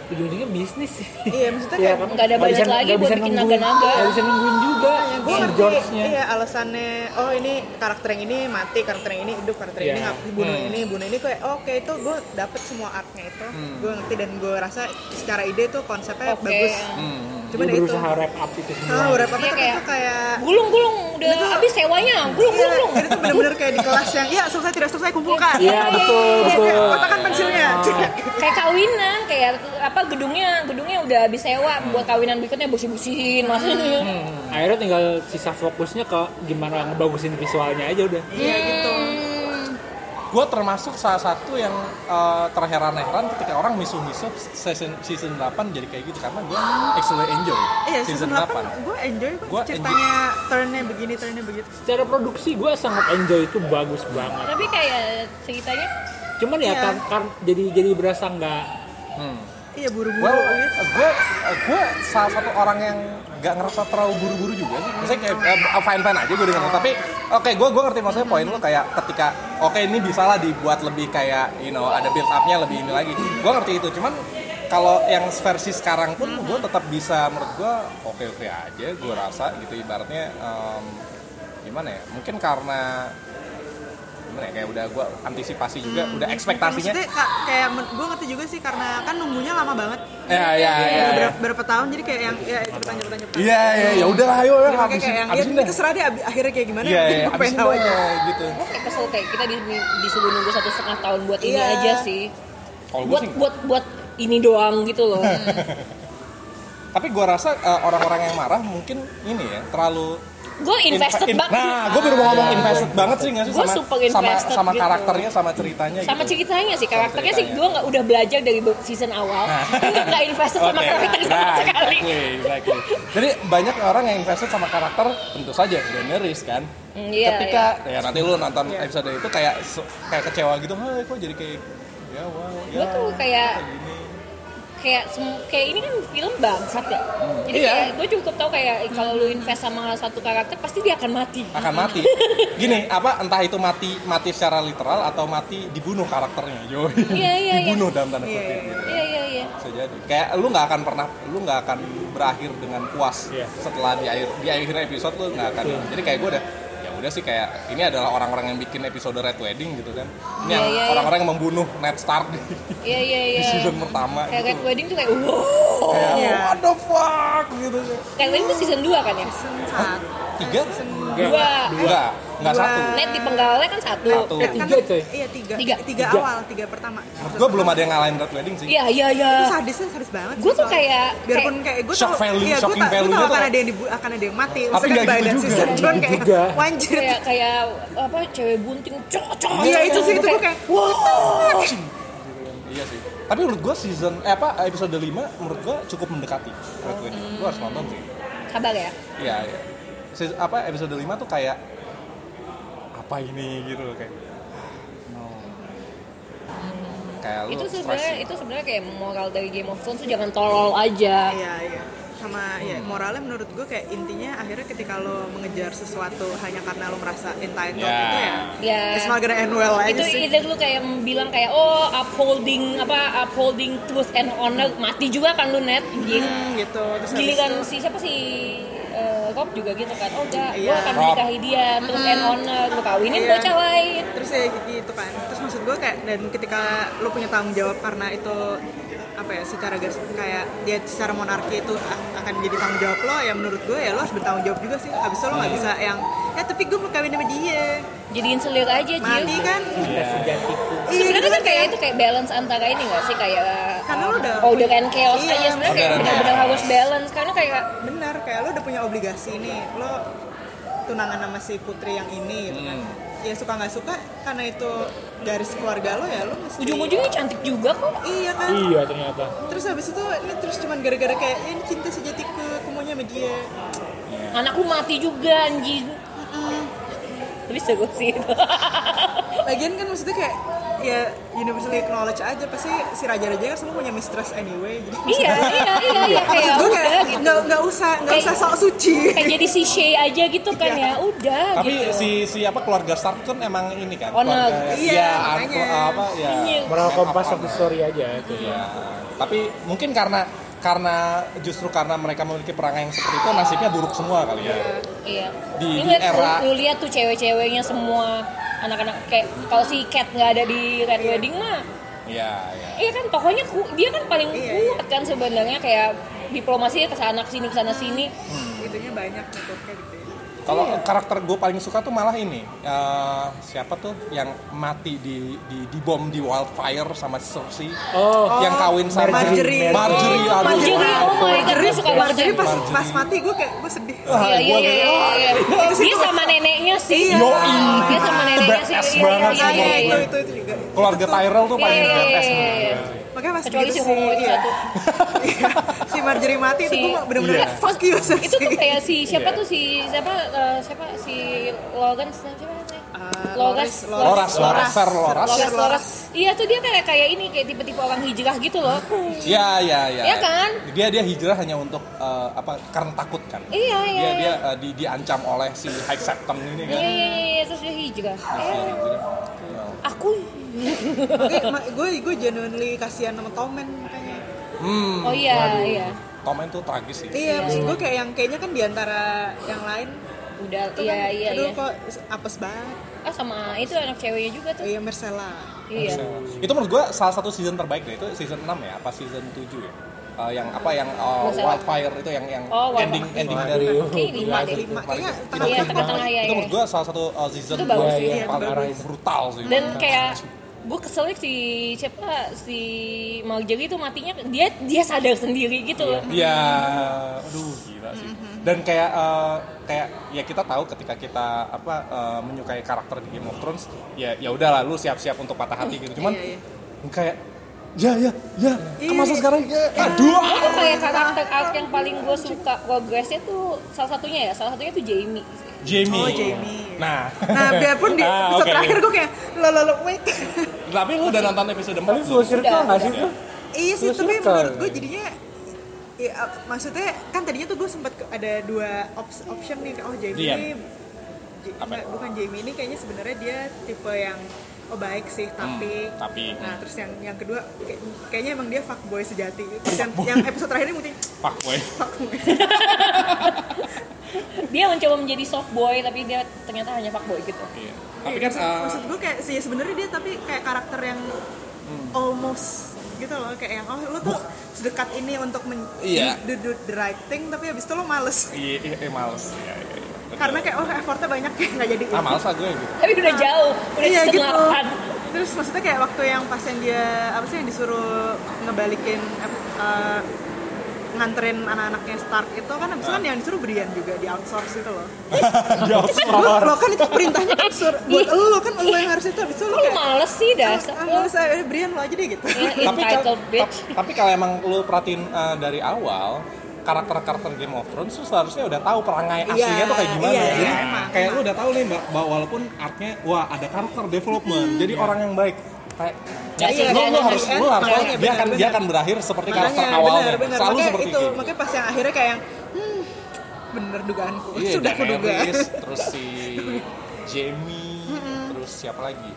ujung-ujungnya bisnis sih. Iya, maksudnya Iya, kayak kan? nggak ada Nggak budget bisa- lagi nggak buat bisa bikin nungguin- naga-naga. nggak bisa nungguin juga gue si ngerti George-nya. iya alasannya oh ini karakter yang ini mati karakter yang ini hidup karakter yang Iya. ini ngap bunuh Hmm. ini bunuh ini kayak oh, oke itu gue dapet semua artnya itu Hmm. gue ngerti dan gue rasa secara ide tuh konsepnya Oke. bagus Hmm. cuman Dia ya itu berusaha wrap up itu semua. nah berapa Iya, tuh kayak- kayak, kayak Gulung-gulung udah habis sewanya, Iya, gulung-gulung. ini tuh bener-bener kayak di kelas yang ya selesai tidak selesai kumpulkan Iya, betul, betul. Iya. Kayak, kotakan pensilnya gitu. kayak kawinan, kayak apa gedungnya, gedungnya udah habis sewa buat kawinan berikutnya busi-busihin maksudnya. Hmm. Nah, Akhirnya tinggal sisa fokusnya ke gimana ngebagusin visualnya aja udah. iya gitu Gue termasuk salah satu yang uh, terheran-heran ketika orang misuh-misuh season season 8 jadi kayak gitu karena gue actually enjoy iya season 8 gue enjoy Gua gue ceritanya turnnya begini turnnya begitu Secara produksi gue sangat enjoy itu bagus banget. Tapi kayak ceritanya Cuman ya Iya. kan, kan jadi jadi berasa nggak Hmm. Iya buru-buru Well, gitu. gue gue salah satu orang yang nggak ngerasa terlalu buru-buru juga sih. Maksudnya kayak fine fine aja gue dengan lo. Tapi oke, gue gue ngerti maksudnya poin lo kayak ketika oke ini bisa lah dibuat lebih kayak you know ada build up-nya lebih ini lagi. Gue ngerti itu. Cuman kalau yang versi sekarang pun gue tetap bisa menurut gue oke oke aja. Gue rasa gitu ibaratnya em, gimana ya? Mungkin karena gimana ya kayak udah gue antisipasi juga, udah ekspektasinya. Hmm, Maksudnya ka- kayak gue ngerti juga sih karena kan nunggunya lama banget. Ya ya ya. Udah ya. berapa, berapa tahun jadi kayak yang ya cepetan cepetan cepetan. Iya iya ya udah ayo ya Jadi makanya habisin kayak yang habisin ya, deh. terserah deh abi- akhirnya kayak gimana. Iya iya gue pengen habisin tahu deh aja. gitu. Gue kayak kesel kayak kita di- disuruh nunggu satu setengah tahun buat ini Iya. aja sih. Kalau gue Buat sih Hmm. buat buat ini doang gitu loh. tapi gue rasa eh, orang-orang yang marah mungkin ini ya terlalu gue invested in- banget. Nah, gue baru mau ngomong invested banget sih nggak sih Gua sama super sama invested sama gitu. karakternya sama ceritanya sama gitu. ceritanya sih karakternya sih gue ceritanya. Nah. nggak udah belajar dari season awal Jadi nggak invested sama Oke, karakter sama nah, sekali exactly, exactly. Jadi banyak orang yang invested sama karakter tentu saja Daenerys kan. Mm, iya, Ketika ya nanti lu nonton episode itu kayak se- kayak kecewa gitu, "Hai, kok jadi kayak ya wow, Gua ya." tuh kayak- gini. kayak sem- kayak ini kan film bangsat ya jadi Iya. kayak gue cukup tahu kayak kalau lu invest sama satu karakter pasti dia akan mati akan mati. Gini, apa entah itu mati mati secara literal atau mati dibunuh karakternya. Yo. Iya, iya, iya. dibunuh dalam tanda kutip Iya, iya, gitu. iya iya iya Bisa jadi. Kayak lu nggak akan pernah lu nggak akan berakhir dengan puas Iya. setelah di akhir di akhir episode lu nggak akan. Betul. Jadi kayak gue udah ya udah sih kayak ini adalah orang-orang yang bikin episode Red Wedding gitu kan. Ini Iya, yang iya, iya. orang-orang yang membunuh Ned Stark di, iya iya di iya season pertama kayak Red gitu. Wedding tuh kayak wow Kayak, Iya. what the fuck gitu. Red Wedding tuh season 2 kan ya Saat. Tiga? Iya. dua Enggak, enggak Dua. satu. net di penggalannya kan satu Satu. Eh, Ya, Tiga, coy. Iya tiga. Tiga. Tiga Tiga. awal, tiga pertama. Menurut gue belum ada yang ngalahin Red Wedding sih. iya iya iya Itu sadisnya sadis banget. Gua tuh soalnya. kayak- biarpun kayak gue Shock value, iya, shocking gue value-nya tahu tuh akan kayak- ada yang dibu akan ada yang mati. Tapi nggak by gitu that juga. season, cuman Nggak kayak gitu juga. wanjir. kayak kayak apa cewek bunting cok cok gitu, Iya, itu sih, itu Gua gua kayak, wow Iya sih. Tapi menurut gue season eh apa episode 5 menurut gue cukup mendekati Red Wedding. Hmm. Gue harus nonton sih. kabar ya Iya, iya. Se- apa episode 5 tuh kayak apa ini gitu loh kayak. No. Kayak lu itu stres sebenarnya sih. itu sebenarnya kayak moral dari Game of Thrones tuh jangan tolol aja Iya, iya. Sama ya, moralnya menurut gue kayak intinya akhirnya ketika lo mengejar sesuatu hanya karena lo merasa entitled Ya. itu ya. Ya. It's not gonna end well aja itu sih. either lu kayak bilang kayak oh upholding apa upholding truth and honor mati juga kan lu net anjing Hmm, gitu. Terus gili habis kan si siapa si eh, Rob juga gitu kan oh enggak gua Iya. Hmm. akan Rob. menikahi dia truth and honor gua kawinin Iya. bocah lain terus ya gitu kan terus maksud gue kayak dan ketika lo punya tanggung jawab karena itu apa ya secara gas kayak dia secara monarki itu a- akan jadi tanggung jawab lo ya menurut gue ya lo harus bertanggung jawab juga sih habis itu lo Hmm. nggak bisa yang ya tapi gue mau kawin sama dia jadiin selir aja Jill mati kan Cinta sejatiku. Iya, Iya. sebenarnya gitu kan kayak itu kayak balance antara ini gak sih kayak Karena lu udah- order and chaos Iya. aja sebenarnya kayak Order and benar-benar chaos. harus balance karena kayak benar kayak lo udah punya obligasi nih lo tunangan sama si putri yang ini gitu kan Hmm. ya suka nggak suka karena itu garis keluarga lo ya lo mesti ujung-ujungnya cantik juga kok iya kan Iya ternyata. terus habis itu ini terus cuman gara-gara kayak "Ya, ini cinta sejatiku aku maunya sama dia anakku mati juga anjing tapi sego sih itu lagian kan maksudnya kayak ya universally acknowledge aja pasti si raja-raja kan semua punya mistress anyway jadi iya iya iya iya kayak maksud gue udah kayak gitu nggak nggak usah nggak Kayak- usah sok suci kayak jadi si Shay aja gitu kan Iya. ya udah Tapi gitu si si apa keluarga Stark kan emang ini kan. Honor. keluarga- Iya, ya, makanya. aku- apa ya. Iya. Moral Map kompas of of the honor. story aja itu. Iya. Tapi mungkin karena karena justru karena mereka memiliki perangai yang seperti itu nasibnya buruk semua kali ya. iya di- Lu di lihat- era- lu, lu lihat tuh cewek-ceweknya semua anak-anak kayak kalau si Cat nggak ada di Red Wedding mah Iya, iya. iya kan tokonya ku, dia kan paling Iya, kuat kan sebenarnya kayak diplomasinya kesana kesini kesana sini itunya banyak gitu kayak gitu ya. Kalau Iya. karakter gue paling suka tuh malah ini eh, siapa tuh yang mati di di di bom di wildfire sama Cersei Oh, yang kawin sama Marjorie. Marjorie, Oh, aduh. Marjorie, oh my god, gue suka banget. jadi pas Marjorie. pas mati gue kayak gue sedih Ah, Iya iya gua iya. kayak, iya, "Ah, iya. Dia sama neneknya sih. Iya. Yoi. Dia sama neneknya sih. The best iya, banget iya, Nah, iya, iya, iya. itu itu itu juga keluarga Itu tuh- Tyrell tuh paling Iya, iya, badass iya, menurut iya. gua sih. makanya pas Kecuali gitu si Homo itu iya. satu. Iya, si Marjorie mati itu Si- gue bener-bener Iya. kayak, fuck you Itu tuh Cersei." kayak si siapa tuh si siapa eh, siapa si Logan siapa namanya? uh, Loras- Loras, Loras, Fer Loras. Loras, Loras. Iya tuh dia kayak kayak ini kayak tipe-tipe orang hijrah gitu loh. Iya, iya, iya. Iya kan? Dia dia hijrah hanya untuk eh, apa? Karena takut kan. Iya, iya. Dia iya. dia eh, di, diancam oleh si High Septem ini Iya, kan. iya, iya, iya, terus dia hijrah. Dia Eh, hijrah. Iya. aku gue gue genuinely kasihan sama Tomen makanya. Hmm. Oh iya, waduh. iya. Komen tuh tragis sih. Iya, maksud gue kayak yang kayaknya kan diantara yang lain udah tuh iya kan, iya aduh iya. kok apes banget. Ah sama itu anak ceweknya juga tuh. Iya, Marcella. Iya. Itu menurut gua salah satu season terbaik deh. Itu season 6 ya, apa season 7 ya? Eh, yang apa yang eh, Masalah. wildfire itu yang yang Oh, Wildfire. ending ending dari Waduh, Kayak lima gila deh. sih. Lima kayaknya Itu tengah Iya, bagus tengah-tengah banget. ya. Itu ya. menurut gua salah satu uh, season Itu bagus iya. sih. yang paling Bagus. brutal sih. Dan kayak gue keselnya si siapa si Marjorie itu matinya dia dia sadar sendiri gitu loh. Ya, aduh gila sih. Dan kayak eh, kayak ya kita tahu ketika kita apa eh, menyukai karakter di Game of Thrones, ya ya udahlah lu siap-siap untuk patah hati gitu. Cuman Iya, kayak ya ya ya ke Iya, masa iya. sekarang ya aduh. Itu kayak karakter arc yang paling gue suka progresnya tuh salah satunya ya salah satunya tuh Jamie. Jamie. Oh, Jamie. Nah, Nah, biarpun di Ah, episode oke. terakhir gue kayak lo lo lo wait. tapi lu udah nonton episode 4 Tapi full belum? circle nggak sih udah. tuh? iya sih, Terus tapi suka. menurut gue jadinya ya, uh, maksudnya kan tadinya tuh gue sempat ke- ada dua ops- option nih oh Jamie Dian. ini J- nggak, bukan Jamie ini kayaknya sebenarnya dia tipe yang oh baik sih tapi Hmm, tapi. nah terus yang yang kedua kayak- kayaknya emang dia fuckboy sejati terus yang, yang episode terakhir ini mungkin Fuck boy. fuckboy Dia mencoba menjadi soft boy tapi dia ternyata hanya fuck boy gitu. Iya. Tapi kan Iya, eh, maksud gue kayak sih sebenarnya dia tapi kayak karakter yang Hmm. almost gitu loh kayak yang oh lo tuh sedekat ini untuk men Iya. do, do the right thing tapi abis itu lo males iya iya iya, males. Iya iya iya. Betul. karena kayak oh effortnya banyak kayak nggak jadi ah males lah gue gitu. Tapi udah jauh, udah iya gitu setengah kan. terus maksudnya kayak waktu yang pas yang dia apa sih yang disuruh ngebalikin eh, nganterin anak-anaknya Stark itu kan abis itu Ah. kan yang disuruh Brian juga di outsource itu loh Dia lo, lo kan itu perintahnya Eh, kan sur- iya. buat lo kan lo yang harus itu abis itu lo Kok lu kayak males sih dasar? Iya. ah, males, ah, Brian lo aja deh gitu Ya, tapi kalau entitled bitch. tap- tapi kalau emang lu perhatiin eh, dari awal karakter-karakter Game of Thrones tuh seharusnya udah tahu perangai Iya, aslinya tuh kayak gimana iya, Jadi iya, emang, kayak emang. lu udah tahu nih mbak, bahwa walaupun artnya wah ada karakter development jadi orang yang baik kayak Iya, iya, lu, lu iya, harus iya, lu harus dia makanya, akan dia benar-benar. akan berakhir seperti karakter Makanya, awalnya benar, benar. selalu makanya seperti itu, itu, Makanya pas yang akhirnya kayak yang, hmm, bener dugaanku. Iya, Sudah kuduga. Daenerys, terus si Jamie, terus siapa lagi?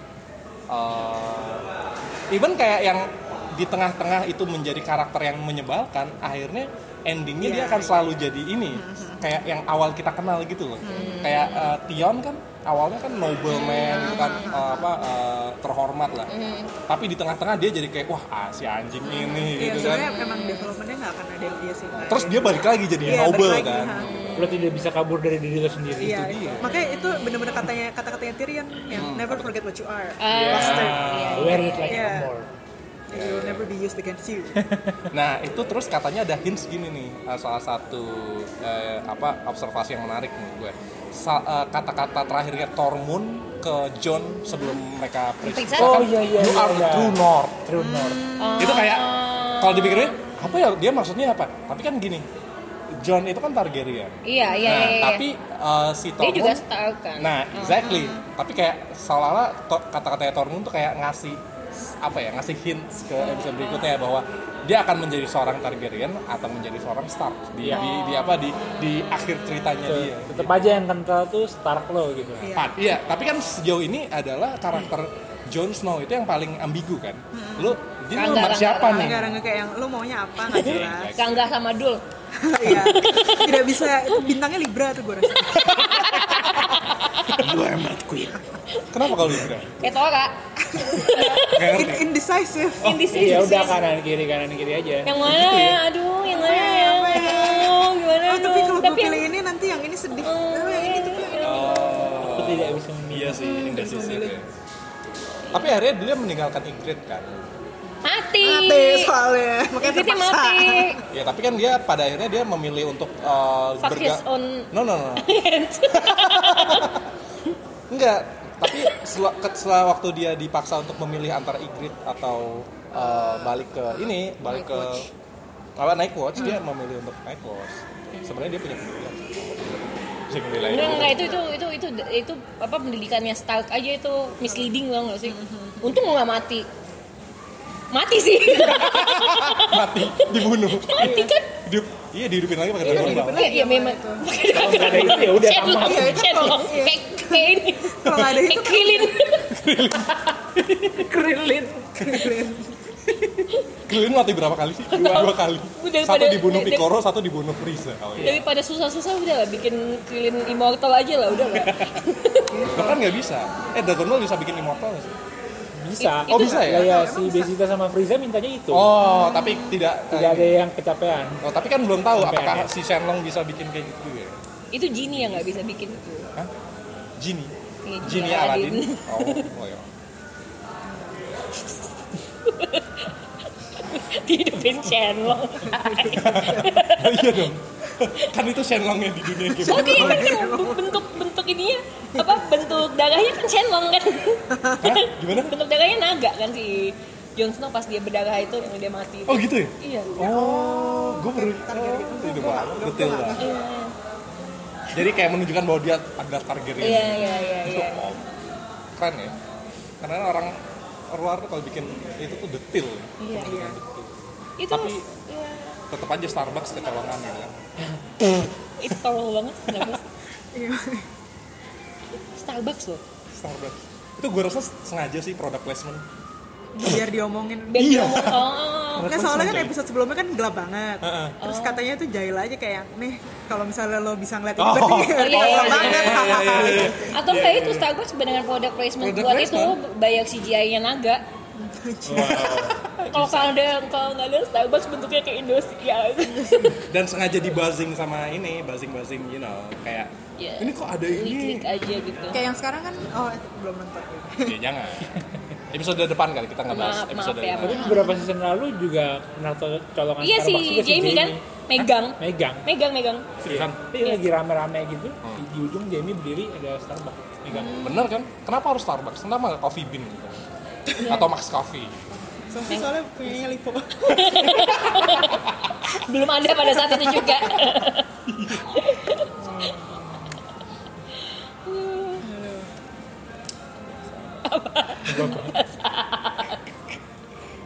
Eh, even kayak yang di tengah-tengah itu menjadi karakter yang menyebalkan, akhirnya endingnya dia Iya. Mm-hmm. akan selalu jadi ini, kayak yang awal kita kenal gitu loh. Kayak eh, Tion kan awalnya kan nobleman gitu kan Mm-hmm. eh, apa eh, terhormat lah. Tapi di tengah-tengah dia jadi kayak wah ah, si anjing ini Iya, gitu kan. sebenarnya memang developmentnya nggak akan ada yang dia sih. nggak Terus ada. dia balik lagi jadi Iya, balik noble lagi, kan. ha. Lo tidak bisa kabur dari diri lo sendiri. itu Iya, dia. Hmm. makanya itu bener-bener katanya kata-katanya Tyrion yang never forget what you are. Ah, Bastard. iya, iya. Wear it like Iya. a armor. Iya. It will never be used against you. Nah itu terus katanya ada hints gini nih eh, salah satu eh, apa observasi yang menarik menurut gue Sa- eh, kata-kata terakhirnya Tormund ke John sebelum mereka periksa Periksa. kan, Oh, iya, iya, iya, you are iya." true north True Mm. north. itu kayak kalau dipikirin apa ya dia maksudnya apa tapi kan gini John itu kan Targaryen Iya, iya, nah, iya, iya. tapi eh, Dia si Tormund juga star kan. Nah, exactly. Tapi kayak seolah-olah to- kata-katanya Tormund tuh kayak ngasih apa ya, ngasih hints ke episode berikutnya ya bahwa dia akan menjadi seorang Targaryen atau menjadi seorang Stark di, di, di apa di di akhir ceritanya dia. Tetap aja yang kental tuh Stark lo gitu. Iya. Pat- Iya, tapi kan sejauh ini adalah karakter Jon Snow itu yang paling ambigu kan. Lu jadi lu Rangga, sama siapa Rangga, nih? Iya. Karena kayak yang lo maunya apa nggak jelas. Gangga sama Dul. Iya. Tidak bisa. Itu bintangnya Libra tuh gue rasa. Lu hemat queen. Kenapa kalau gitu? Eh Tora, In- indecisive. Oh. in this is Ya udah kanan kiri kanan kiri aja. yang Gitu mana ya? Aduh, yang mana ya? Apa ya? Aduh, gimana Oh, dong? tapi kalau yang- gue iya. pilih ini nanti yang ini sedih. Oh, yang ini tuh kayak- Aku tidak bisa memilih. Iya sih, indecisive ya. Tapi akhirnya dia meninggalkan Ingrid kan. Mati. mati soalnya makanya Ikutnya terpaksa mati. Ya tapi kan dia pada akhirnya dia memilih untuk uh, Fuck his berga- own No no no. hand. Enggak. Tapi sel- ke- setelah waktu dia dipaksa untuk memilih antara Igrit atau uh, balik ke ini, balik ke Hmm. apa Night Watch, dia memilih untuk Night Watch. Sebenarnya dia punya pilihan. bisa nilai Enggak, enggak itu itu itu itu itu apa pendidikannya Stark aja itu misleading banget nggak sih? Mm-hmm. Untung gua nggak mati. Mati sih. mati dibunuh mati kan? Hidup, iya dihidupin lagi pakai daun dihidupin bawang lagi Iya, sama memang. itu. Kalau nggak ada itu ya udah Sherlock, Iya, itu Sherlock, kalau- iya. kayak kayak ini. Kalau nggak ada itu Kayak kan- Krillin. Iya. Krillin. Kalian mati berapa kali sih? Dua, dua kali. Udah, Satu pada- dibunuh dari- Piccolo, satu dibunuh Frieza. Oh, iya. Daripada susah-susah udah lah bikin Krillin immortal aja lah udah lah. Bahkan nggak bisa. Eh, Dragon Ball bisa bikin immortal nggak sih? bisa Oh, bisa ya? ya, ya si Besita sama Frieza mintanya itu Oh, tapi tidak. gitu. tidak eh, ada yang kecapean Oh, tapi kan belum tahu Sampai apakah ada. si Shenlong bisa bikin kayak gitu ya. Itu Genie yang nggak bisa bikin itu. Hah? Genie. Iya, Genie Genie Aladdin. Aladdin. Oh, oh ya. Dihidupin Sherlock. Oh, iya dong. kan itu Shenlongnya di dunia game. Oke, kan kan bentuk bentuk ininya apa bentuk darahnya kan Shenlong kan. Hah? Gimana? Bentuk darahnya naga kan si Jon Snow pas dia berdarah itu yang dia mati. Oh gitu ya? Iya. Oh, gue baru oh, itu banget, detail banget. Iya. Jadi kayak menunjukkan bahwa dia ada target ini. Iya, iya, iya, iya. Oh, keren ya. Karena orang luar tuh kalau bikin itu tuh detail. Iya, iya. Detail. Itu Tapi iya. tetap aja Starbucks kecolongan ya kan. itu tolol banget kenapa? Iya. Starbucks loh. Starbucks. Itu gue rasa sengaja sih product placement. biar diomongin Biar Iya. dia ngomong, oh, Nah, soalnya kan episode sebelumnya kan gelap banget. Heeh. Terus katanya tuh Jail aja kayak nih kalau misalnya lo bisa ngeliat itu Oh. berarti Oh, iya, gelap iya, banget. iya, iya, iya, iya. hahaha. Atau enggak itu Starbucks dengan product placement Product buat placement. itu bayar CGI-nya naga. Kalau kalau ada kalau nggak ada Starbucks bentuknya kayak ya. Indonesia. Dan sengaja dibuzzing sama ini, buzzing-buzzing, you know, kayak Iya. ini kok ada ini? Klik-klik aja gitu. Kayak yang sekarang kan oh belum nonton. ya jangan. Episode depan kali kita nggak bahas Maaf, episode maaf ya, ini. tapi beberapa season lalu juga pernah to- colongan Iya Starbucks si juga Jamie kan Iya. megang. Hah? megang Kan? Megang megang. Seriusan? Tapi lagi rame-rame gitu Hmm. di, di ujung Jamie berdiri ada Starbucks Hmm. megang Bener kan? Kenapa harus Starbucks? Kenapa nggak Coffee Bean gitu? Iya. Atau Max Coffee? Sofi soalnya punyanya lipo. Belum ada pada saat itu juga.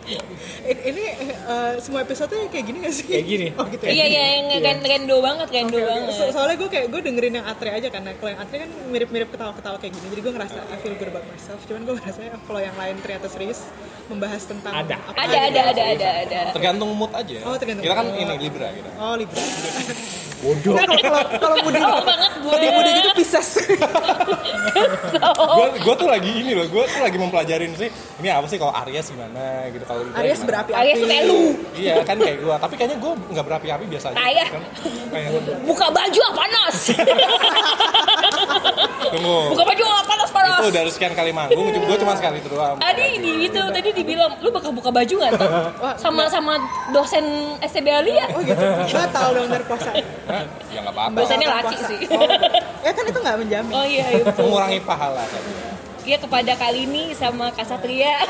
Eh, Ini eh, semua episode kayak gini gak sih? Kayak gini. Oh gitu ya. Iya iya yang ren- rendo banget rendo banget. So- soalnya gue kayak gue dengerin yang Atre aja karena kalau yang Atre kan mirip-mirip ketawa-ketawa kayak gini jadi gue ngerasa I feel good about myself cuman gue ngerasa kalau yang lain ternyata serius membahas tentang Ada. apa Ada gitu. ada ada ada ada. Tergantung mood aja. Oh, tergantung Kita kan mood. ini Libra kita. oh libra Bodoh. Nah, kalau kalau kalau muda Tahu Oh, banget gue. kalau muda gitu pisces Oh. Gue gua tuh lagi ini loh, gue tuh lagi mempelajarin sih. Ini apa sih kalau Aries gimana gitu kalau Libra Aries gimana. berapi-api Aries tuh kayak lu. Iya kan kayak gue, tapi kayaknya gue nggak berapi-api biasa aja. Tayah. Kan, kayak, Buka baju ah, panas. tunggu. Buka baju ah, panas panas. Itu dari sekian kali manggung, gue cuma sekali itu doang. Tadi di itu tadi dibilang lu bakal buka baju nggak tuh? Sama sama dosen STB Alia. oh gitu batal dong dari puasa Hah? Ya nggak apa-apa. Dosennya Batal laki puasa. sih. oh. ya kan itu nggak menjamin Oh iya, iya betul. Mengurangi pahala tadi. Iya kepada Kalini sama Kasatria.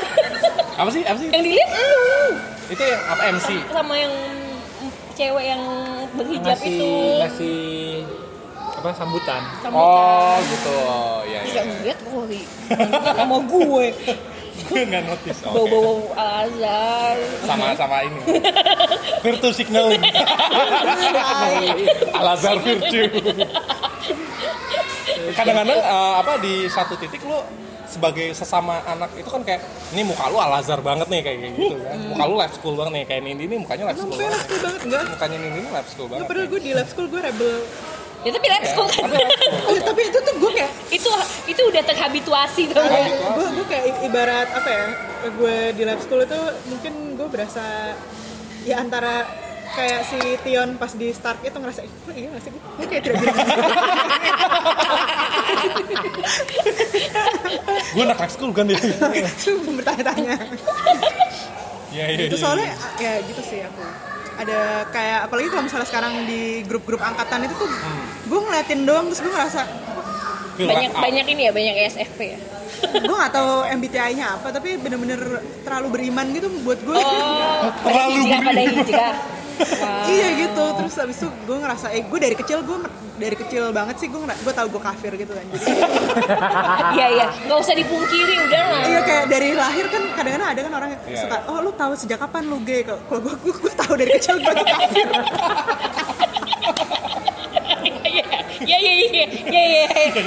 Apa sih? Apa sih? yang dilihat lu. Itu yang apa MC? sama yang cewek yang berhijab ngasih itu ngasih apa sambutan sama Oh gitu. Oh iya kan iya. nggak ngeliat kali sama gue Gue nggak notice. bawa Oke. bawa azar Sama sama ini. Virtu signaling. Alazar Virtu. Kadang-kadang eh, apa di satu titik lu sebagai sesama anak itu kan kayak ini muka lu Alazar banget nih kayak gitu kan. Muka lu lab school banget nih kayak ini ini mukanya lab school. Sampai lab Banget. school banget enggak Mukanya ini ini lab school Nggak, banget. padahal gue di lab school gue rebel ya tapi let's go kan Eh, tapi itu tuh gue kayak itu itu udah terhabituasi tuh kayak gue gue kayak i- ibarat apa ya gue di lab school itu mungkin gue berasa ya antara kayak si Tion pas di start itu ngerasa "Ih, gue iya gak sih gue kayak tidak bilang Gue anak lab school kan dia. Cuma bertanya-tanya Iya iya. itu iya. soalnya a- ya gitu sih aku ada kayak apalagi kalau misalnya sekarang di grup-grup angkatan itu tuh Hmm. gue ngeliatin doang terus gue ngerasa Feel banyak left out. banyak ini ya banyak ESFP ya gue gak tahu MBTI-nya apa tapi bener-bener terlalu beriman gitu buat gue oh Terlalu pada hijrah pada beriman. hijrah iya gitu terus abis itu gue ngerasa eh gue dari kecil gue dari kecil banget sih gue gue tau gue kafir gitu kan jadi Iya iya, nggak usah dipungkiri udah lah. Iya kayak dari lahir kan kadang-kadang ada kan orang yang Iya. suka oh lu tahu sejak kapan lu gay kok kalau gua gua, gua tahu dari kecil gua tuh kafir Iya iya iya iya iya iya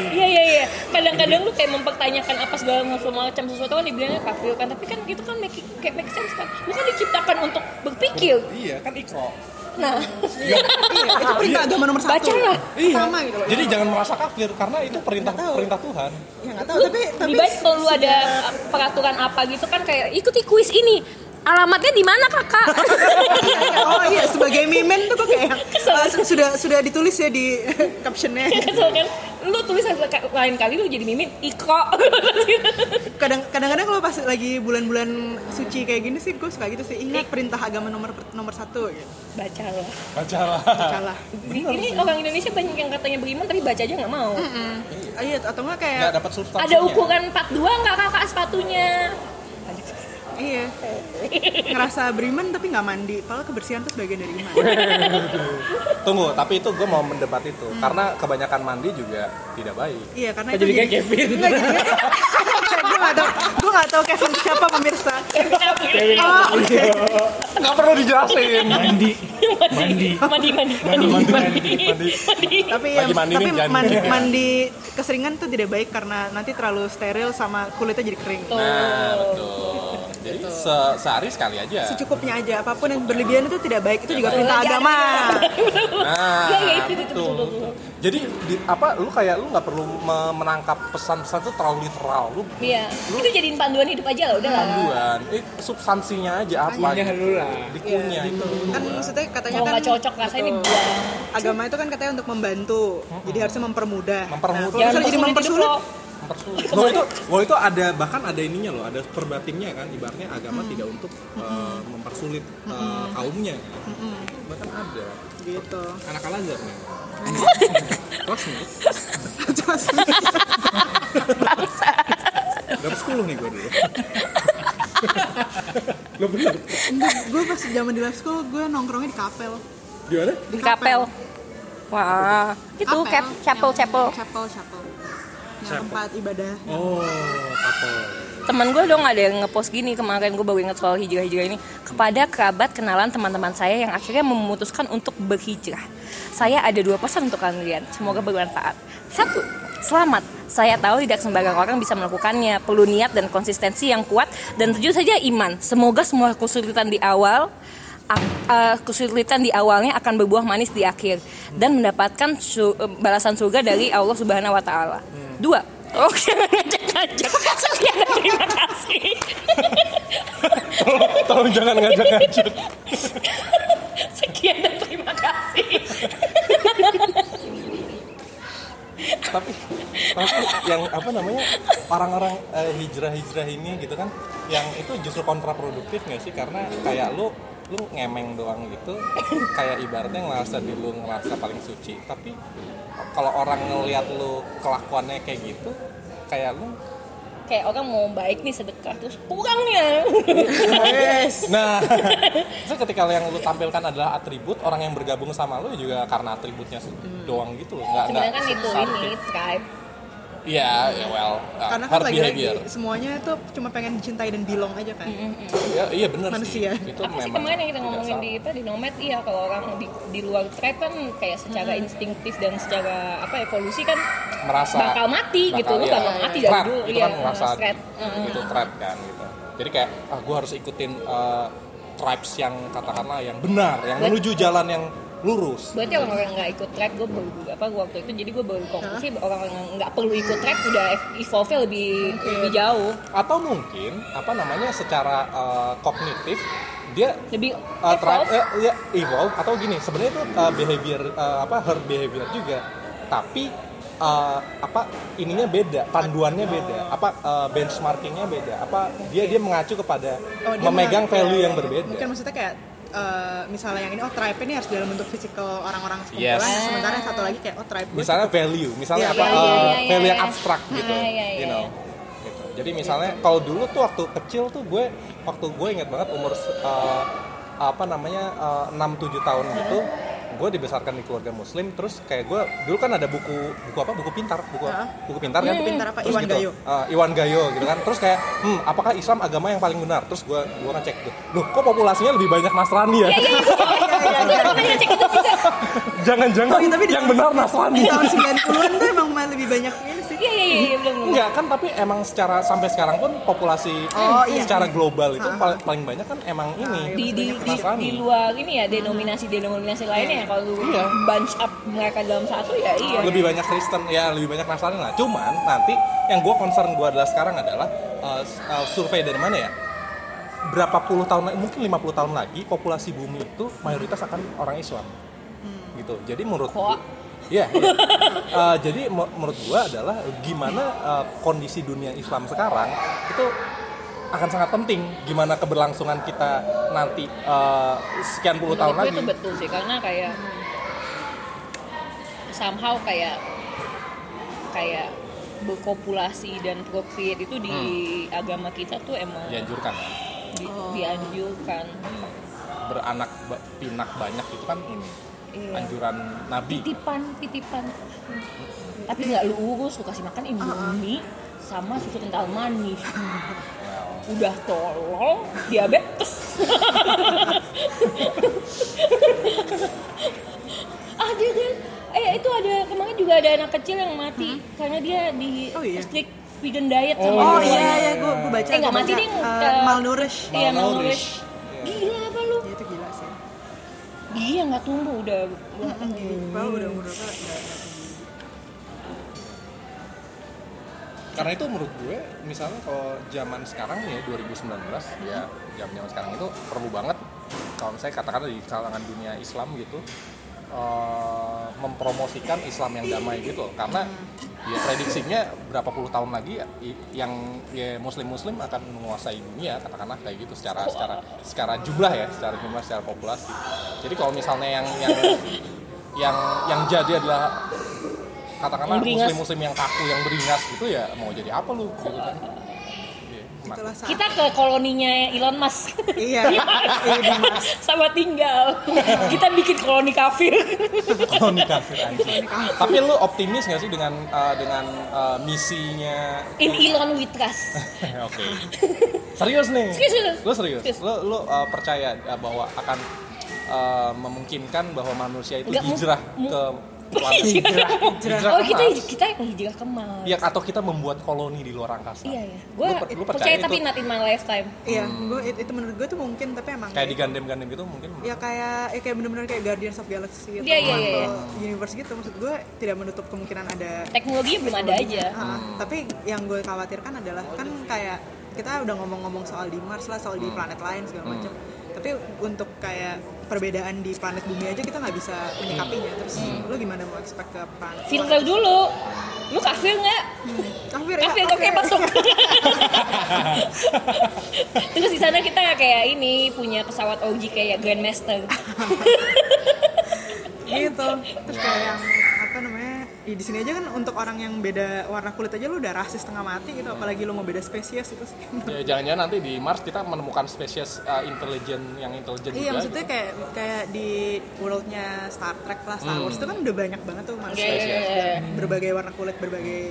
iya iya iya. Kadang-kadang lu kayak mempertanyakan apa segala macam sesuatu kan dibilangnya kafir kan, tapi kan itu kan make, kayak make sense kan. Lu kan diciptakan untuk berpikir. Iya, kan ikro. Nah, iya, itu perintah agama nomor satu Bacalah. sama gitu loh ya? Iya. Jadi jangan merasa kafir karena itu perintah Nggak tahu. perintah Tuhan. ya nggak tahu lu tapi tapi lebih baik kalau lu ada uh, peraturan apa gitu kan kayak ikuti kuis ini. Alamatnya di mana kakak? oh iya sebagai mimen tuh gua kayak yang, Kesel. eh, su- sudah sudah ditulis ya di captionnya Kesel kan? Lu tulis lain kali lu jadi mimin Iko. kadang kadang-kadang kalau pas lagi bulan-bulan suci kayak gini sih gue suka gitu sih ingat perintah agama nomor nomor satu gitu Baca lah. Bacalah. kalah Ini orang Indonesia banyak yang katanya beriman tapi baca aja nggak mau. Ah, iya atau enggak kayak Nggak dapat substansinya. Ada kan? ukuran 42 nggak kakak sepatunya? Iya. Ngerasa beriman tapi nggak mandi. Padahal kebersihan itu sebagian dari iman. Tunggu, tapi itu gue mau mendebat itu Hmm. karena kebanyakan mandi juga tidak baik. iya karena Kok itu jadi kayak gitu? Kevin? Nggak, jadi kayak- gue nggak tahu. Gue nggak tahu Kevin siapa pemirsa. Iya, Oh, oke. Nggak perlu dijelasin. mandi mandi mandi mandi mandi mandi, mandi mandi Tapi ya, Lagi mandi tapi nih, jangan mandi, dikit ya. mandi keseringan tuh tidak baik karena nanti terlalu steril sama kulitnya jadi kering. Nah, betul. Jadi se- sehari sekali aja. Secukupnya aja. Apapun yang berlebihan itu tidak baik. Itu juga perintah Lagi ada- agama. Nah, Iya, iya, itu, itu, betul, betul, betul. Jadi di, apa lu kayak lu nggak perlu me- menangkap pesan-pesan itu terlalu literal. Lu iya itu jadiin panduan hidup aja lah udah lah panduan, eh, substansinya aja apa? gitu. Punya lu lah. Iya, Dikunyah itu. Kan maksudnya katanya kalau kan nggak cocok rasanya dibuang agama itu kan katanya untuk membantu. Jadi harusnya mempermudah. Mempermudah. Nah, kalau jangan misalnya jadi mempersulit hidup mempersulit, lo Mempersulit. Loh, itu, loh, itu ada bahkan ada ininya loh, ada verbatimnya kan. Ibaratnya agama tidak untuk eh, mempersulit eh, kaumnya. Bahkan ada. gitu. Anak al azhar nih. Kelas nih. Dapat 10 nih gue dulu. Lo bener? gue pas zaman di live school gue nongkrongnya di kapel Di mana? di kapel wah itu cap ya? chapel chapel chapel chapel yang tempat ibadah Oh, kapel. teman gue dong ada yang ngepost gini kemarin gue baru ingat soal hijrah-hijrah ini kepada kerabat kenalan teman-teman saya yang akhirnya memutuskan untuk berhijrah saya ada dua pesan untuk kalian semoga bermanfaat satu selamat saya tahu tidak sembarang orang bisa melakukannya perlu niat dan konsistensi yang kuat dan tentu saja iman semoga semua kesulitan di awal ak- eh, kesulitan di awalnya akan berbuah manis di akhir dan mendapatkan su- eh, balasan surga dari Allah Subhanahu wa taala. Hmm. Dua. Oke, ngajak-ngajak. Sekian dan terima kasih. Tolong jangan ngajak-ngajak. Sekian dan terima kasih. tapi tapi yang apa namanya orang-orang eh, hijrah-hijrah ini gitu kan yang itu justru kontraproduktif nggak sih karena kayak lu lu ngemeng doang gitu kayak ibaratnya ngerasa di lu ngerasa paling suci tapi kalau orang ngelihat lu kelakuannya kayak gitu kayak lu Kayak orang mau baik nih sedekah terus ya. kurangnya. nah itu ketika yang lu tampilkan adalah atribut orang yang bergabung sama lu juga karena atributnya su- doang gitu loh nggak Hmm. Sebenarnya kan itu ini substantif. tribe. iya ya well uh, karena kan herd lagi-lagi behavior semuanya tuh cuma pengen dicintai dan belong aja kan Ya, iya benar sih. Manusia. Itu Apa sih memang kemarin yang kita tidak ngomongin salah. di apa di nomad iya kalau orang di, di luar tribe kan kayak secara Hmm. instingtif dan secara apa evolusi kan merasa bakal mati gitu, lu iya, bakal iya. mati dari Trap, dulu, Itu iya, kan merasa trap. Mm. itu trap kan gitu. Jadi kayak ah gue harus ikutin eh, tribes yang katakanlah yang benar, yang Bet- menuju jalan yang lurus. berarti orang-orang yang nggak ikut track gue baru apa waktu itu jadi gue baru konklusi orang-orang yang nggak perlu ikut track udah evolve lebih lebih jauh Atau mungkin apa namanya secara eh, kognitif dia lebih uh, evolve tra- eh, ya, evolve atau gini sebenarnya itu uh, behavior uh, apa her behavior juga tapi uh, apa ininya beda panduannya beda apa uh, benchmarkingnya beda apa dia dia mengacu kepada Oh, dia memegang mengaku- value yang berbeda mungkin maksudnya kayak eh, misalnya yang ini oh tribe ini harus dalam bentuk fisikal orang-orang Yes. sekumpulan nah, sementara yang satu lagi kayak oh tribe gue misalnya value misalnya Iya, apa iya, uh, iya, iya, value yang iya. abstrak gitu ya, Ah, iya, you iya, know Gitu. jadi misalnya kalau dulu tuh waktu kecil tuh gue waktu gue inget banget umur uh, apa namanya eh, enam tujuh tahun gitu gue dibesarkan di keluarga muslim terus kayak gue dulu kan ada buku buku apa buku pintar buku Hah? buku pintar kan Buku Iya, pintar apa? Terus Iwan gitu, Gayo. eh, Iwan Gayo gitu kan terus kayak hmm apakah Islam agama yang paling benar terus gue gue ngecek tuh loh kok populasinya lebih banyak Nasrani Iya, ya Iya, iya. Makanya cek itu juga. jangan-jangan Oh, iya, tapi di- yang benar Nasrani Di tahun 90-an tuh emang malah lebih banyak ini sih. Iya, iya, iya, iya, belum, belum. Enggak kan tapi emang secara sampai sekarang pun populasi Oh, iya. secara global itu pal- paling banyak kan emang ini Ah. iya, Di, di, di, Nasrani. di luar ini ya denominasi-denominasi lainnya ya kalau lu Iya. bunch up mereka dalam satu ya iya lebih banyak Kristen ya lebih banyak Nasrani lah cuman nanti yang gue concern gue adalah sekarang adalah uh, s- uh, survei dari mana ya berapa puluh tahun mungkin 50 tahun lagi populasi bumi itu mayoritas akan orang Islam gitu jadi menurut Hmm. Kok? Iya, iya. Eh, jadi mu- menurut gua adalah gimana eh, kondisi dunia Islam sekarang itu akan sangat penting gimana keberlangsungan kita nanti eh, sekian puluh tahun Menurut gue lagi. itu betul sih karena kayak somehow kayak kayak berkopulasi dan procreate itu di Hmm. agama kita tuh emang Dianjurkan kan? di- dianjurkan beranak ba- pinak banyak itu kan ini Iya. anjuran Nabi. titipan titipan tapi nggak lu urus lu kasih makan indomie sama susu kental manis udah tolol diabetes ada kan eh itu ada kemarin juga ada anak kecil yang mati karena dia di Hmm? Oh, iya. strict vegan diet sama Oh orang iya tuanya. iya gua gua baca. eh nggak gua mati baca. deh Eh, malnourish. iya malnourish Malnourish. gila apa lu Ya, itu gila sih. dia nggak tumbuh udah Gua udah umur berapa? Karena itu menurut gue misalnya kalau zaman sekarang ya 2019 ya zaman zaman sekarang itu perlu banget kalau misalnya katakanlah di kalangan dunia Islam gitu eh, mempromosikan Islam yang damai gitu loh. karena ya prediksinya berapa puluh tahun lagi ya, i- yang ya muslim-muslim akan menguasai dunia katakanlah kayak gitu secara secara secara jumlah ya secara jumlah secara populasi jadi kalau misalnya yang yang yang yang jadi adalah katakanlah Yang beringas. muslim-muslim yang kaku yang beringas gitu ya mau jadi apa lu gitu kan Iya, mak- Itulah saat. kita ke koloninya Elon Musk Iya. Iya, Mas. sama tinggal kita bikin koloni kafir koloni kafir anjing. Tapi lu optimis gak sih dengan uh, dengan uh, misinya? in Elon we trust Oke. Serius nih. Serius, serius. Lu serius. Serius. Lu lu uh, percaya uh, bahwa akan uh, memungkinkan bahwa manusia itu Nggak, mu- hijrah mu- ke planet Hijrah. Hijrah oh ke kita Mars. kita yang hijrah ke Mars Ya atau kita membuat koloni di luar angkasa. iya ya gue Lu per- lu percaya, percaya tapi itu? not in my lifetime Iya, gua itu itu menurut gua tuh mungkin tapi emang Kayak digandem-gandem gitu mungkin. ya kayak ya kayak bener-bener kayak Guardians of Galaxy Iya, atau iya, iya, Marvel Universe gitu maksud gue tidak menutup kemungkinan ada teknologinya belum ada aja Ah, tapi yang gue khawatirkan adalah kan kayak kita udah ngomong-ngomong soal di Mars lah soal di planet lain segala macam tapi untuk kayak perbedaan di planet bumi aja kita nggak bisa menyikapinya terus lu gimana mau expect ke planet filter dulu lu kafir nggak kafir ya kafir oke masuk terus di sana kita kayak ini punya pesawat OG kayak Grandmaster gitu terus kayak yang apa namanya di, di sini aja kan untuk orang yang beda warna kulit aja lu udah rasis tengah mati gitu apalagi lu mau beda spesies gitu. itu sih Ya, jangan-jangan nanti di Mars kita menemukan spesies uh, intelijen yang intelijen Iya juga. maksudnya kayak kayak di worldnya Star Trek lah Star Wars itu kan udah banyak banget tuh manusia Hmm. Iya, iya, iya. berbagai warna kulit berbagai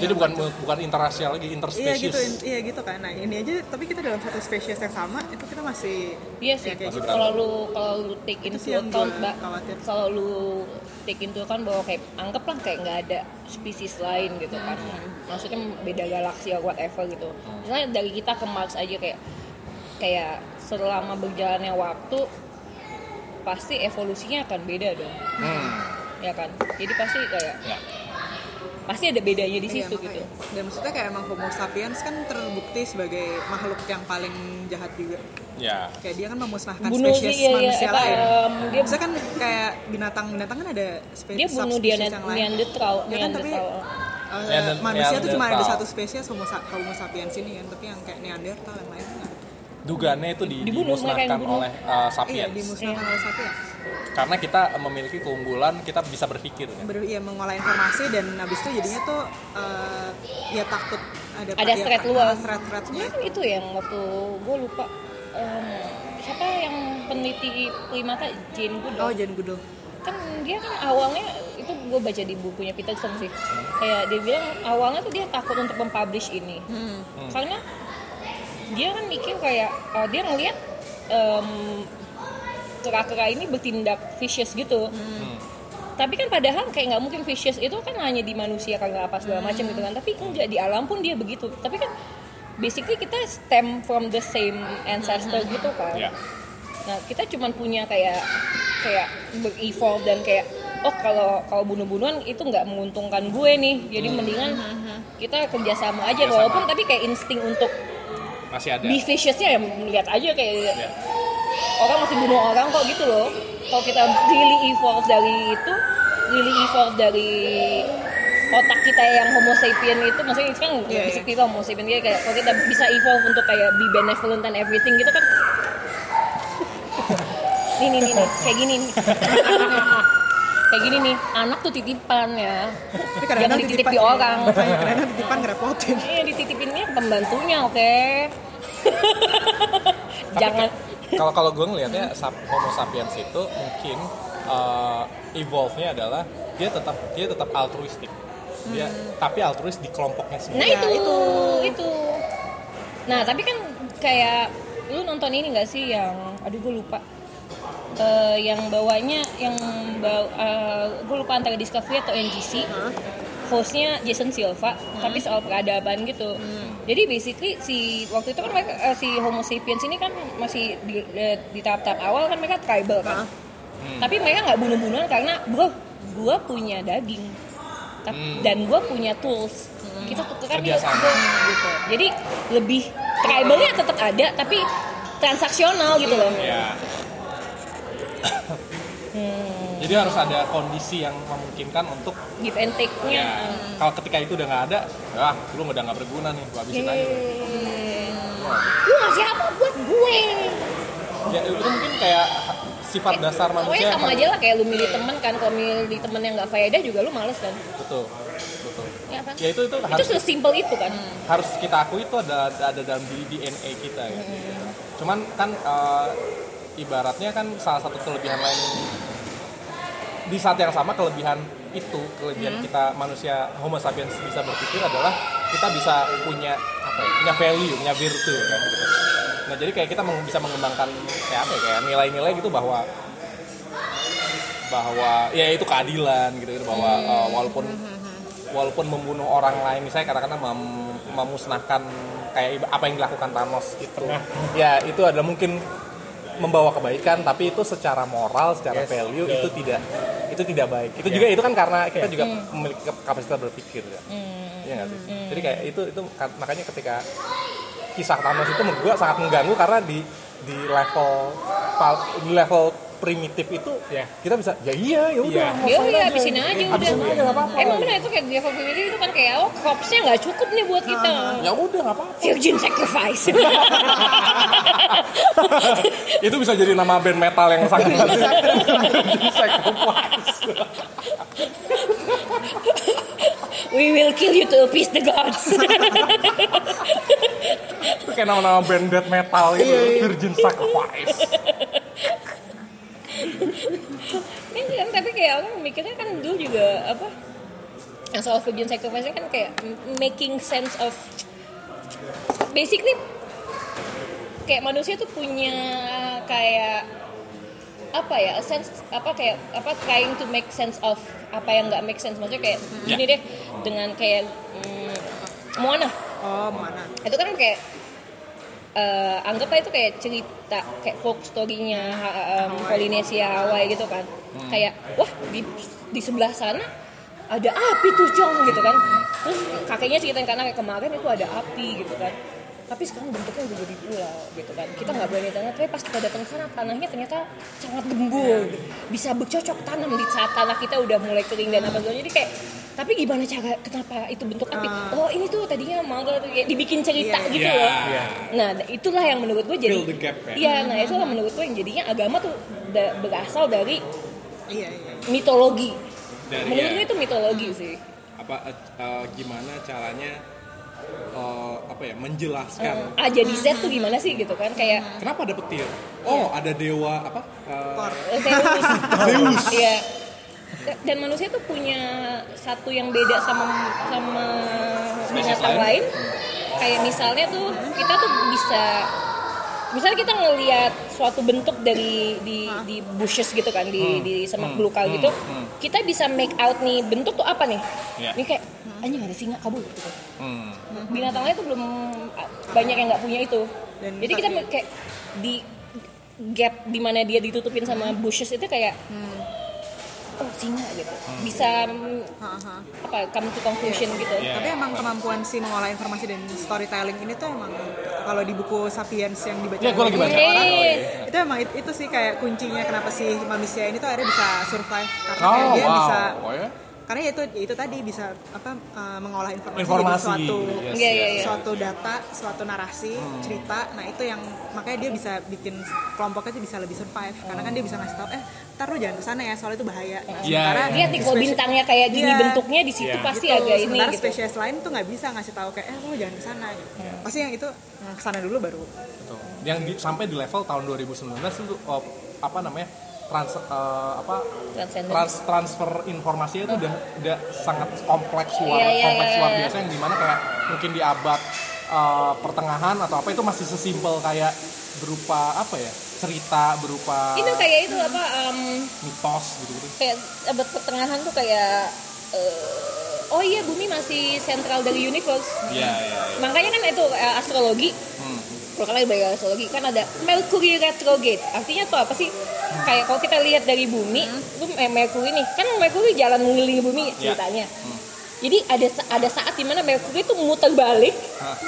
Jadi bukan bukan interracial lagi, iya interspecies. gitu in- iya gitu kan nah ini aja tapi kita dalam satu spesies yang sama itu kita masih Iya sih. ya, kayak Masih gitu. Kalau lu kalau lu take Itu into sih yang account, gua Mbak. khawatir. Kalau lu take into account bahwa kayak anggaplah kayak nggak ada spesies lain gitu kan. Hmm. Maksudnya beda galaksi atau whatever gitu. Misalnya dari kita ke Mars aja kayak kayak selama berjalannya waktu pasti evolusinya akan beda dong. Hmm. Ya kan? Jadi pasti kayak Ya. pasti ada bedanya di Iya, situ makanya. gitu. dan maksudnya kayak emang Homo sapiens kan terbukti sebagai makhluk yang paling jahat juga Ya. kayak dia kan memusnahkan Bunuh spesies dia ya, manusia apa, lain em, dia Maksudnya kan kayak binatang-binatang kan ada spesies dia bunuh dia subspesies yang lain. Neanderthal, Ya kan, tapi- Neanderthal. Eh, Neander- manusia tuh cuma ada Neanderthal. satu spesies homo, sa- homo sapiens ini kan tapi yang kayak neanderthal Iya, yang lain nggak ada. Dugaannya itu di, Dibunuh, mereka dimusnahkan yang dibunuh. oleh uh, iya sapiens. dimusnahkan oleh sapiens Karena kita memiliki keunggulan, kita bisa berpikir kan. baru iya mengolah informasi dan habis itu jadinya tuh eh, ya takut ada ada ya, thread ada luar thread-threadnya Sebenarnya kan itu yang waktu gue lupa em, siapa yang peneliti primata Jane Goodall Oh, Jane Goodall. kan dia kan awalnya itu gue baca di bukunya Peterson sih kayak dia bilang awalnya tuh dia takut untuk mempublish ini karena dia kan mikir kayak uh, dia ngelihat um, kera-kera ini bertindak vicious gitu Hmm. tapi kan padahal kayak nggak mungkin vicious itu kan hanya di manusia karena apa segala macam gitu kan tapi Hmm. enggak di alam pun dia begitu tapi kan basically kita stem from the same ancestor gitu kan Ya. Nah, kita cuman punya kayak kayak berevolve dan kayak oh kalau kalau bunuh-bunuhan itu nggak menguntungkan gue nih. Jadi Hmm. mendingan kita kerjasama aja Kerjasama. walaupun tapi kayak insting untuk masih ada be viciousnya ya melihat aja kayak Ya. orang masih bunuh orang kok gitu loh. Kalau kita really evolve dari itu, really evolve dari otak kita yang homo sapien itu maksudnya itu kan Iya, basic kita homo sapien dia kayak kalau kita bisa evolve untuk kayak be benevolent and everything gitu kan nih nih nih, nih. kayak gini nih kayak gini nih anak tuh titipan ya Tapi jangan kadang-kadang dititip di orang Kayak kadang-kadang titipan ngerepotin. eh dititipinnya ke pembantunya oke jangan kalau kalau gue ngelihatnya sap- Homo sapiens itu mungkin uh, evolve-nya adalah dia tetap dia tetap altruistik. Dia Hmm. tapi altruis di kelompoknya nah sendiri. Ya, itu, itu itu. nah tapi kan kayak lu nonton ini nggak sih yang aduh gue lupa Eh, yang bawanya yang bawa gue lupa antara Discovery atau NBC hostnya Jason Silva tapi soal peradaban gitu jadi basically si waktu itu kan mereka, eh, si Homo sapiens ini kan masih di, eh, di tahap-tahap awal kan mereka tribal kan tapi mereka nggak bunuh-bunuhan karena bro gue punya daging Tap- dan gue punya tools kita tukeran yuk Kerjasama. bro, gitu jadi lebih tribalnya tetap ada tapi transaksional gitu loh Ya. Jadi harus ada kondisi yang memungkinkan untuk Hmm, give and take-nya ya kalau ketika itu udah nggak ada, ah lu udah nggak berguna nih, gua Iya, habisin aja. Yeay. lu ngasih apa buat gue Ya, itu mungkin kayak sifat dasar iya. Eh, pokoknya manusia. kan. yang sama aja lah kayak lu milih temen kan kalau milih temen yang nggak faedah juga lu males kan Betul, betul. ya kan Ya itu itu itu harus sesimpel itu kan harus kita akui itu ada ada dalam di DNA kita Iya, ya. Cuman kan eh, ibaratnya kan salah satu kelebihan lain di saat yang sama kelebihan itu Hmm. kelebihan kita manusia Homo sapiens bisa berpikir adalah kita bisa punya apa ya, punya value, punya virtue kan gitu. Nah, jadi kayak kita meng- bisa mengembangkan kayak apa ya, kayak nilai-nilai gitu bahwa bahwa ya itu keadilan gitu, gitu bahwa eh, walaupun walaupun membunuh orang lain misalnya katakanlah mem- memusnahkan kayak iba- apa yang dilakukan Thanos itu ya itu adalah mungkin membawa kebaikan tapi itu secara moral secara value itu tidak itu tidak baik itu juga itu kan karena kita juga memiliki kap- kapasitas berpikir ya Iya nggak sih Hmm. jadi kayak itu itu ka- makanya ketika kisah Thanos itu menurut gua sangat mengganggu karena di di level pal- di level primitif itu Ya. kita bisa ya iya ya udah ya udah habisin aja udah Habisin aja, nggak apa-apa. emang benar itu kayak dia pemilih itu kan kayak oh cropsnya nggak cukup nih buat kita ya udah nggak apa-apa virgin sacrifice itu bisa jadi nama band metal yang sangat Iya. we will kill you to appease the gods itu kayak nama-nama band death metal itu Iya, Virgin Sacrifice Ini kan tapi kayak orang mikirnya kan dulu juga apa yang soal virgin sacrifice kan kayak m- making sense of basically kayak manusia tuh punya kayak apa ya a sense apa kayak apa trying to make sense of apa yang nggak make sense maksudnya kayak gini deh dengan kayak mm, Moana Oh, mana? itu kan kayak eh, anggap aja itu kayak cerita kayak folk story-nya ha- eh, em, Polinesia Hawaii gitu kan kayak wah di di sebelah sana ada api tuh Jong gitu kan terus kakeknya ceritain karena kayak kemarin itu ada api gitu kan tapi sekarang bentuknya udah jadi pulau gitu kan kita nggak berani tanah tapi pas kita datang ke sana tanahnya ternyata sangat gembul bisa bercocok tanam di saat tanah kita udah mulai kering dan apa segala jadi kayak tapi gimana cara kenapa itu bentuk api oh ini tuh tadinya mangga tuh kayak dibikin cerita Iya, gitu loh Iya. Nah, itulah yang menurut gue jadi Fill the gap, ya? Iya, nah itulah menurut gue yang jadinya agama tuh da- berasal dari Iya, iya. mitologi. Dari, menurut ya. gue itu mitologi sih. apa eh, eh, gimana caranya eh, apa ya menjelaskan A Ah, jadi Z tuh gimana sih gitu kan kayak kenapa ada petir oh ada dewa apa eh, eh, Zeus. Iya. Dan manusia tuh punya satu yang beda sama sama binatang lain. Kayak misalnya tuh kita tuh bisa misalnya kita ngelihat suatu bentuk dari di Hmm. di bushes gitu kan di di semak belukar gitu, kita bisa make out nih bentuk tuh apa nih? Iya. Ini kayak anjing ada singa kabur gitu. kan. Hmm. Binatang lain tuh belum banyak yang nggak punya itu. Dan Jadi kita tapi- kayak di gap di mana dia ditutupin sama Hmm. bushes itu kayak oh singa gitu bisa mm, Haha. apa come to conclusion gitu Iya. Tapi emang kemampuan si mengolah informasi dan storytelling ini tuh emang kalau di buku Sapiens yang dibaca Iya, gua lagi baca. orang, Yeay. itu emang it- itu sih kayak kuncinya kenapa sih manusia ini tuh akhirnya bisa survive karena Oh, kayak dia wow. bisa Oh, ya? karena itu itu tadi bisa apa eh, mengolah informasi, Informasi. jadi suatu Yes, Hmm. Iya, iya, yes, suatu data, suatu narasi, cerita. Nah, itu yang makanya dia bisa bikin kelompoknya tuh bisa lebih survive karena kan dia bisa ngasih tahu eh ntar lu jangan kesana ya soalnya itu bahaya. Nah, sementara iya. lihat nih kalau bintangnya kayak gini Iya. bentuknya di situ Iya. pasti gitu. agak ini Sementara gitu spesies lain tuh nggak bisa ngasih tahu kayak eh lu jangan kesana Iya. pasti yang itu "Hmm, kesana dulu baru Betul. Yang di- sampai di level tahun 2019 itu oh, apa namanya? Trans, eh, apa Transcendent. trans- transfer informasinya itu udah, udah sangat kompleks luar Iya, iya, kompleks iya, luar iya. biasa yang dimana kayak mungkin di abad eh, pertengahan atau apa itu masih sesimpel kayak berupa apa ya cerita berupa itu kayak itu apa em, mitos gitu gitu kayak abad pertengahan tuh kayak eh, oh iya bumi masih sentral dari universe Iya, iya. iya. makanya kan itu eh, astrologi kalau kalian bayar astrologi kan ada Mercury retrograde artinya tuh apa sih kayak kalau kita lihat dari bumi itu eh, Mercury nih kan Mercury jalan mengelilingi bumi ceritanya jadi ada sa- ada saat dimana Mercury tuh muter balik Hah.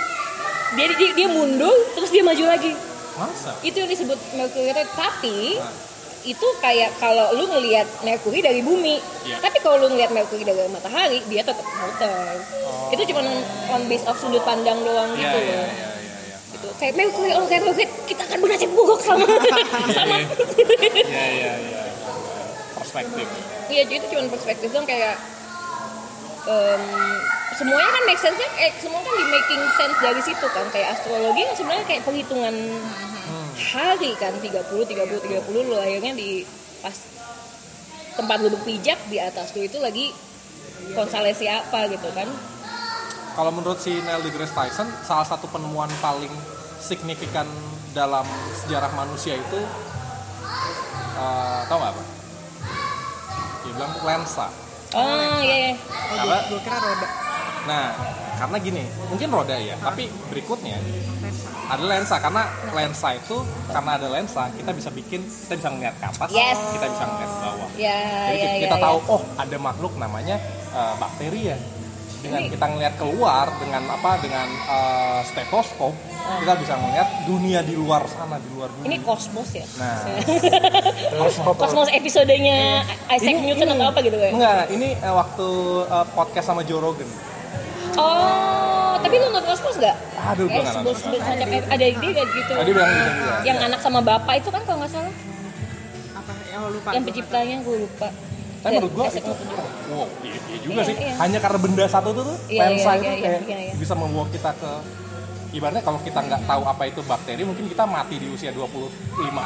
dia, dia dia mundur terus dia maju lagi masa itu yang disebut Mercury retrograde tapi itu kayak kalau lu ngelihat Mercury dari bumi Iya. tapi kalau lu ngelihat Mercury dari matahari dia tetap muter Oh. itu cuma on base of sudut pandang doang Iya, gitu loh gitu kayak Mercury on retrograde kita akan bernasib buruk sama sama Iya, iya, iya. Perspektif. iya jadi itu cuma perspektif doang kayak em, semuanya kan make sense eh, semua kan di making sense dari situ kan kayak astrologi kan sebenarnya kayak perhitungan hari kan 30 30 Iya. 30 lu akhirnya di pas tempat lu berpijak di atas lu itu lagi konsalesi apa gitu kan kalau menurut si Neil deGrasse Tyson salah satu penemuan paling signifikan dalam sejarah manusia itu eh, tau nggak apa? Dia bilang lensa. Ah, oh iya iya. Karena, gue kira roda nah karena gini mungkin roda ya, tapi berikutnya ada lensa karena lensa itu karena ada lensa kita bisa bikin kita bisa ngeliat ke atas, Yes. kita bisa ngeliat ke bawah. ya ya Jadi kita, ya, kita ya. tahu oh ada makhluk namanya eh, bakteri ya. Dengan kita ngelihat keluar dengan apa dengan eh, stetoskop kita bisa ngelihat dunia di luar sana di luar Ah. ini bumi. kosmos ya Nah, Cosmos episodenya Isaac Newton atau apa gitu kan? enggak Iya, ini eh, waktu eh, podcast sama Joe Rogan. Oh, tapi lu nonton Cosmos nggak? Aduh, gua Eh, nggak sebelum nonton. sebelum ada ada ide nggak gitu? Tadi bilang gitu juga. Yang anak sama bapak itu kan kalau nggak salah, apa ya oh, lupa yang gua. penciptanya gue lupa. Tapi menurut gua Isaac itu Newton juga. wow, iya, iya juga Iya, sih. iya. Hanya karena benda satu tuh tuh Iya, lensa iya, itu iya, kayak iya, iya. bisa membawa kita ke Ibaratnya kalau kita nggak tahu apa itu bakteri, mungkin kita mati di usia 25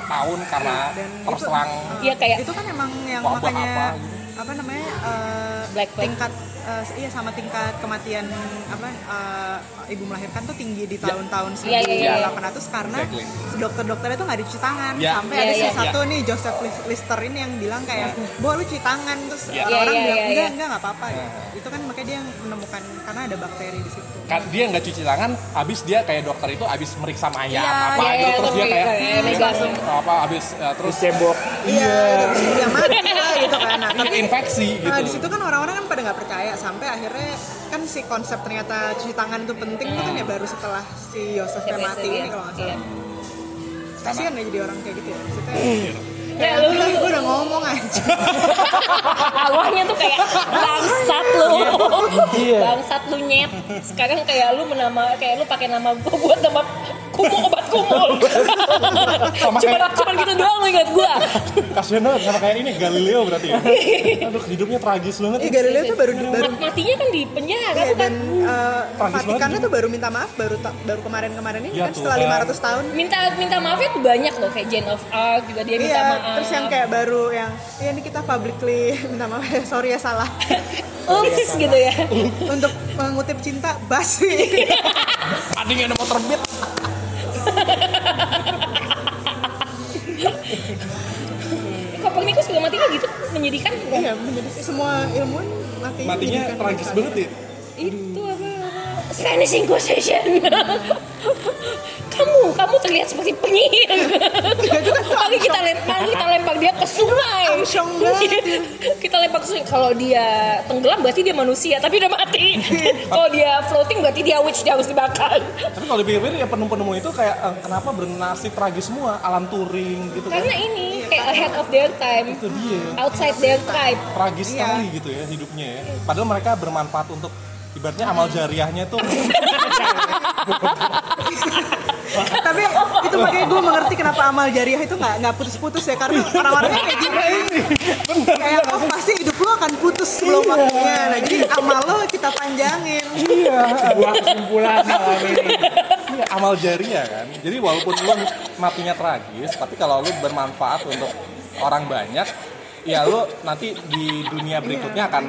tahun karena Dan itu- terserang Iya kayak itu kan emang yang Wabah makanya apa apa, gitu. namanya eh, Black plague. tingkat eh, iya sama tingkat kematian apa eh, ibu melahirkan tuh tinggi di tahun-tahun Iya, iya, iya. 1800 karena Exactly. dokter-dokternya tuh nggak dicuci tangan Iya. sampai Iya, ada iya. salah satu nih Joseph Lis- Lister ini yang bilang kayak bu lu cuci tangan terus orang-orang Iya, iya, bilang iya, enggak iya. enggak nggak apa-apa gitu. itu kan makanya dia yang menemukan karena ada bakteri di situ Kan dia nggak cuci tangan abis dia kayak dokter itu abis meriksa mayat Iya, apa iya, gitu iya, terus dia terus kayak kayak dia megang. langsung apa abis eh, terus terus cebok iya terus dia mati lah gitu kan Nah, tapi infeksi gitu Nah, di situ kan orang-orang kan pada nggak percaya sampai akhirnya kan si konsep ternyata cuci tangan itu penting itu kan ya baru setelah si Yosef Siapa mati itu, ini ya? kalau nggak Iya. salah. Kasian ya jadi orang kayak gitu ya. Maksudnya Ya, lu- lu- gue udah ngomong aja awalnya tuh kayak bangsat lu Iya. bangsat lu nyet sekarang kayak lu menama kayak lu pakai nama gua buat nama kumo obat kumo Sama cuman kayak- cuman gitu doang lu ingat gua Kasian banget sama kayak ini Galileo berarti ya. Aduh hidupnya tragis banget. eh Galileo tuh baru baru Mat- matinya kan di penjara Iya, bukan dan eh, Tragis Vatikannya banget. tuh baru minta maaf baru ta- baru kemarin-kemarin ini Ya kan setelah Tuhan. 500 tahun minta minta maafnya tuh banyak loh kayak Jane of Arc juga dia Iya, minta Iya, maaf terus yang kayak baru yang ya ini kita publicly minta maaf ya, sorry ya salah. ups gitu ya Untuk mengutip cinta Iya. basi. Anjing ada motor beat. Kopernikus juga matinya gitu menyedihkan nggak? Iya, menjadi semua ilmuwan mati. Matinya pendidikan tragis pendidikan. banget ya. itu apa Spanish Inquisition kamu kamu terlihat seperti penyihir itu kan Iya. tuh mari kita lempar mari kita lempar dia ke sungai Amsyong banget. kita lempar ke sungai kalau dia tenggelam berarti dia manusia tapi udah mati kalau dia floating berarti dia witch dia harus dibakar Tapi kalau dipikir-pikir ya penemu-penemu itu kayak eh, kenapa bernasib tragis semua, Alan Turing gitu kan. karena ini kayak ahead of their time Itu dia. outside their time Tragis Iya. sekali gitu ya hidupnya ya. Padahal mereka bermanfaat untuk ibaratnya amal jariahnya tuh Tapi itu makanya gue mengerti kenapa amal jariah itu nggak nggak putus-putus ya karena orang-orangnya kayak gini. Iya. Kayak oh, pasti hidup lo akan putus sebelum Iya. waktunya. Nah, jadi amal lo kita panjangin. Oh Sebuah kesimpulan malam ini. Iya, amal jariah kan. Jadi walaupun lu matinya tragis, tapi kalau lu bermanfaat untuk orang banyak, ya lu nanti di dunia berikutnya akan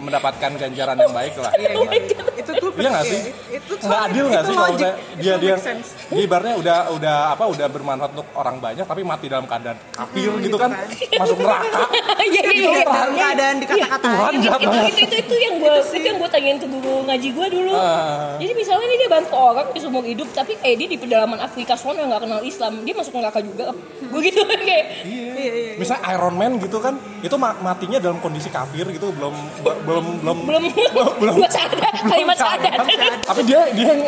mendapatkan ganjaran yang baik lah. Iya, gitu. Itu tuh Iya nggak sih? iya, Itu tuh Nggak adil nggak itu sih kalau logic. misalnya dia Itu dia make sense. dia ibaratnya udah udah apa udah bermanfaat untuk orang banyak tapi mati dalam keadaan kafir gitu kan masuk neraka Iya, iya, iya. Iya, dalam keadaan Tuhan dikata-katain jahat itu, banget itu itu itu yang gue itu yang gue tanyain ke guru ngaji gue dulu Ah. jadi misalnya nih dia bantu orang di seumur hidup tapi kayak dia di pedalaman Afrika sono nggak kenal Islam dia masuk neraka juga gue gitu kan kayak Iya, iya, misalnya Iron Man gitu kan itu ma- matinya dalam kondisi kafir gitu belum belum belum belum belum- belum sadar kalimat sadar tapi dia dia yang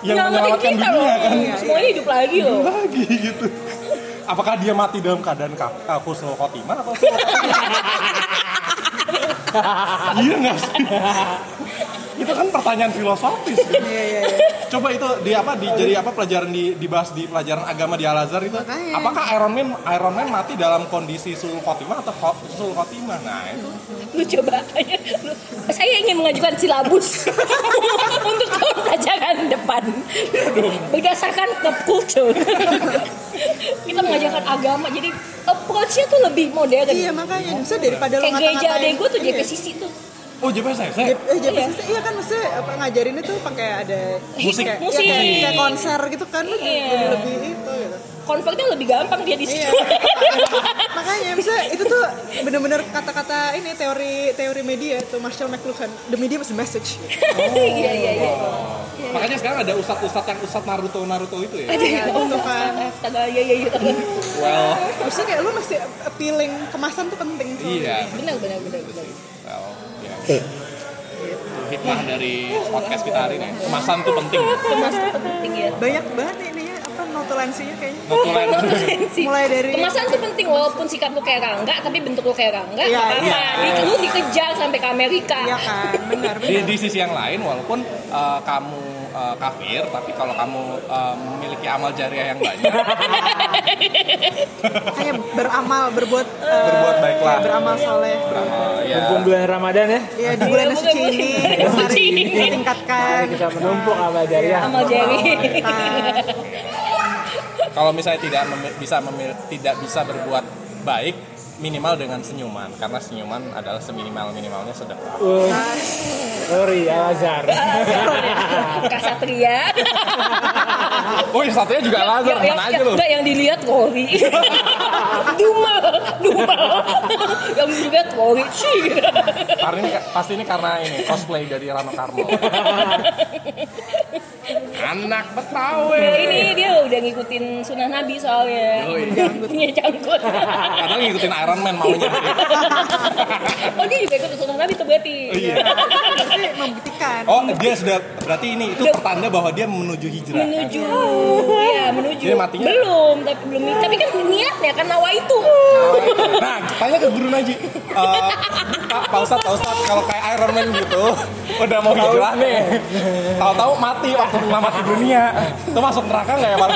yang menyelamatkan nyelamatin kita gitu loh dunia kan semuanya hidup lagi loh lagi gitu apakah dia mati dalam keadaan kaf- uh, khusnul khotimah atau iya nggak sih itu kan pertanyaan filosofis gitu. Iya, iya, iya. coba itu di apa di jadi apa pelajaran di dibahas di pelajaran agama di Al Azhar itu Makanya. apakah Iron Man Iron Man mati dalam kondisi sul khotimah atau sul khotimah nah itu lu coba aja lu, saya ingin mengajukan silabus untuk tahun pelajaran depan berdasarkan pop culture kita mengajarkan agama jadi approach-nya tuh lebih modern Iya makanya bisa daripada lo kayak gereja ngata-ngatain. adek gue tuh Iya. JPCC tuh oh JPSS J- eh, JPCC iya kan maksudnya apa, ngajarinnya tuh pakai ada Musik. kayak, Musik. ya, kayak, kayak konser gitu kan lo jadi Iya. jadi lebih itu gitu. konvertnya lebih gampang dia di situ Iya. makanya bisa itu tuh bener-bener kata-kata ini teori teori media tuh Marshall McLuhan the media was the message. iya iya iya Makanya sekarang ada ustadz-ustadz yang ustadz Naruto Naruto itu ya. Aduh, Iya, oh, gitu kan. astaga, iya iya iya Well, Maksudnya kayak lo masih appealing kemasan tuh penting. iya. benar benar benar benar Well, ya. Itu Hikmah dari podcast kita hari ini. Kemasan tuh penting. kemas tuh penting ya iya. Banyak banget ini iya, apa notulensinya kayaknya. Notulen. Notulensi. Mulai dari- kemasan tuh penting walaupun sikap lu kayak Rangga tapi bentuk lu kayak Rangga Iya, nggak apa-apa. iya. Di- lu dikejar sampai ke Amerika. Iya kan, benar Di, benar. di sisi yang lain, walaupun eh, kamu eh, kafir, tapi kalau kamu eh, memiliki amal jariah yang banyak, eh, Makanya beramal, berbuat eh, Berbuat baiklah. beramal soleh. eh, ya Mumpung bulan Ramadan ya. Iya di bulan Iya, suci bukan- ini bulan suci mari ini. ditingkatkan. Kita menumpuk amal jariah. Sama Iya. Jerry. Nah, kalau misalnya tidak memi- bisa memil- tidak bisa berbuat baik, minimal dengan senyuman, karena senyuman adalah seminimal minimalnya sedekah. Uh, sorry Al Azhar. Kasatria. Oh, yang satunya juga lazar, yang, mana aja yang, loh. enggak, yang dilihat Rory. Dumal, Dumal. yang dilihat Rory sih. Karena ini, pasti ini karena ini cosplay dari Rano Karno. Anak Betawi. Nah, ini dia udah ngikutin sunnah Nabi soalnya. Yoi. Punya jangkut. Kadang ngikutin Iron Man maunya. oh dia juga ikut sunnah Nabi tuh berarti. iya. tapi membuktikan. Oh, dia sudah berarti ini itu pertanda bahwa dia menuju hijrah. menuju ya menuju Jadi matinya? belum tapi belum tapi kan niatnya kan Nawa itu. Nah, tanya ke guru Naji. Eh, Pak, Pak Ustadz, Pak Ustadz, kalau kayak Iron Man gitu, udah mau hijrah nih. Tahu-tahu mati waktu melamati dunia. Itu masuk neraka nggak ya, Pak?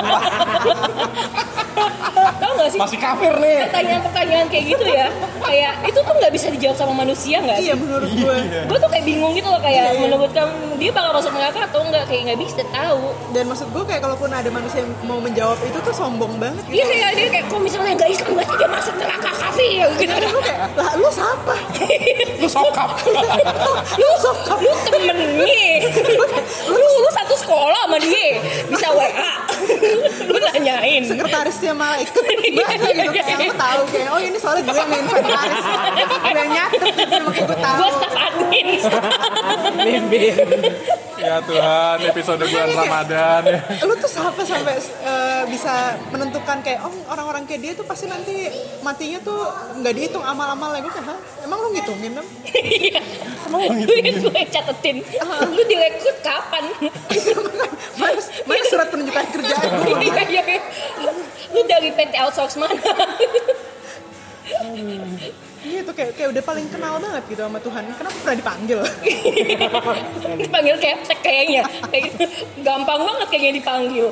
Tahu nggak sih? Masih kafir nih. Pertanyaan-pertanyaan kayak gitu ya. Kayak itu tuh nggak bisa dijawab sama manusia nggak sih? iya menurut gue Gue tuh kayak bingung gitu loh kayak menurut kamu dia bakal masuk neraka atau enggak kayak nggak bisa tahu. dan maksud gue kayak kalaupun ada manusia yang mau menjawab itu tuh sombong banget gitu Iya kayak dia kayak kok misalnya nggak Islam berarti dia masuk neraka kafir gitu. Kadang lu kayak lah lu siapa Lu sokap. lu sokap lu temen nih lu lu satu sekolah sama dia bisa WA lu nanyain sekretarisnya malaikat banyak gitu kayak aku tahu kayak oh ini soalnya gue yang inventaris udah nyatu gitu makanya gue tahu gue staff admin Ya Tuhan, episode bulan Ramadan. ya. lu tuh siapa sampai eh, bisa menentukan kayak oh orang-orang kayak dia tuh pasti nanti matinya tuh nggak dihitung amal-amalnya gue kayak "Hah? emang lu ngitungin Nam?" Iya. lu yang gue catetin lu direkrut kapan mana, mana surat penunjukan kerjaan gue Iya, iya, iya. lu dari PT outsource mana iya tuh kayak kayak udah paling kenal banget gitu sama Tuhan kenapa pernah dipanggil dipanggil keptek kayaknya kayak gitu. gampang banget kayaknya dipanggil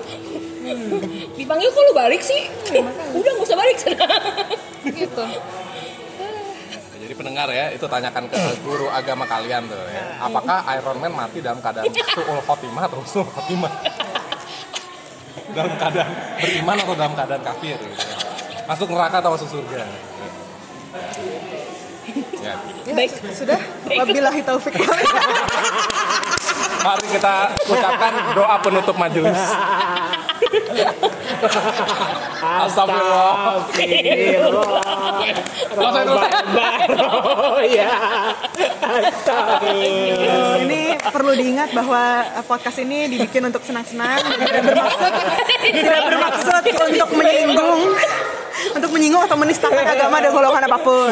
dipanggil kok lu balik sih udah gak usah balik gitu Jadi pendengar ya, itu tanyakan ke guru agama kalian tuh ya. Apakah Iron Man mati dalam keadaan suul khotimah atau usul khotimah? Dalam keadaan beriman atau dalam keadaan kafir gitu. ya. Masuk neraka atau masuk surga? Ya, ya, Baik. sudah Baik. wabillahi taufik mari kita ucapkan doa penutup majelis. Astagfirullah. Selesai, selesai. Oh ya. ini perlu diingat bahwa eh, podcast ini dibikin untuk senang-senang tidak bermaksud tidak bermaksud untuk menyinggung untuk menyinggung atau menistakan agama dan golongan apapun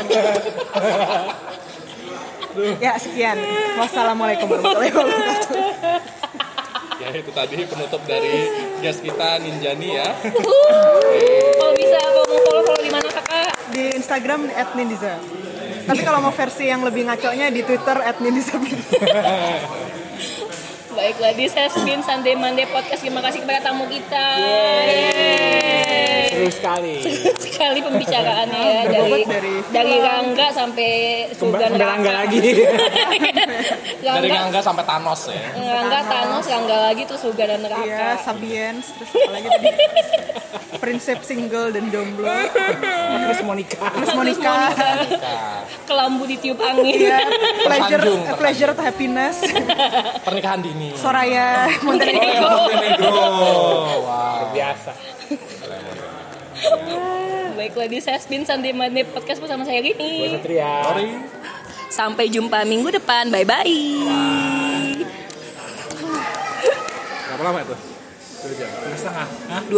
ya sekian wassalamualaikum warahmatullahi wabarakatuh Ya itu tadi penutup dari guest kita Ninjani ya. kalau bisa kalau mau follow follow di mana kakak di Instagram @nindiza tapi kalau mau versi yang lebih ngaconya di Twitter @nindiza baiklah di Sesbin Sunday Monday Podcast terima kasih kepada tamu kita Yeay. Seru sekali. sekali pembicaraannya ya dari Berbobot dari film. dari Rangga sampai surga Kembali neraka nggak lagi. Dari Rangga Gangga sampai Thanos ya. Rangga Thanos Rangga lagi terus surga dan Iya, neraka Sabiens, terus apa lagi tadi? Prinsip single dan jomblo, Terus Monica. terus Monica, kelambu ditiup angin iya, pleasure, Tersanjung, eh, pleasure to happiness, Pernikahan dini. Soraya, Montenegro. Biasa. Baiklah di Sesbin Sunday Monday Podcast bersama saya Gue Rini Satria. Sampai jumpa minggu depan Bye bye Berapa lama itu? Dua jam. Setengah.